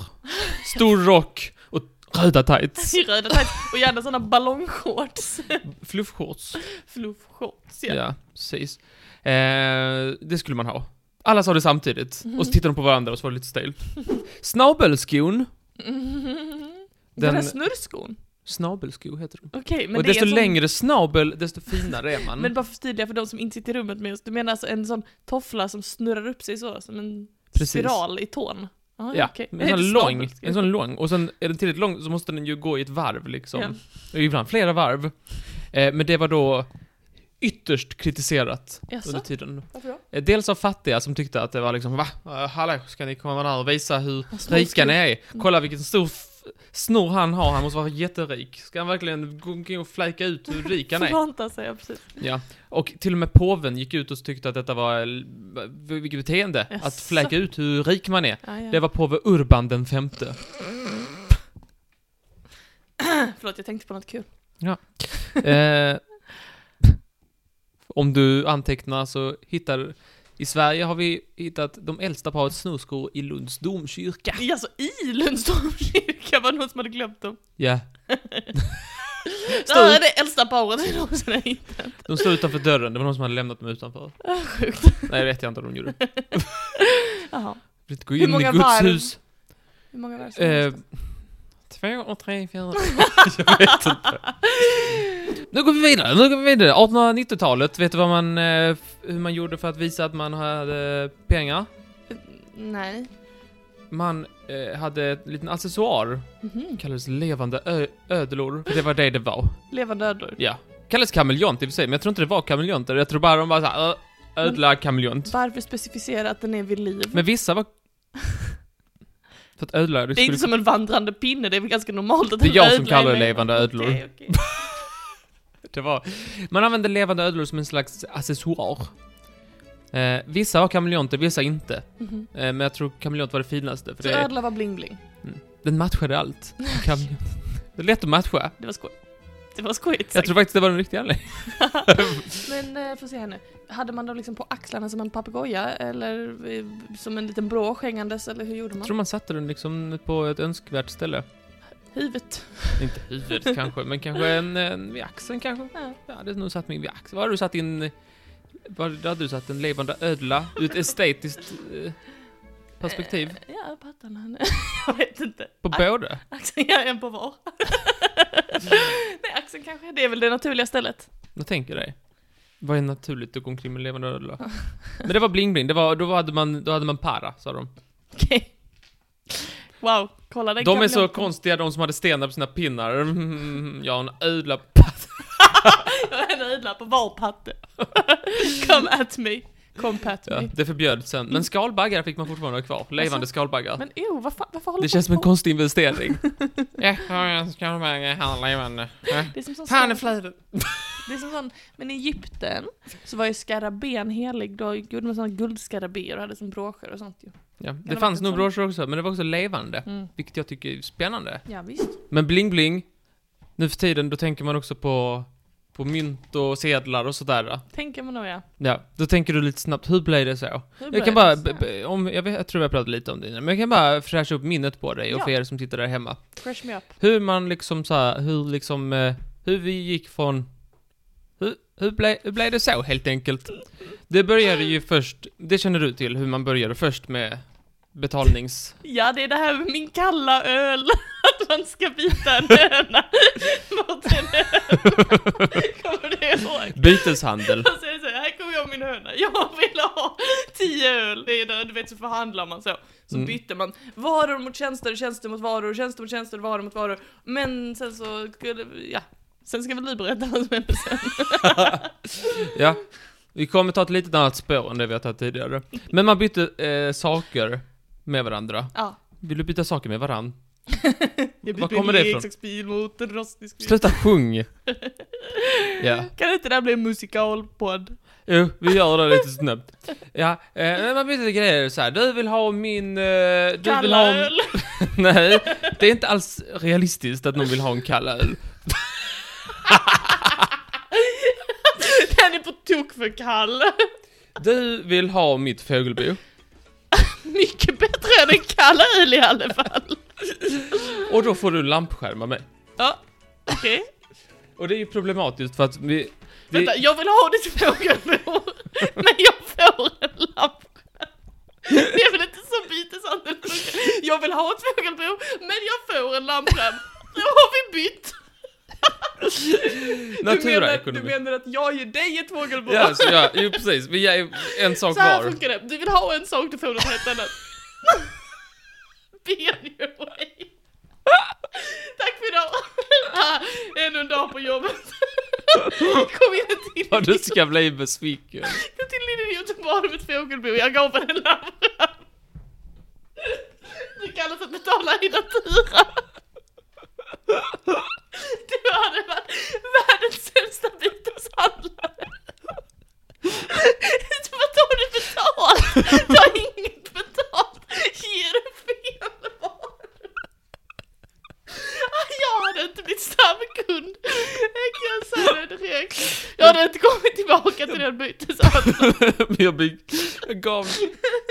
Speaker 2: stor rock och röda tights.
Speaker 1: I röda tights och gärna såna
Speaker 2: (laughs)
Speaker 1: ballongshorts.
Speaker 2: Fluffshorts.
Speaker 1: Fluffshorts (laughs) ja.
Speaker 2: Ja, precis. Eh, det skulle man ha. Alla sa det samtidigt.
Speaker 1: Mhm.
Speaker 2: Och så tittade de på varandra och så var det
Speaker 1: (laughs)
Speaker 2: lite stelt. Snabelskon.
Speaker 1: Mhm. Den
Speaker 2: Den-
Speaker 1: där snurrskon.
Speaker 2: Snabelsko heter de.
Speaker 1: Okej men
Speaker 2: och
Speaker 1: det är
Speaker 2: desto
Speaker 1: en sån...
Speaker 2: längre snabel, desto finare är man.
Speaker 1: Men bara för att förtydliga för de som inte sitter i rummet med oss. Du menar alltså en sån toffla som snurrar upp sig så, som en
Speaker 2: Precis.
Speaker 1: spiral i tån? Ah,
Speaker 2: ja,
Speaker 1: okej. (laughs)
Speaker 2: en
Speaker 1: Det
Speaker 2: sån
Speaker 1: är
Speaker 2: lång.
Speaker 1: snabelt.
Speaker 2: En sån lång. Och sen är den tillräckligt lång så måste den ju gå i ett varv liksom.
Speaker 1: Ja.
Speaker 2: Och Ibland flera varv. Eh, men det var då ytterst kritiserat
Speaker 1: Jaså?
Speaker 2: under tiden.
Speaker 1: Varför då?
Speaker 2: Eh, Dels av fattiga som tyckte att det var liksom va? Eh, Hallå, ska ni komma här och visa hur
Speaker 1: Vad stor
Speaker 2: rika ni
Speaker 1: skruv.
Speaker 2: är? Kolla vilken stor f- snor han har, han måste vara jätterik. Ska han verkligen gå omkring och fläka ut hur rik han är?
Speaker 1: Förväntar sig, ja precis.
Speaker 2: Ja. Och till och med påven gick ut och tyckte att detta var, eh, vilket beteende, att
Speaker 1: Jaså?
Speaker 2: fläka ut hur rik man är.
Speaker 1: Ja, Ah, ja.
Speaker 2: Det var påve Urban
Speaker 1: (laughs)
Speaker 2: den femte.
Speaker 1: Förlåt, jag tänkte på något kul.
Speaker 2: Eh, om du antecknar så hittar... I Sverige har vi hittat de äldsta paret snorskor i Lunds domkyrka.
Speaker 1: I, alltså i Lunds domkyrka var det någon som hade glömt dem. Ah,
Speaker 2: Ja,
Speaker 1: Det här är det äldsta paret (laughs) jag någonsin har hittat.
Speaker 2: de står utanför dörren. Det var någon som hade lämnat dem utanför.
Speaker 1: Ah, Sjukt.
Speaker 2: Nej, det vet jag inte om de gjorde.
Speaker 1: Jaha.
Speaker 2: Vi Gå
Speaker 1: Hur
Speaker 2: in i
Speaker 1: många
Speaker 2: Guds
Speaker 1: varv?
Speaker 2: hus.
Speaker 1: Hur många var det som
Speaker 2: Eh, två och tre, fyra. (laughs) jag vet inte. Nu går vi vidare, nu går vi vidare. 1890-talet, vet du vad man, eh, f- hur man gjorde för att visa att man hade pengar?
Speaker 1: Nej.
Speaker 2: Man eh, hade en liten accessoar,
Speaker 1: Mhm.
Speaker 2: kallades levande ö- ödlor. Det var det det var,
Speaker 1: Levande ödlor.
Speaker 2: ja. Kallades kameleont i och för sig, men jag tror inte det var kameleonter. Jag tror bara de var såhär, ö- ödla kameleont.
Speaker 1: Varför specificera att den är vid liv?
Speaker 2: Men vissa var... För att ödlor, det
Speaker 1: det är inte
Speaker 2: skulle...
Speaker 1: som en vandrande pinne, det är väl ganska normalt att
Speaker 2: Det är
Speaker 1: en
Speaker 2: jag som
Speaker 1: ödla
Speaker 2: kallar det
Speaker 1: med.
Speaker 2: levande ödlor.
Speaker 1: Okej, okej.
Speaker 2: (laughs) Det var... Man använde levande ödlor som en slags accessoar. Eh, vissa har kameleonter, vissa inte.
Speaker 1: Mhm.
Speaker 2: Eh, men jag tror kameleont var det finaste, för
Speaker 1: Så
Speaker 2: det,
Speaker 1: ödla var bling-bling.
Speaker 2: den
Speaker 1: (laughs)
Speaker 2: matchade allt. Kameleont. Det är lätt att matcha.
Speaker 1: Det var skoj. Det var skojigt
Speaker 2: Jag
Speaker 1: sagt. (laughs)
Speaker 2: tror faktiskt det var den riktiga anledningen.
Speaker 1: Men eh, får se här nu. Hade man dem liksom på axlarna som en papegoja eller eh, som en liten brås hängandes eller hur gjorde
Speaker 2: Jag
Speaker 1: man?
Speaker 2: tror man satte den liksom på ett önskvärt ställe.
Speaker 1: Huvudet.
Speaker 2: Inte
Speaker 1: (laughs)
Speaker 2: huvudet kanske, men kanske en, en vid axeln kanske.
Speaker 1: Ja.
Speaker 2: Jag hade nog satt min vid axeln. Var hade du satt in... Var där hade du satt en levande ödla ur ett estetiskt eh, perspektiv?
Speaker 1: Eh, Ja, pattarna. (laughs) jag vet inte.
Speaker 2: På
Speaker 1: Ax-
Speaker 2: båda?
Speaker 1: Axeln, ja, en på var. (laughs) Nej, axeln kanske. Det är väl det naturliga stället.
Speaker 2: Jag tänker dig. Vad är naturligt att gå omkring med levande ödla? Men det var bling-bling, det var, då, hade man, då hade man para, sa de.
Speaker 1: Okej. Wow, kolla den
Speaker 2: De är
Speaker 1: kan
Speaker 2: så
Speaker 1: bli-
Speaker 2: konstiga, de som hade stenar på sina pinnar. (laughs) Mm, jag har en ödla på
Speaker 1: Jag har (laughs) en ödla på var patte. (laughs) Come at me. Come pat
Speaker 2: ja,
Speaker 1: me.
Speaker 2: Det förbjöds sen. Men skalbaggar fick man fortfarande ha kvar. Levande skalbaggar.
Speaker 1: Men oh, varför, varför håller
Speaker 2: Det
Speaker 1: folk
Speaker 2: känns som en
Speaker 1: på?
Speaker 2: konstig investering. Jag har en skalbagge, han är levande. Ja.
Speaker 1: Det är som sån
Speaker 2: Han är
Speaker 1: skarab-
Speaker 2: flöden.
Speaker 1: Det är som sån, men i Egypten så var ju skarabén helig, då gjorde man såna guldskarabéer och hade som broscher och sånt ju.
Speaker 2: Ja, det
Speaker 1: de
Speaker 2: fanns
Speaker 1: inte
Speaker 2: nog
Speaker 1: så?
Speaker 2: broscher också, men det var också levande.
Speaker 1: Mm.
Speaker 2: Vilket jag tycker är spännande.
Speaker 1: Ja visst.
Speaker 2: Men bling-bling, nu för tiden, då tänker man också på, på mynt och sedlar och sådär.
Speaker 1: Tänker man nog ja.
Speaker 2: Ja, då tänker du lite snabbt, hur blev det så?
Speaker 1: Hur
Speaker 2: Jag
Speaker 1: började
Speaker 2: kan bara, b-
Speaker 1: det?
Speaker 2: b- om, jag, vet, jag tror jag pratade lite om det innan, men jag kan bara fräscha upp minnet på dig och
Speaker 1: Ja.
Speaker 2: för er som tittar där hemma.
Speaker 1: Fresh me up.
Speaker 2: Hur man liksom så här, hur liksom, eh, hur vi gick från, hur, hur, ble, hur blev det så helt enkelt? Det började ju först, det känner du till, hur man började först med betalnings...
Speaker 1: Ja, det är det här med min kalla öl. (laughs) Att man ska byta en höna (laughs) mot en öl. (laughs) Kommer du ihåg?
Speaker 2: Byteshandel.
Speaker 1: Och så är det så här, här kommer jag och min höna, jag vill ha tio öl. Det är där, du vet så förhandlar man så. Så
Speaker 2: Mm.
Speaker 1: bytte man varor mot tjänster, tjänster mot varor, tjänster mot tjänster, varor mot varor. Men sen så skulle, ja. Sen ska väl du berätta vad som hände sen.
Speaker 2: Ja. Vi kommer ta ett litet annat spår än det vi har tagit tidigare. Men man bytte eh, saker med varandra.
Speaker 1: Ja.
Speaker 2: Vill du byta saker med varandra?
Speaker 1: Jag
Speaker 2: Var kommer det ifrån?
Speaker 1: bil mot en rostig bil.
Speaker 2: Sluta sjung! Ja.
Speaker 1: Kan inte det här bli en musikalpodd?
Speaker 2: Jo, vi gör det lite snabbt. Ja, eh, men man byter grejer så här. Du vill ha min... Eh, du vill ha...
Speaker 1: Kalla öl! (laughs)
Speaker 2: Nej, det är inte alls realistiskt att någon vill ha en kall öl.
Speaker 1: Den är på tok för kall. (laughs)
Speaker 2: Du vill ha mitt fågelbo.
Speaker 1: Mycket bättre än en kall öl i alla fall.
Speaker 2: Och då får du en lampskärm av mig.
Speaker 1: Ja, okej.
Speaker 2: Och det är ju problematiskt för att vi... vi
Speaker 1: Vänta, jag vill ha ditt fågelbo,
Speaker 2: (laughs)
Speaker 1: men jag får en lapp. Det är väl inte så byteshandel funkar? Jag vill ha ett fågelbo, men jag får en lampskärm. Då har vi bytt! du, menar, du
Speaker 2: naturaekonomi.
Speaker 1: menar att jag ger dig ett fågelbo?
Speaker 2: Ja, så ja, jo precis. Vi är en sak
Speaker 1: så här
Speaker 2: var.
Speaker 1: funkar det, du vill ha en sak, du får något helt annat. Be on your way. Tack för idag! Ah, Ännu en dag på jobbet. Kom in en till
Speaker 2: Vad du ska bli besviken.
Speaker 1: Jag till lille Göteborg med ett fågelbo, jag gav henne en lapp. Det kallas att betala i natura. Du hade varit världens sämsta byteshandlare. Inte Vad tar du betalt? Ta inget betalt, ger du fel varor. Jag hade inte blivit snabb kund. Jag kan säga. Jag hade inte kommit tillbaka till den bytesrundan.
Speaker 2: Men jag, blir, jag gav...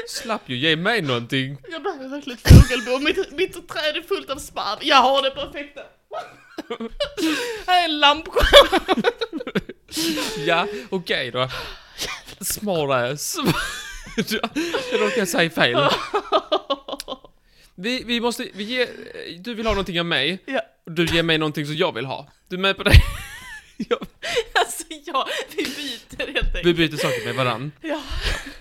Speaker 2: Slapp ju ge mig någonting.
Speaker 1: Jag behöver verkligen ett fågelbo. Mitt, mitt träd är fullt av sparv. Jag har det perfekta. Här är en lampskärm.
Speaker 2: Ja, okej då. Smart ass. Jag råkade säga fel. Vi, vi måste, vi ger, du vill ha någonting av mig.
Speaker 1: Ja.
Speaker 2: Och du ger mig någonting som jag vill ha. Du är med på det? Ja,
Speaker 1: Alltså ja, vi byter helt
Speaker 2: vi
Speaker 1: enkelt.
Speaker 2: byter saker med varann.
Speaker 1: Ja.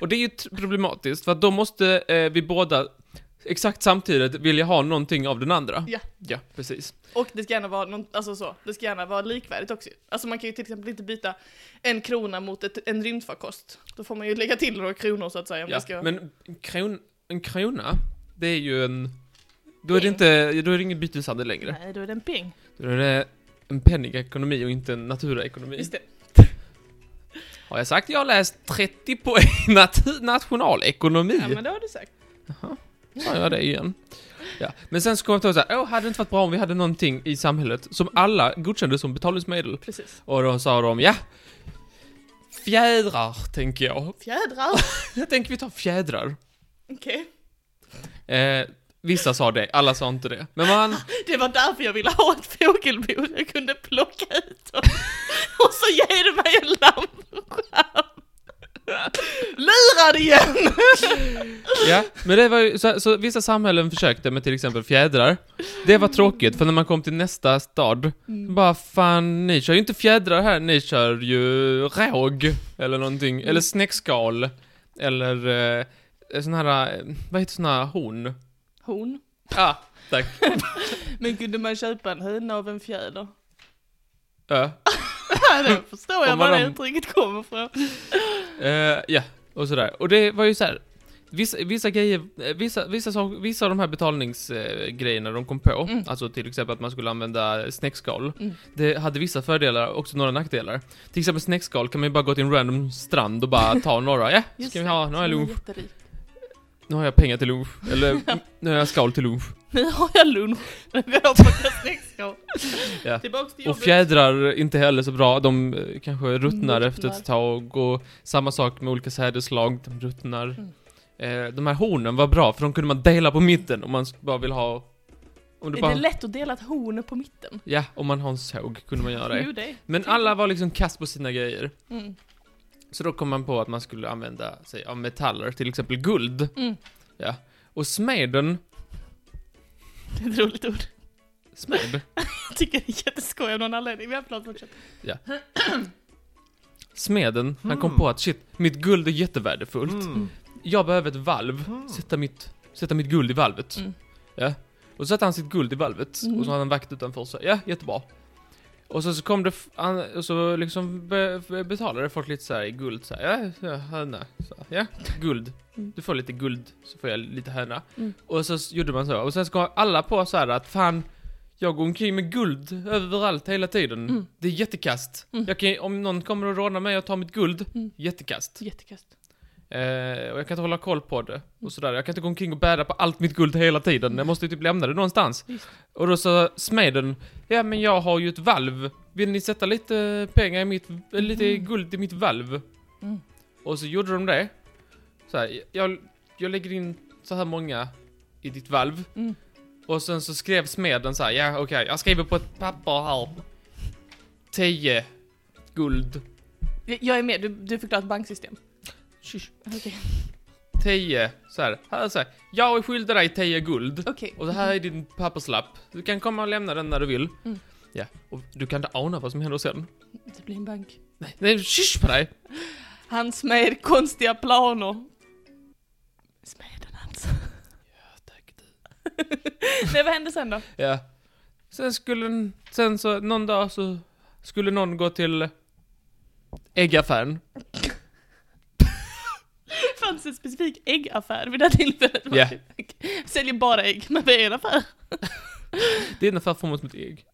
Speaker 2: Och det är ju tr- problematiskt, för att då måste eh, vi båda exakt samtidigt vilja ha någonting av den andra.
Speaker 1: Ja.
Speaker 2: Ja, precis.
Speaker 1: Och det ska gärna vara någon, alltså så, det ska gärna vara likvärdigt också. Alltså man kan ju till exempel inte byta en krona mot ett, en rymdfarkost. Då får man ju lägga till några kronor så att säga om
Speaker 2: Ja.
Speaker 1: det ska...
Speaker 2: Men en, kron, en krona, det är ju en... Då är
Speaker 1: Peng.
Speaker 2: det inte, då är det ingen byteshandel längre.
Speaker 1: Nej, då är det en ping.
Speaker 2: Då är det en penningekonomi och inte en naturaekonomi.
Speaker 1: Just det.
Speaker 2: Har jag sagt jag har läst 30 poäng nat- nationalekonomi?
Speaker 1: Ja, men det har du sagt.
Speaker 2: Sa jag det igen? Ja. Men sen så kom jag på såhär, åh, hade det inte varit bra om vi hade någonting i samhället som alla godkände som betalningsmedel?
Speaker 1: Precis.
Speaker 2: Och då sa de, ja, fjädrar tänker jag. (laughs)
Speaker 1: Fjädrar! (laughs)
Speaker 2: Jag tänker vi tar fjädrar.
Speaker 1: Okej.
Speaker 2: Eh, vissa sa det, alla sa inte det. Men man,
Speaker 1: Det var därför jag ville ha ett fågelbo, så jag kunde plocka ut dem. Och så ger du mig en lampskärm. Lurad igen!
Speaker 2: Ja, men det var ju, så, så vissa samhällen försökte med till exempel fjädrar. Det var tråkigt, för när man kom till nästa stad, bara fan, ni kör ju inte fjädrar här, ni kör ju råg, eller någonting, eller snäckskal, eller eh, sån här, eh, vad heter sån här horn?
Speaker 1: Hon.
Speaker 2: Ah, tack.
Speaker 1: Men kunde man köpa en höna av en fjäder?
Speaker 2: Ja,
Speaker 1: Ja, det förstår jag
Speaker 2: Om man
Speaker 1: var det
Speaker 2: am-
Speaker 1: uttrycket kommer ifrån.
Speaker 2: eh, ja, och sådär. Och det var ju så här. Vissa, vissa grejer, eh, vissa, vissa, saker- vissa av de här betalningsgrejerna de kom på,
Speaker 1: Mm.
Speaker 2: alltså till exempel att man skulle använda snäckskal,
Speaker 1: Mm.
Speaker 2: det hade vissa fördelar och också några nackdelar. Till exempel snäckskal kan man ju bara gå till en random strand och bara ta några, ja,
Speaker 1: Just
Speaker 2: ska vi
Speaker 1: det, Mm.
Speaker 2: ha, nu
Speaker 1: så
Speaker 2: har jag
Speaker 1: man är
Speaker 2: lunch,
Speaker 1: jätterik.
Speaker 2: nu har jag pengar till lunch,
Speaker 1: (laughs)
Speaker 2: eller nu har jag skal till lunch.
Speaker 1: Nu har jag lunch, nu går jag och plockar snäckskal.
Speaker 2: Ja.
Speaker 1: Tillbaks till
Speaker 2: Och
Speaker 1: jobbet.
Speaker 2: fjädrar inte heller så bra, de eh, kanske ruttnar efter ett
Speaker 1: Ruttnar.
Speaker 2: tag och samma sak med olika sädeslag, de ruttnar.
Speaker 1: Mm.
Speaker 2: Eh, de här hornen var bra för de kunde man dela på mitten om man bara vill ha... Om du
Speaker 1: Är
Speaker 2: bara,
Speaker 1: det lätt att dela ett horn på mitten?
Speaker 2: ja, om man har en såg kunde man göra det.
Speaker 1: Jo, det.
Speaker 2: Men alla var liksom kast på sina grejer.
Speaker 1: Mm.
Speaker 2: Så då kom man på att man skulle använda sig av metaller, till exempel guld.
Speaker 1: Mm.
Speaker 2: Ja. Och smeden,
Speaker 1: Det är ett roligt ord.
Speaker 2: smed,
Speaker 1: Jag tycker det är jätteskoj av någon anledning. Vi har pratat om det.
Speaker 2: smeden, han kom
Speaker 3: Mm.
Speaker 2: på att shit, mitt guld är jättevärdefullt.
Speaker 3: Mm.
Speaker 2: Jag behöver ett valv,
Speaker 3: Mm.
Speaker 2: sätta, mitt, sätta mitt guld i valvet.
Speaker 1: Mm.
Speaker 2: Ja. Och så satte han sitt guld i valvet,
Speaker 1: Mm.
Speaker 2: och så hade han vakt utanför sig. Ja, jättebra. Och så, så kom det, f- han, och så liksom be, be- betalade folk lite så här i guld så här, ja, ja, höna. Så, här, ja, guld.
Speaker 1: Mm.
Speaker 2: Du får lite guld, så får jag lite höna.
Speaker 1: Mm.
Speaker 2: Och så s- gjorde man så, och sen så kom alla på så här att fan, jag går omkring med guld överallt hela tiden.
Speaker 1: Mm.
Speaker 2: Det är jättekast.
Speaker 1: Mm.
Speaker 2: Jag kan, om någon kommer och rånar mig och tar mitt guld,
Speaker 1: Mm.
Speaker 2: jättekast.
Speaker 1: Jättekast.
Speaker 2: Eh, och jag kan inte hålla koll på det. Och sådär. Jag kan inte gå omkring och bära på allt mitt guld hela tiden. Jag måste ju typ lämna det någonstans.
Speaker 1: Visst.
Speaker 2: Och då sa smeden, ja men jag har ju ett valv. Vill ni sätta lite pengar i mitt, eh, lite
Speaker 1: Mm.
Speaker 2: guld i mitt valv?
Speaker 1: Mm.
Speaker 2: Och så gjorde de det. Så här, jag, jag lägger in så här många i ditt valv.
Speaker 1: Mm.
Speaker 2: Och sen så skrev smeden så här, ja okej, jag skriver på ett papper här. 10 guld.
Speaker 1: Jag jag är med, du, du förklarar ett banksystem.
Speaker 2: Tjush.
Speaker 1: Okej.
Speaker 2: 10, så här, här så här. Jag är skyldig dig 10 guld.
Speaker 1: Okej.
Speaker 2: Och det här är din papperslapp. Du kan komma och lämna den när du vill.
Speaker 1: Mm.
Speaker 2: Ja, och du kan inte ana vad som händer sen.
Speaker 1: Det blir en bank.
Speaker 2: Nej, nej, shush på dig!
Speaker 1: Han smed konstiga planer. Smeden alltså. (laughs) Nej, vad hände sen då?
Speaker 2: Ja. Sen skulle, en- sen så, någon dag så skulle någon gå till äggaffären.
Speaker 1: Det fanns en specifik äggaffär vid det här tillfället.
Speaker 2: Ja.
Speaker 1: Säljer bara ägg, men det är en affär.
Speaker 2: Det är en affär format som ett ägg.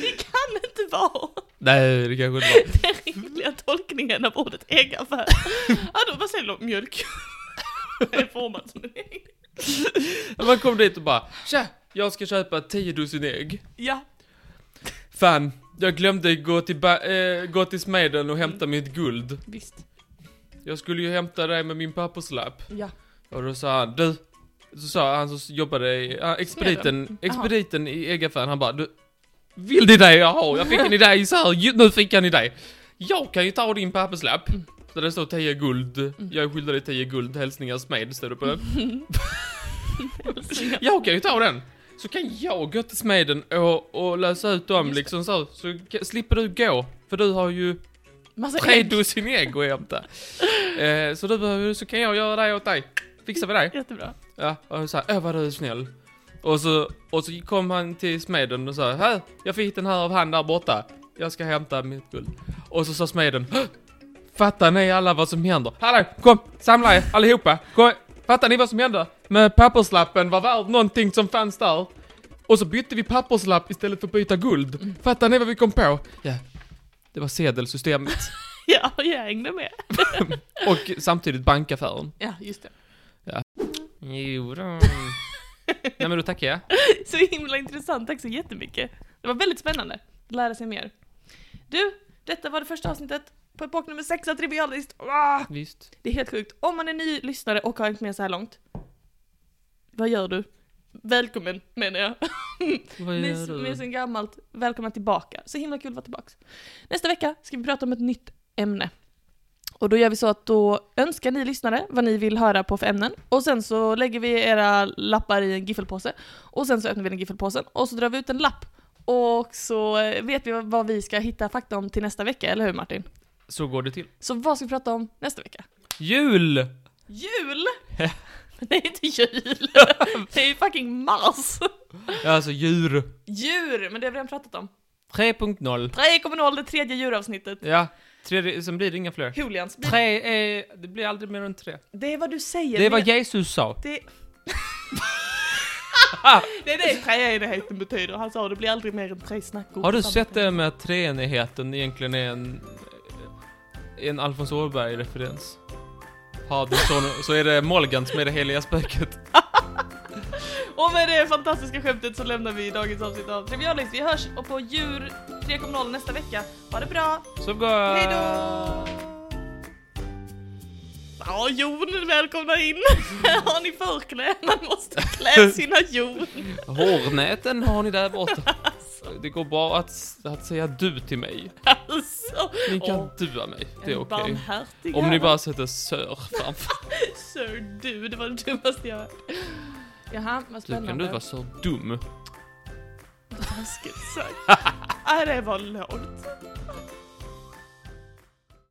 Speaker 1: Det kan inte vara
Speaker 2: Nej, det kanske inte var.
Speaker 1: den rimliga tolkningen av ordet äggaffär. Ja, då, vad säljer de? Mjölk. Det är format som en ägg.
Speaker 2: Man kom dit och bara, tja, jag ska köpa 10 dussin ägg.
Speaker 1: Ja.
Speaker 2: Fan, jag glömde gå till, ba- eh, gå till smeden och hämta mitt guld.
Speaker 1: Visst.
Speaker 2: Jag skulle ju hämta det med min papperslapp.
Speaker 1: Ja.
Speaker 2: Och då sa han, du. Så sa han som jobbade i, ah, expediten,
Speaker 1: Smeden.
Speaker 2: expediten i äggaffären, han bara, du. Vill ni det jag har? Jag fick en idé så här, ju- nu fick han idé. Jag kan ju ta din papperslapp.
Speaker 1: Mm.
Speaker 2: Där det står 10 guld. Jag är skyldig dig 10 guld, hälsningar smed, står det
Speaker 1: Mm.
Speaker 2: på den. Jag kan ju ta den. Så kan jag gå till smeden och, och lösa ut dem
Speaker 1: Just det.
Speaker 2: liksom så, så k- slipper du gå. För du har ju
Speaker 1: Massa
Speaker 2: tre
Speaker 1: ägg.
Speaker 2: dussin ägg att hämta. Eh, så du behöver, så kan jag göra det åt dig. Fixar vi det?
Speaker 1: Jättebra.
Speaker 2: Ja, och han sa åh vad du är snäll. Och så, och så kom han till smeden och sa, här, jag fick den här av han där borta. Jag ska hämta mitt guld. Och så sa smeden, "Hå! fattar ni alla vad som händer? Hallå, kom, samla er allihopa. Kom, fattar ni vad som händer? Med papperslappen var värd någonting som fanns där. Och så bytte vi papperslapp istället för att byta guld. Fattar ni vad vi kom på? Ja, det var sedelsystemet.
Speaker 1: Ja, jag hängde med.
Speaker 2: och samtidigt bankaffären.
Speaker 1: Ja, just det.
Speaker 2: Jo (laughs) då. Nej men då tackar jag.
Speaker 1: Så himla intressant, tack så jättemycket. Det var väldigt spännande. Lära sig mer. Du, detta var det första avsnittet på epok nummer 6 av Trivialist. Ah!
Speaker 2: Visst.
Speaker 1: Det är helt sjukt. Om man är ny lyssnare och har hängt med så här långt, vad gör du? Välkommen, menar jag.
Speaker 2: Vad
Speaker 1: Ni som är sen gammalt, välkomna tillbaka. Så himla kul att vara tillbaka. Nästa vecka ska vi prata om ett nytt ämne. Och då gör vi så att då önskar ni lyssnare vad ni vill höra på för ämnen. Och sen så lägger vi era lappar i en giffelpåse. Och sen så öppnar vi den giffelpåsen och så drar vi ut en lapp. Och så eh, vet vi vad vi ska hitta fakta om till nästa vecka, eller hur Martin?
Speaker 2: Så går det till.
Speaker 1: Så vad ska vi prata om nästa vecka?
Speaker 2: Jul!
Speaker 1: Jul! Men (laughs) det är inte jul! (laughs) Det är ju fucking mars!
Speaker 2: Alltså djur.
Speaker 1: Djur, men det har vi redan pratat om.
Speaker 2: 3.0.
Speaker 1: 3.0, det tredje djuravsnittet.
Speaker 2: Ja. Tre, sen blir det inga fler.
Speaker 1: Julians. Det,
Speaker 2: Tre är... Det blir aldrig mer än tre.
Speaker 1: det är vad du säger.
Speaker 2: Det är vad Jesus sa. (laughs)
Speaker 1: det... det är det träenigheten betyder. Han sa det blir aldrig mer än tre snackord.
Speaker 2: Har du sett det med att treenigheten egentligen är en... En Alfons Åberg-referens? Har du sån, så är det Molgan som är det heliga spöket.
Speaker 1: Och med det fantastiska skämtet så lämnar vi dagens avsnitt av Trivialist. Vi hörs och på djur 3.0 nästa vecka. Ha det bra!
Speaker 2: Så går...
Speaker 1: Hej då! Ja, Jon, välkomna in! (laughs) Har ni förkläde? Man måste klä sina Jon.
Speaker 2: Hårnäten har ni där borta. Det går bra att, att säga du till mig.
Speaker 1: Alltså,
Speaker 2: Ni kan
Speaker 1: Åh,
Speaker 2: dua mig. Det är
Speaker 1: en
Speaker 2: okej.
Speaker 1: barmhärtig
Speaker 2: Om ni
Speaker 1: herre.
Speaker 2: bara sätter sör framför.
Speaker 1: Sir du, det var det dummaste jag hört. Jaha, vad
Speaker 2: Du
Speaker 1: spännande.
Speaker 2: kan du
Speaker 1: (laughs)
Speaker 2: vara så dum.
Speaker 1: Äh, Taskigt sagt. Nej, det var lågt.